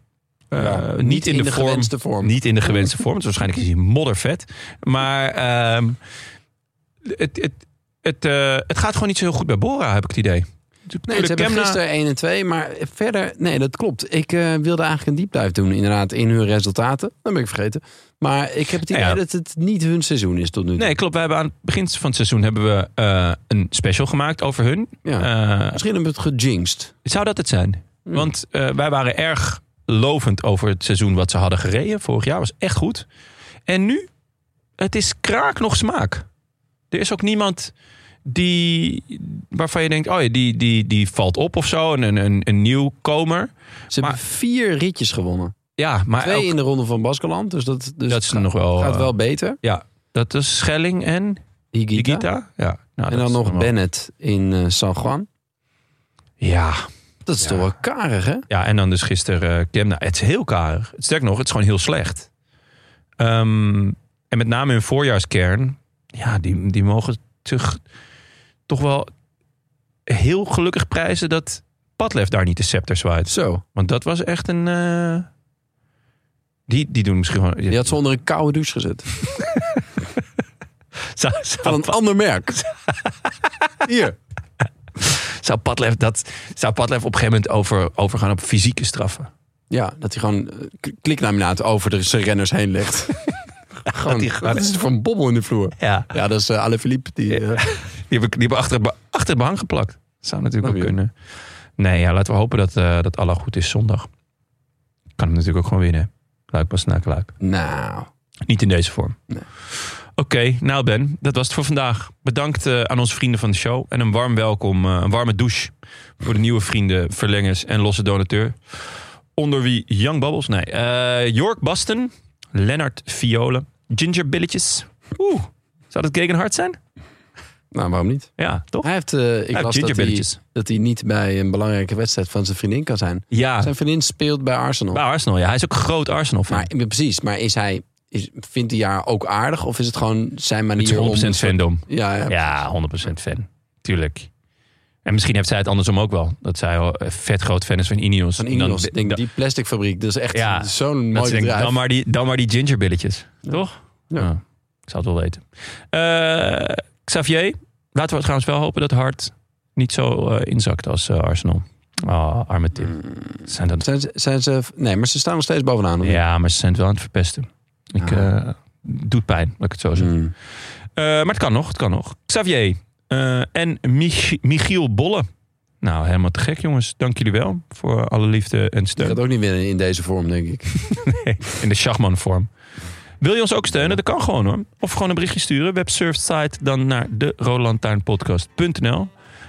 Speaker 1: Eh,
Speaker 2: Ja,
Speaker 1: niet, in, de, vorm,
Speaker 2: gewenste vorm.
Speaker 1: Niet in de gewenste vorm. Dus waarschijnlijk is hij moddervet. Maar ehm, het, het, het, eh, het gaat gewoon niet zo heel goed bij Bora, heb ik het idee.
Speaker 2: Nee,
Speaker 1: Oh,
Speaker 2: ze hebben
Speaker 1: Kemna-
Speaker 2: gisteren 1 en 2, maar verder... Nee, dat klopt. Ik eh, wilde eigenlijk een deep dive doen, inderdaad, in hun resultaten. Dat ben ik vergeten. Maar ik heb het idee
Speaker 1: Nou Ja.
Speaker 2: dat het niet hun seizoen is tot nu toe.
Speaker 1: Nee, klopt. We hebben aan het begin van het seizoen hebben we, eh, een special gemaakt over hun.
Speaker 2: Ja.
Speaker 1: Eh,
Speaker 2: Misschien hebben we het gejinxed.
Speaker 1: Zou dat het zijn?
Speaker 2: Hmm.
Speaker 1: Want eh, wij waren erg lovend over het seizoen wat ze hadden gereden. Vorig jaar was echt goed. En nu, het is kraak nog smaak. Er is ook niemand die, waarvan je denkt, oh ja, die, die, die valt op of zo. Een, een, een nieuwkomer.
Speaker 2: Ze
Speaker 1: Maar-
Speaker 2: hebben vier ritjes gewonnen.
Speaker 1: Ja, maar
Speaker 2: Twee
Speaker 1: elk-
Speaker 2: in de ronde van Baskeland. Dus dat, dus
Speaker 1: Dat is nog wel,
Speaker 2: gaat
Speaker 1: eh,
Speaker 2: wel beter.
Speaker 1: ja, dat is Schelling en
Speaker 2: Higita.
Speaker 1: Higita. Ja, nou,
Speaker 2: En
Speaker 1: dat
Speaker 2: dan
Speaker 1: is
Speaker 2: nog
Speaker 1: wel-
Speaker 2: Bennett in eh, San Juan.
Speaker 1: Ja,
Speaker 2: Dat is toch wel karig, hè?
Speaker 1: Ja, en dan dus gisteren eh Kemna. Het is heel karig. Sterk nog, het is gewoon heel slecht. Ehm, en met name hun voorjaarskern. Ja, die, die mogen toch, toch wel heel gelukkig prijzen dat Padlef daar niet de scepter zwaait.
Speaker 2: Zo.
Speaker 1: Want dat was echt een... eh, die, die doen misschien gewoon...
Speaker 2: Die had ze onder een koude douche gezet.
Speaker 1: zou, zou,
Speaker 2: Van een ander merk. Hier.
Speaker 1: zou Padlef dat... Zou Padlef op een gegeven moment over, overgaan op fysieke straffen?
Speaker 2: Ja, dat hij gewoon eh, k- kliklaminaat over de zijn renners heen legt. gewoon,
Speaker 1: die-
Speaker 2: wat is er voor een bobbel in de vloer?
Speaker 1: Ja.
Speaker 2: Ja, dat is eh Alain Philippe. Die, eh,
Speaker 1: Die hebben, die hebben achter, het be- achter het behang geplakt. Zou natuurlijk
Speaker 2: Oh,
Speaker 1: ook
Speaker 2: ja.
Speaker 1: kunnen. Nee, ja, laten we hopen dat, eh, dat Allah goed is zondag. Kan hem natuurlijk ook gewoon winnen. Luik pas na luik.
Speaker 2: nou,
Speaker 1: Niet in deze vorm.
Speaker 2: Nee.
Speaker 1: Oké, nou Ben, dat was het voor vandaag. Bedankt eh, aan onze vrienden van de show. En een warm welkom, eh, een warme douche voor de nieuwe vrienden, verlengers en losse donateur. Onder wie Young Bubbles, nee. eh, Jork Basten, Lennart Violen, Ginger Billetjes. Oeh, zou dat Gegenhard zijn?
Speaker 2: nou, waarom niet?
Speaker 1: Ja, toch?
Speaker 2: Hij heeft, eh, ik
Speaker 1: heeft
Speaker 2: las dat hij,
Speaker 1: gingerbilletjes.
Speaker 2: dat hij niet bij een belangrijke wedstrijd van zijn vriendin kan zijn.
Speaker 1: Ja,
Speaker 2: Zijn vriendin speelt bij Arsenal.
Speaker 1: Bij Arsenal, ja. Hij is ook een groot Arsenal fan.
Speaker 2: Maar, ja, precies, maar is hij, is, vindt hij haar ook aardig? Of is het gewoon zijn
Speaker 1: Het
Speaker 2: manier om...
Speaker 1: is 100% fandom.
Speaker 2: Ja, ja.
Speaker 1: Ja, 100% fan. Tuurlijk. En misschien heeft zij het andersom ook wel. Dat zij wel een vet groot fan is van Ineos.
Speaker 2: Van Ineos,
Speaker 1: Dan-
Speaker 2: denk,
Speaker 1: dan-
Speaker 2: die plasticfabriek, dat is echt
Speaker 1: Ja,
Speaker 2: zo'n
Speaker 1: dat
Speaker 2: mooi
Speaker 1: ze denkt,
Speaker 2: bedrijf.
Speaker 1: dan, maar die, dan maar die gingerbilletjes. Toch?
Speaker 2: Ja.
Speaker 1: Nou, ik zal het wel weten. Eh, Xavier, laten we trouwens wel hopen dat Hart niet zo eh, inzakt als eh, Arsenal. Ah, arme Tim. Zijn dat...
Speaker 2: Zijn Hmm. ze, zijn ze, nee, maar ze staan nog steeds bovenaan. of niet?
Speaker 1: Ja, maar ze zijn het wel aan het verpesten. Ik,
Speaker 2: Ah.
Speaker 1: eh, doet pijn, laat ik het zo zeggen.
Speaker 2: Hmm.
Speaker 1: Eh, maar het kan nog, het kan nog. Xavier eh, en Mich- Michiel Bolle. Nou, helemaal te gek, jongens. Dank jullie wel voor alle liefde en
Speaker 2: Die
Speaker 1: steun.
Speaker 2: gaat ook niet winnen in deze vorm, denk ik.
Speaker 1: In de Schachman-vorm. Wil je ons ook steunen? Dat kan gewoon hoor. Of gewoon een berichtje sturen. Websurfsite dan naar de rolandtuinpodcast.nl.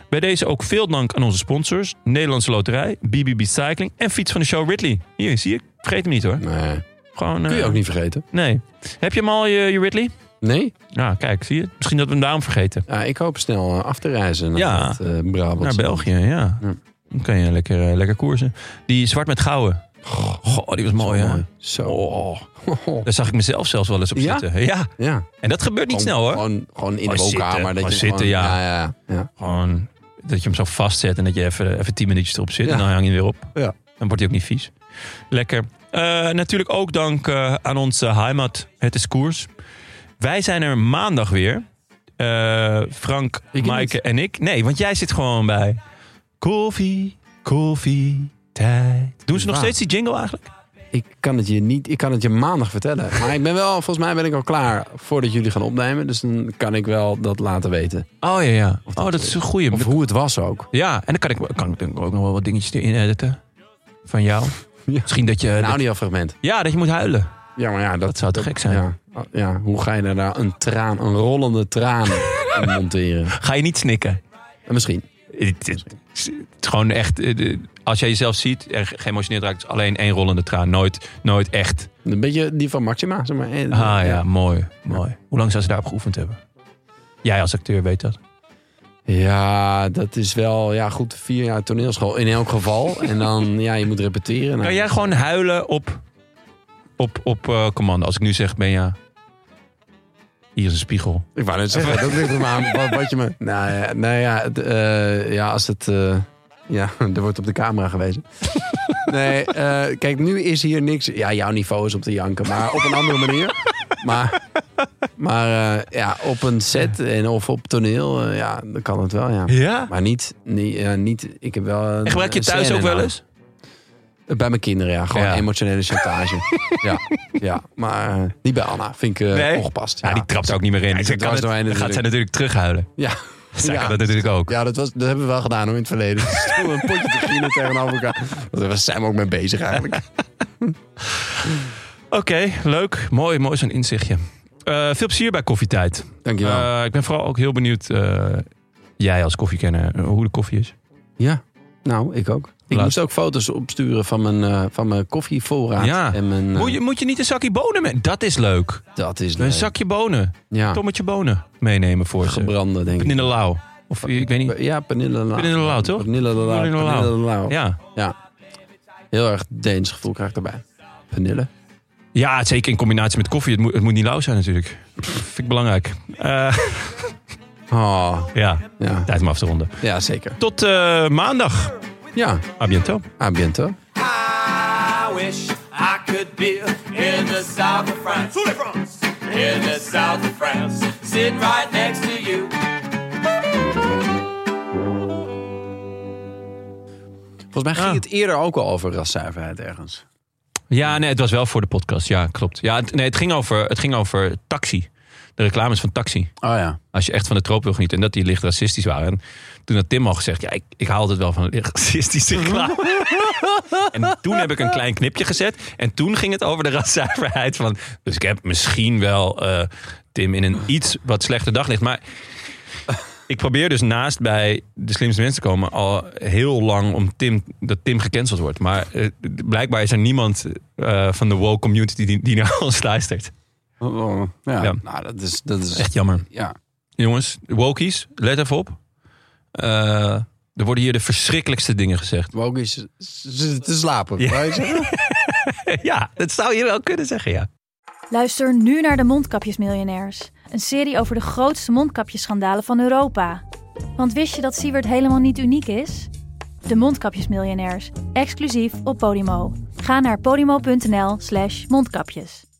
Speaker 1: Bij deze ook veel dank aan onze sponsors. Nederlandse Loterij, BBB Cycling en Fiets van de Show Ridley. Hier, zie je. Vergeet hem niet hoor.
Speaker 2: Nee,
Speaker 1: Gewoon,
Speaker 2: kun je
Speaker 1: eh,
Speaker 2: ook niet vergeten.
Speaker 1: Nee. Heb je hem al, eh, je, je Ridley?
Speaker 2: Nee?
Speaker 1: Nou, kijk, zie je. Misschien dat we hem daarom vergeten.
Speaker 2: Ja, ik hoop snel eh, af te reizen naar
Speaker 1: Ja.
Speaker 2: het, eh, Brabant.
Speaker 1: Naar België, ja.
Speaker 2: Ja.
Speaker 1: Dan kan je lekker, eh, lekker koersen. Die zwart met gouden. Goh, die was mooi, hè?
Speaker 2: Mooi. Zo.
Speaker 1: Oh, daar zag ik mezelf zelfs wel eens op
Speaker 2: Ja? Oh,
Speaker 1: zitten. Ja,
Speaker 2: Ja.
Speaker 1: en dat gebeurt niet snel, hoor.
Speaker 2: Gewoon, gewoon in
Speaker 1: Gewoon
Speaker 2: de woonkamer.
Speaker 1: zitten,
Speaker 2: dat je
Speaker 1: gewoon
Speaker 2: gewoon,
Speaker 1: zitten, ja.
Speaker 2: ja, ja.
Speaker 1: Gewoon dat je hem zo vastzet en dat je even, even tien minuutjes erop zit.
Speaker 2: Ja.
Speaker 1: En dan hang je hem weer op.
Speaker 2: Ja.
Speaker 1: Dan wordt hij ook niet vies. Lekker. Eh, natuurlijk ook dank eh, aan onze heimat. Het is koers. Wij zijn er maandag weer. Eh, Frank,
Speaker 2: niet.
Speaker 1: Maaike en ik. Nee, want jij zit gewoon bij koffie, koffie, tijd. Doen ze nog
Speaker 2: Waar?
Speaker 1: steeds die jingle eigenlijk?
Speaker 2: Ik kan het je niet, ik kan het je maandag vertellen. Maar ik ben wel, volgens mij ben ik al klaar voordat jullie gaan opnemen. Dus dan kan ik wel dat laten weten.
Speaker 1: Oh ja, ja.
Speaker 2: Of dat-
Speaker 1: Oh, dat is een goeie.
Speaker 2: Of hoe het was ook.
Speaker 1: Ja, en dan kan ik, kan ik denk ik ook nog wel wat dingetjes erin editen. Van jou.
Speaker 2: Ja.
Speaker 1: Misschien dat je...
Speaker 2: Een
Speaker 1: dat-
Speaker 2: audiofragment.
Speaker 1: Nou, ja, dat je moet huilen.
Speaker 2: Ja, maar ja, dat,
Speaker 1: Dat zou te gek zijn.
Speaker 2: Ja, Oh, ja, hoe ga je daar nou een traan, een rollende traan in monteren?
Speaker 1: Ga je niet snikken.
Speaker 2: En misschien.
Speaker 1: Het, het- het is gewoon echt... eh, de- Als jij jezelf ziet en ge- geëmotioneerd raakt... is alleen één rollende traan. Nooit, nooit echt.
Speaker 2: Een beetje die van Maxima, zeg maar. Eh,
Speaker 1: Ah ja, mooi. mooi. Hoe lang zou ze daarop geoefend hebben? Jij als acteur weet dat.
Speaker 2: Ja, dat is wel, ja goed, vier jaar toneelschool in elk geval. en dan, ja, je moet repeteren.
Speaker 1: Kan jij gewoon huilen op, op, op eh, commando? Als ik nu zeg, ben je... Hier is een spiegel.
Speaker 2: Ik wou net zeggen, dat ligt er maar aan wat, wat je me... Nou ja, nou ja, het, eh, ja als het... eh, ja, er wordt op de camera gewezen. Nee, eh, kijk, nu is hier niks... Ja, jouw niveau is op te janken, maar op een andere manier. Maar, maar eh, ja, op een set en of op toneel, eh, ja, dan kan het wel, ja.
Speaker 1: Ja?
Speaker 2: Maar niet, niet, ja, niet ik heb wel... Een,
Speaker 1: En gebruik je
Speaker 2: een
Speaker 1: thuis
Speaker 2: scène
Speaker 1: ook wel
Speaker 2: nou.
Speaker 1: eens?
Speaker 2: Bij mijn kinderen, ja. Gewoon
Speaker 1: Ja.
Speaker 2: emotionele chantage. ja, ja, maar eh, niet bij Anna. Vind ik eh,
Speaker 1: Nee?
Speaker 2: ongepast.
Speaker 1: Ja, die trapt ook niet meer in. Dus
Speaker 2: ze
Speaker 1: dan kan
Speaker 2: kan
Speaker 1: het-
Speaker 2: er
Speaker 1: dan
Speaker 2: maar in
Speaker 1: gaat zij natuurlijk
Speaker 2: natuurlijk.
Speaker 1: terughuilen.
Speaker 2: Ja.
Speaker 1: Zij
Speaker 2: Ja.
Speaker 1: kan dat natuurlijk ook.
Speaker 2: Ja, dat, was, dat hebben we wel gedaan hoor, in het verleden. Toen een potje te gielen tegenover elkaar. Daar zijn we ook mee bezig eigenlijk.
Speaker 1: Oké, leuk. Mooi, mooi zo'n inzichtje. Eh, veel plezier bij koffietijd.
Speaker 2: Dankjewel.
Speaker 1: Eh, ik ben vooral ook heel benieuwd, eh, jij als koffiekenner, eh, hoe de koffie is.
Speaker 2: ja, nou, ik ook. Ik
Speaker 1: Laat-
Speaker 2: moest ook foto's opsturen van mijn, eh, van mijn koffievoorraad.
Speaker 1: Ja.
Speaker 2: En mijn, eh,
Speaker 1: Moet, je, moet je niet een zakje bonen mee? Dat is leuk.
Speaker 2: Dat is
Speaker 1: Een
Speaker 2: leuk.
Speaker 1: zakje bonen.
Speaker 2: ja.
Speaker 1: Tommetje bonen meenemen voor ze.
Speaker 2: gebrande, denk ik.
Speaker 1: In de lauw. Of eh, ik weet niet.
Speaker 2: Ja, Pernille de Lau.
Speaker 1: Pernille de Lau, toch?
Speaker 2: Pernille de Lau.
Speaker 1: Pernille de Lau.
Speaker 2: Pernille de Lau.
Speaker 1: Ja.
Speaker 2: Heel erg Deens gevoel krijg ik erbij. Pernille.
Speaker 1: ja, zeker in combinatie met koffie. Het moet, het moet niet lauw zijn natuurlijk. Vind ik belangrijk. Eh,
Speaker 2: Oh,
Speaker 1: ja,
Speaker 2: ja.
Speaker 1: tijd om af te ronden.
Speaker 2: ja, zeker.
Speaker 1: Tot eh, maandag.
Speaker 2: Ja,
Speaker 1: A bientôt.
Speaker 2: à bientôt.
Speaker 3: I wish I could be in the south of France. In the south of France. Sitting right next to you.
Speaker 2: Volgens mij ging
Speaker 1: Ah.
Speaker 2: het eerder ook al over raszuiverheid ergens.
Speaker 1: Ja, nee, het was wel voor de podcast. Ja, klopt. Ja, het, nee, het, ging over, het ging over taxi. De reclames van taxi.
Speaker 2: Oh ja.
Speaker 1: Als je echt van de troop wil genieten. En dat die licht racistisch waren. En toen had Tim al gezegd, ja, ik, ik haal het wel van licht racistische reclame. en toen heb ik een klein knipje gezet. En toen ging het over de raszuiverheid van... Dus ik heb misschien wel eh, Tim in een iets wat slechter daglicht. Maar ik probeer dus naast bij de slimste mensen te komen al heel lang om Tim, dat Tim gecanceld wordt. Maar eh, blijkbaar is er niemand eh, van de woke community die, die naar ons luistert.
Speaker 2: Oh, oh. Ja,
Speaker 1: Ja.
Speaker 2: nou, dat is... Dat is
Speaker 1: Echt jammer.
Speaker 2: ja.
Speaker 1: Jongens, wokies, let even op. Eh, er worden hier de verschrikkelijkste dingen gezegd.
Speaker 2: Woke is z- z- te slapen.
Speaker 1: Ja.
Speaker 2: wou je zeggen?
Speaker 1: ja, dat zou je wel kunnen zeggen, ja.
Speaker 4: Luister nu naar de Mondkapjesmiljonairs. Een serie over de grootste mondkapjesschandalen van Europa. Want wist je dat Siewert helemaal niet uniek is? De Mondkapjesmiljonairs. Exclusief op Podimo. Ga naar podimo.nl slash mondkapjes.